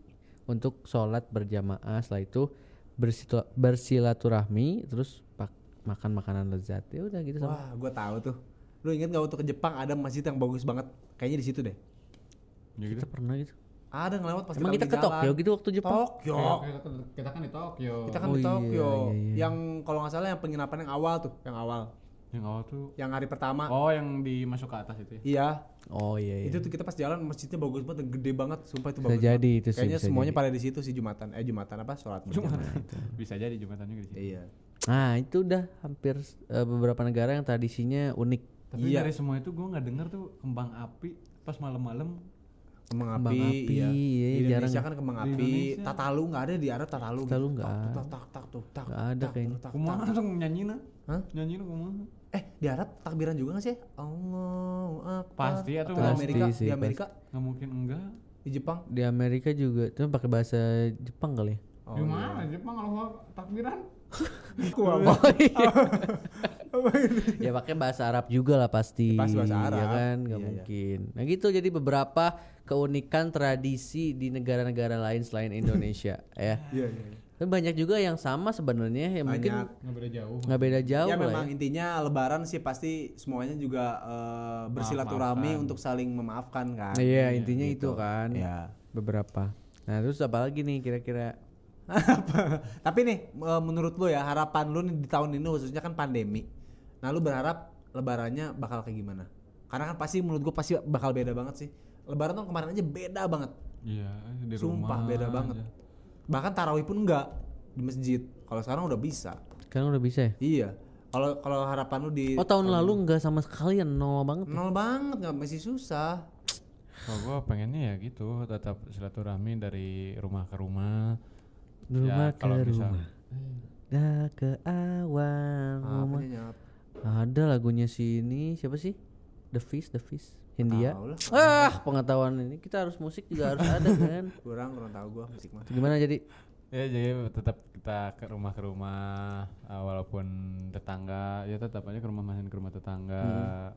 Speaker 1: untuk sholat berjamaah. Setelah itu bersitu- bersilaturahmi, terus pak- makan makanan lezat. Ya udah gitu. sama.
Speaker 3: Wah, gue tahu tuh. Lu inget gak waktu ke Jepang ada masjid yang bagus banget? Kayaknya di situ deh.
Speaker 1: Kita pernah gitu.
Speaker 3: Ada ngelewat pas
Speaker 1: Emang
Speaker 3: lagi
Speaker 1: kita ke
Speaker 3: jalan.
Speaker 1: Tokyo gitu waktu Jepang?
Speaker 3: Tokyo.
Speaker 5: Kita kan di Tokyo.
Speaker 3: Kita kan
Speaker 1: Oh
Speaker 3: di
Speaker 1: iya,
Speaker 3: Tokyo.
Speaker 1: iya, iya.
Speaker 3: Yang kalau nggak salah yang penginapan yang awal tuh, yang awal,
Speaker 5: Yang awal tuh.
Speaker 3: yang hari pertama.
Speaker 5: Oh, yang dimasuk ke atas itu ya.
Speaker 3: Iya,
Speaker 1: Oh iya. iya.
Speaker 3: itu tuh kita pas jalan masjidnya bagus banget, dan gede banget, sumpah itu
Speaker 1: Bisa
Speaker 3: bagus.
Speaker 1: jadi
Speaker 3: banget.
Speaker 1: itu sih,
Speaker 3: Kayaknya
Speaker 1: bisa
Speaker 3: semuanya
Speaker 1: jadi.
Speaker 3: pada di situ sih Jumatan. Eh Jumatan apa? Sholat Jumatan.
Speaker 5: Bisa jadi Jumatan juga di sini.
Speaker 3: Iya.
Speaker 1: Nah, itu udah hampir eh, beberapa negara yang tradisinya unik.
Speaker 5: Tapi
Speaker 3: Iya.
Speaker 5: dari semua itu gue nggak denger tuh kembang api pas malam-malam.
Speaker 3: Kembang api,
Speaker 1: Kembang api, iya,
Speaker 3: iya. Di Indonesia
Speaker 1: jarang.
Speaker 3: kan kembang
Speaker 5: Di
Speaker 3: api,
Speaker 5: Indonesia.
Speaker 3: tatalu nggak ada di Arab tatalu.
Speaker 1: Tatalu
Speaker 3: gitu.
Speaker 1: nggak
Speaker 3: Tak,
Speaker 1: ada.
Speaker 3: Tak tak tak tuh, tak.
Speaker 1: Nggak ada
Speaker 3: tak,
Speaker 1: kayaknya.
Speaker 3: tak, tak,
Speaker 5: Kumaha
Speaker 3: tak.
Speaker 5: langsung nyanyiin
Speaker 3: Hah?
Speaker 5: Nyanyiin kumaha?
Speaker 3: Eh, di Arab takbiran juga nggak sih? Allahu Akbar.
Speaker 5: Pasti ya tuh.
Speaker 3: Atau di
Speaker 1: Pasti
Speaker 3: Amerika,
Speaker 1: sih,
Speaker 3: di Amerika,
Speaker 5: Nggak mungkin enggak.
Speaker 3: di Jepang.
Speaker 1: Di Amerika juga, cuma pakai bahasa Jepang kali ya.
Speaker 3: Oh,
Speaker 5: Gimana Jepang kalau gua takbiran?
Speaker 1: Oh, iya. ya pakai bahasa Arab juga lah pasti.
Speaker 3: Pasti bahasa Arab.
Speaker 1: Ya kan, nggak
Speaker 3: Iya, iya.
Speaker 1: mungkin. Nah gitu jadi beberapa keunikan tradisi di negara-negara lain selain Indonesia ya.
Speaker 3: Iya, iya. iya.
Speaker 1: Tapi banyak juga yang sama sebenarnya yang mungkin
Speaker 3: Banyak.
Speaker 5: Nggak beda jauh.
Speaker 1: nggak beda jauh
Speaker 3: ya
Speaker 1: lah.
Speaker 3: memang
Speaker 1: ya.
Speaker 3: intinya lebaran sih pasti semuanya juga eh, bersilaturahmi untuk saling memaafkan kan.
Speaker 1: Nah, Iya intinya itu kan.
Speaker 3: Iya.
Speaker 1: Beberapa. Nah terus apa lagi nih kira-kira?
Speaker 3: Apa? Tapi nih eh, menurut lu ya harapan lu nih di tahun ini khususnya kan pandemi. Nah lu berharap lebarannya bakal kayak gimana? Karena kan pasti menurut gua pasti bakal beda banget sih. Lebaran tahun kemarin aja beda banget.
Speaker 5: Iya, di rumah
Speaker 3: Sumpah beda
Speaker 5: aja.
Speaker 3: banget. Bahkan tarawih pun enggak di masjid. Kalau sekarang udah bisa.
Speaker 1: Kan udah bisa ya?
Speaker 3: Iya. Kalau kalau harapan lu di
Speaker 1: Oh tahun lalu nggak sama sekali ya, nol banget.
Speaker 3: nol banget nggak masih susah.
Speaker 5: Kalau gue pengennya ya gitu, tetap silaturahmi dari rumah ke rumah.
Speaker 1: Rumah ke
Speaker 5: kalau misal-
Speaker 1: rumah. Dah ke awal. rumah
Speaker 3: Apanya nyap?
Speaker 1: Ada lagunya si ini siapa sih? The Fish, The Fish, Hindia.
Speaker 3: Tahu lah.
Speaker 1: Ah, pengetahuan ini kita harus musik juga harus ada kan.
Speaker 3: Kurang kurang tahu gua musik mah.
Speaker 1: Itu Gimana jadi?
Speaker 5: Ya jadi tetap kita ke rumah ke rumah, eh, walaupun tetangga, ya tetap aja ke rumah masing ke rumah tetangga.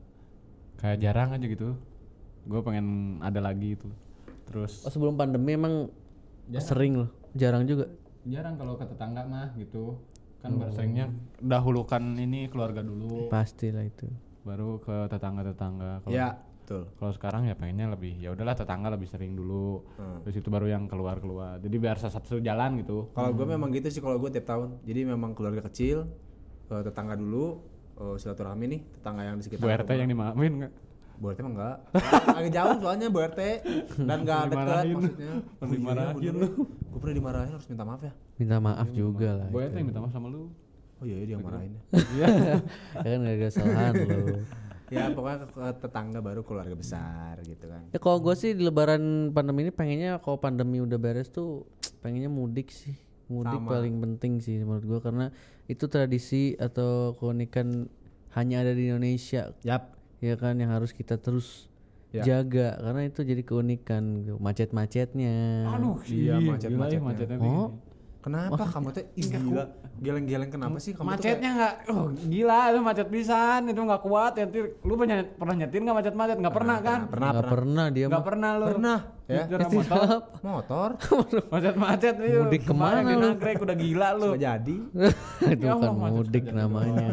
Speaker 5: Kayak jarang aja gitu. Gue pengen ada lagi itu. Terus
Speaker 1: Oh, sebelum pandemi emang sering loh, jarang juga.
Speaker 5: jarang kalau ke tetangga mah gitu. Kan baru seringnya dahulukan ini keluarga dulu,
Speaker 1: Pasti lah itu.
Speaker 5: baru ke tetangga-tetangga. Kalau
Speaker 3: Ya, betul.
Speaker 5: Kalau sekarang ya pengennya lebih ya udahlah tetangga lebih sering dulu.
Speaker 3: Hmm.
Speaker 5: Terus itu baru yang keluar-keluar. Jadi biar satu jalan gitu.
Speaker 3: Kalau gue memang gitu sih kalau gue tiap tahun. Jadi memang keluarga kecil, eh, tetangga dulu, eh, silaturahmi nih, tetangga yang di sekitar.
Speaker 5: Bu RT yang dimaafin enggak?
Speaker 3: Bu RT mah enggak. Agak jauh soalnya Bu RT dan enggak dekat
Speaker 5: Dimarahin.
Speaker 3: maksudnya. Oh
Speaker 5: Pernah dimarahin lu.
Speaker 3: Gue pernah dimarahin harus minta maaf ya.
Speaker 1: Minta maaf juga lah.
Speaker 5: Bu RT yang minta maaf sama lu.
Speaker 3: Oh iya, iya dia yang marahin.
Speaker 1: ya kan gak ada kesalahan loh.
Speaker 3: ya pokoknya ke, ke tetangga baru keluarga besar gitu kan.
Speaker 1: Ya kalau gue sih di lebaran pandemi ini pengennya kalau pandemi udah beres tuh pengennya mudik sih. Mudik paling penting sih menurut gue karena itu tradisi atau keunikan hanya ada di Indonesia.
Speaker 3: Yap.
Speaker 1: ya kan yang harus kita terus
Speaker 5: Ya.
Speaker 1: jaga karena itu jadi keunikan gitu. macet-macetnya
Speaker 5: Aduh,
Speaker 3: Iya,
Speaker 5: ih,
Speaker 3: macet-
Speaker 5: gila ya,
Speaker 3: macetnya.
Speaker 5: macetnya.
Speaker 1: Oh.
Speaker 3: Kenapa kamu tuh ih, gila geleng-geleng kenapa sih kamu tuh
Speaker 5: Macetnya enggak oh, gila itu macet pisan, itu enggak kuat nyetir. Lu pernah pernah nyetir enggak macet-macet? Enggak pernah kan?
Speaker 3: kayak- pernah
Speaker 1: nggak
Speaker 3: pernah
Speaker 1: pernah dia
Speaker 5: Enggak
Speaker 1: mah
Speaker 5: pernah lu.
Speaker 3: Pernah, ya.
Speaker 5: Nyetir sama motor.
Speaker 3: motor
Speaker 5: Macet-macet itu.
Speaker 1: Mudik kemana
Speaker 5: Kemarin di
Speaker 1: lu?
Speaker 5: Nagrek udah gila lu.
Speaker 3: nggak jadi.
Speaker 1: itu
Speaker 5: Ya Allah,
Speaker 1: bukan
Speaker 5: macet
Speaker 1: mudik
Speaker 5: aja
Speaker 1: namanya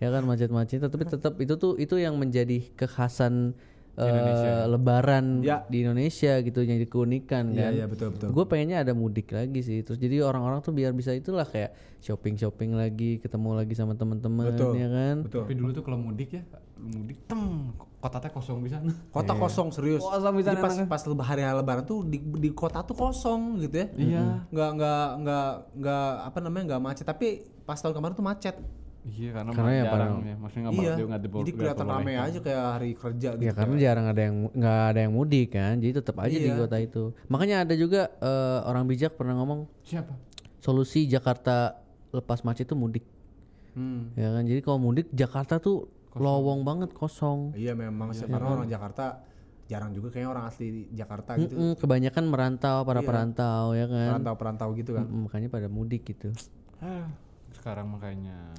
Speaker 1: ya kan macet-macet tapi tetap itu tuh itu yang menjadi kekhasan eh, lebaran
Speaker 3: Ya.
Speaker 1: di Indonesia gitu yang jadi keunikan
Speaker 3: Iya
Speaker 1: kan
Speaker 3: iya betul betul.
Speaker 1: gue pengennya ada mudik lagi sih terus jadi orang-orang tuh biar bisa itulah kayak shopping shopping lagi ketemu lagi sama teman-teman
Speaker 3: Betul.
Speaker 1: ya kan
Speaker 3: Betul.
Speaker 5: Tapi dulu tuh kalau mudik ya, lu mudik teng kotaknya kosong bisa.
Speaker 3: Kota kosong serius.
Speaker 5: Iya. Kosong bisa
Speaker 3: Jadi pas pas leba- hari lebaran tuh di, di kota tuh kosong gitu ya. Iya. Nggak nggak nggak nggak apa namanya nggak macet tapi pas tahun kemarin tuh macet.
Speaker 5: Iya karena,
Speaker 1: Karena ya
Speaker 5: jarang ya, maksudnya nggak
Speaker 3: iya.
Speaker 5: bakal nggak dibawa-
Speaker 3: Jadi
Speaker 5: nggak
Speaker 3: kelihatan
Speaker 5: dibawa
Speaker 3: rame
Speaker 5: naik.
Speaker 3: aja kayak hari kerja gitu.
Speaker 2: Iya.
Speaker 1: Ya karena jarang ada yang nggak ada yang mudik kan, jadi tetap aja di
Speaker 3: Iya.
Speaker 1: kota itu. Makanya ada juga eh, orang bijak pernah ngomong
Speaker 5: Siapa?
Speaker 1: solusi Jakarta lepas macet itu mudik.
Speaker 3: Hmm.
Speaker 1: Ya kan, jadi kalau mudik Jakarta tuh lowong banget kosong.
Speaker 5: Iya,
Speaker 3: Iya memang sih karena orang Jakarta jarang juga kayaknya orang asli di Jakarta gitu. Iya.
Speaker 1: Mm-mm, kebanyakan merantau para perantau ya kan
Speaker 3: Perantau-perantau gitu kan.
Speaker 1: Mm-mm, makanya pada mudik gitu
Speaker 5: Hah, sekarang makanya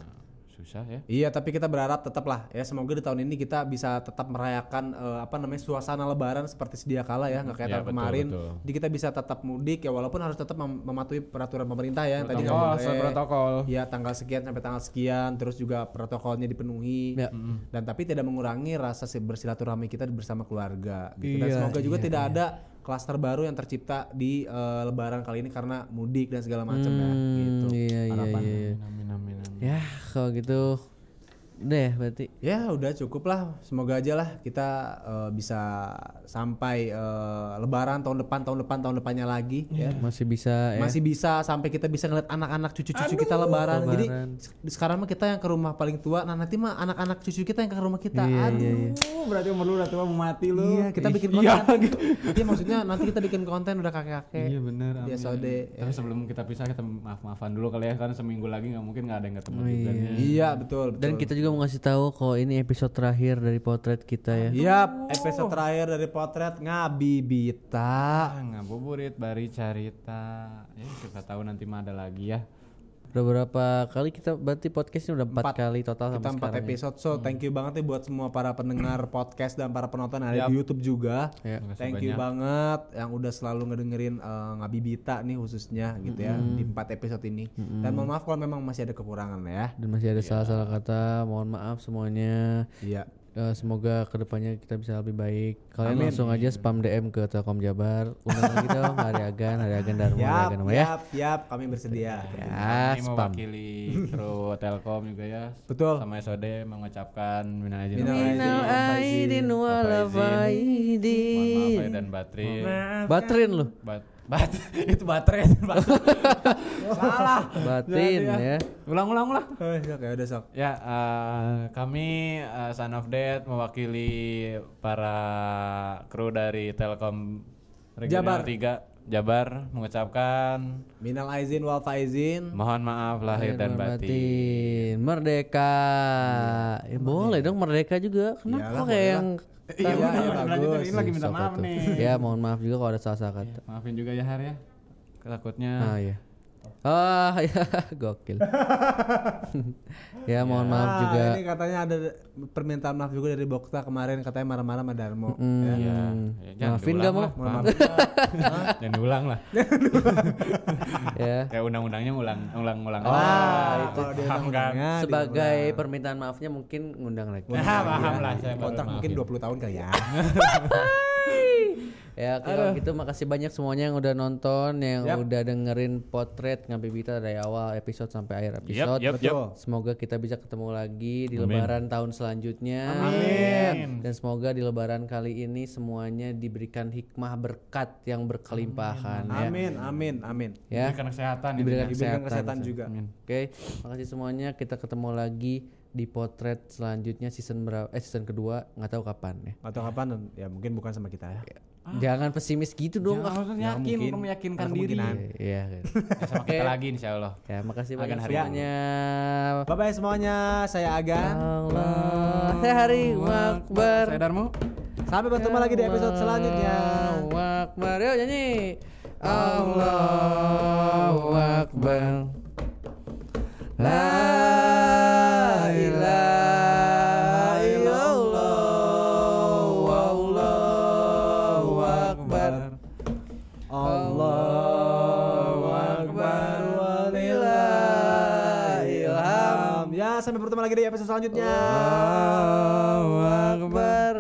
Speaker 5: susah ya
Speaker 3: Iya, tapi kita berharap tetaplah ya semoga di tahun ini kita bisa tetap merayakan eh, apa namanya suasana lebaran seperti sedia kala ya, nggak kayak
Speaker 5: Iya,
Speaker 3: tahun
Speaker 5: betul,
Speaker 3: kemarin.
Speaker 5: betul.
Speaker 3: Jadi kita bisa tetap mudik ya walaupun harus tetap mem- mematuhi peraturan pemerintah ya. Tadi
Speaker 1: Oh,
Speaker 3: nggak
Speaker 5: protokol Oh,
Speaker 3: boleh-
Speaker 5: sesuai protokol
Speaker 3: Ya tanggal sekian sampai tanggal sekian terus juga protokolnya dipenuhi
Speaker 2: Iya.
Speaker 1: Ya.
Speaker 3: dan tapi tidak mengurangi rasa si- bersilaturahmi kita bersama keluarga gitu. dan
Speaker 2: Iya,
Speaker 3: semoga juga
Speaker 2: iya,
Speaker 3: tidak ada klaster baru yang tercipta di eh, lebaran kali ini karena mudik dan segala macam ya gitu.
Speaker 1: Hmm, iya iya
Speaker 3: harapannya.
Speaker 1: iya iya.
Speaker 5: Amin, amin, amin.
Speaker 1: ya kalau gitu deh berarti
Speaker 3: Ya udah cukup lah. Semoga aja lah kita eh, bisa sampai eh, Lebaran tahun depan, tahun depan, tahun depannya lagi. Ya.
Speaker 1: masih bisa ya
Speaker 3: Masih bisa sampai kita bisa ngeliat anak-anak cucu-cucu kita Lebaran. Jadi
Speaker 1: Lebaran.
Speaker 3: se- sekarang mah kita yang ke rumah paling tua. Nah nanti mah anak-anak cucu kita yang ke rumah kita.
Speaker 1: Iya,
Speaker 3: Aduh.
Speaker 1: iya, iya.
Speaker 4: Uh, berarti umur lu udah tua mau mati lu.
Speaker 3: Iya, kita bikin konten. Iya, maksudnya nanti kita bikin konten udah kakek-kakek.
Speaker 5: Iya bener. amin.
Speaker 3: Di SOD, ya.
Speaker 5: Tapi sebelum kita pisah kita maaf maafan dulu kali ya karena seminggu lagi nggak mungkin nggak ada yang ketemu juga. nih.
Speaker 3: Iya, betul, betul.
Speaker 1: dan kita juga mau ngasih tahu kalau ini episode terakhir dari potret kita
Speaker 3: Iya.
Speaker 1: ya
Speaker 3: Yap, episode terakhir dari potret ngabibita.
Speaker 5: Ah ngabuburit bari carita. Ya kita tahu nanti mah ada lagi ya.
Speaker 1: udah berapa kali kita berarti podcastnya udah empat
Speaker 3: Empat.
Speaker 1: kali total
Speaker 3: kita
Speaker 1: sampai
Speaker 3: empat
Speaker 1: sekarang ya.
Speaker 3: episode so thank you banget nih buat semua para pendengar podcast dan para penonton yang ada di YouTube juga
Speaker 1: Ya.
Speaker 5: Makasih
Speaker 3: thank you banget yang udah selalu ngedengerin eh, ngabibita nih khususnya gitu ya di empat episode ini dan mohon maaf kalau memang masih ada kekurangan ya
Speaker 1: dan masih ada salah-salah kata mohon maaf semuanya
Speaker 3: iya
Speaker 1: Eh, semoga kedepannya kita bisa lebih baik. Kalian langsung aja spam DM ke Telkom Jabar. Undang lagi dong Hari Agan, Hari Agan Dharma, Hari
Speaker 3: yap
Speaker 1: Agan Dharma ya.
Speaker 3: yap yap kami bersedia
Speaker 5: Iya.
Speaker 1: Ya,
Speaker 5: Ini
Speaker 1: spam.
Speaker 5: mewakili kru Telkom juga ya.
Speaker 3: Betul.
Speaker 5: Sama SOD mengucapkan minal aidin
Speaker 3: Minal
Speaker 5: wal faizin.
Speaker 3: aidin.
Speaker 1: Minal aidin wal
Speaker 5: Bapak Mohon maaf ya
Speaker 1: faidin.
Speaker 5: dan baterai.
Speaker 1: Baterin lu.
Speaker 5: Bat, bat, itu baterai. Salah.
Speaker 1: Batin ya.
Speaker 5: Ulang-ulang lah.
Speaker 3: Eh, oke udah sok
Speaker 5: Ya, eh, kami eh, Son of Death mewakili para kru dari Telkom Regional
Speaker 3: Jabar.
Speaker 5: 3 Jabar mengucapkan
Speaker 3: minal aizin wal
Speaker 1: Hmm.
Speaker 3: faizin
Speaker 5: mohon maaf lahir
Speaker 1: Iya,
Speaker 5: dan batin.
Speaker 1: Batin. Merdeka. Ya, boleh dong merdeka juga. Kenapa kok kayak yang
Speaker 5: Iya,
Speaker 3: Iya,
Speaker 5: bener,
Speaker 3: iya,
Speaker 5: bener.
Speaker 3: bagus.
Speaker 5: Lanjutin, ini lagi minta
Speaker 1: Sok
Speaker 5: maaf
Speaker 1: atuh.
Speaker 5: nih.
Speaker 1: Ya, mohon maaf juga kalau ada salah-salah kata.
Speaker 5: Maafin juga ya Har ya. Takutnya
Speaker 1: Ah ya. Ah ya, gokil. ya mohon maaf
Speaker 3: Ah,
Speaker 1: juga.
Speaker 3: ini katanya ada permintaan maaf juga dari Bokta kemarin katanya marah-marah sama Darmo
Speaker 1: Hmm,
Speaker 5: ya, ya, jangan
Speaker 1: Maafin
Speaker 5: diulang
Speaker 1: gak mau?
Speaker 5: lah, maaf. jangan diulang lah.
Speaker 1: Ya.
Speaker 5: Kayak undang-undangnya ulang ulang ulang.
Speaker 1: Oh,
Speaker 3: Ah, itu dia
Speaker 5: paham kan?
Speaker 3: undang-undangnya
Speaker 1: Sebagai permintaan maafnya mungkin ngundang lagi.
Speaker 5: Nah, paham lah saya. baru
Speaker 3: kontrak mungkin
Speaker 5: maafin.
Speaker 3: 20 tahun kali ya
Speaker 1: ya oke, kalau gitu makasih banyak semuanya yang udah nonton, yang udah dengerin potret ngabibita dari awal episode sampai akhir
Speaker 5: Yep,
Speaker 1: episode.
Speaker 5: yep, yep.
Speaker 1: Semoga kita bisa ketemu lagi di lebaran tahun selanjutnya.
Speaker 5: Amin.
Speaker 1: Dan semoga di lebaran kali ini semuanya diberikan hikmah berkat yang berkelimpahan ya.
Speaker 3: amin amin amin
Speaker 1: Ya.
Speaker 5: Diberikan kesehatan
Speaker 1: Diberikan
Speaker 5: intinya.
Speaker 3: diberikan
Speaker 1: Kesehatan,
Speaker 3: kesehatan
Speaker 1: kesehatan.
Speaker 3: juga
Speaker 1: Oke, makasih semuanya. Kita ketemu lagi di potret selanjutnya season berapa? Eh season kedua nggak tahu kapan ya.
Speaker 3: atau kapan ya mungkin bukan sama kita ya
Speaker 1: Jangan pesimis gitu dong.
Speaker 5: Jangan
Speaker 1: ah.
Speaker 5: langsung yakin,
Speaker 3: mungkin.
Speaker 5: perlu meyakinkan
Speaker 3: Ada
Speaker 5: diri.
Speaker 3: kemungkinan.
Speaker 1: Iya. kan.
Speaker 5: Ya, sama kita lagi insya Allah.
Speaker 1: Ya, makasih banyak
Speaker 5: Agan hari
Speaker 1: semuanya.
Speaker 3: bye bye semuanya saya Agan
Speaker 1: Allah, saya hari Akbar.
Speaker 5: Saya Darmo.
Speaker 3: sampai bertemu lagi di episode selanjutnya
Speaker 1: Allahu Akbar. Yuk nyanyi. Allahu Akbar. La ilaha illallah. Allahu Akbar. Allahu Akbar. Walillahilham.
Speaker 3: ya sampai bertemu lagi di episode selanjutnya
Speaker 1: Allahu Akbar.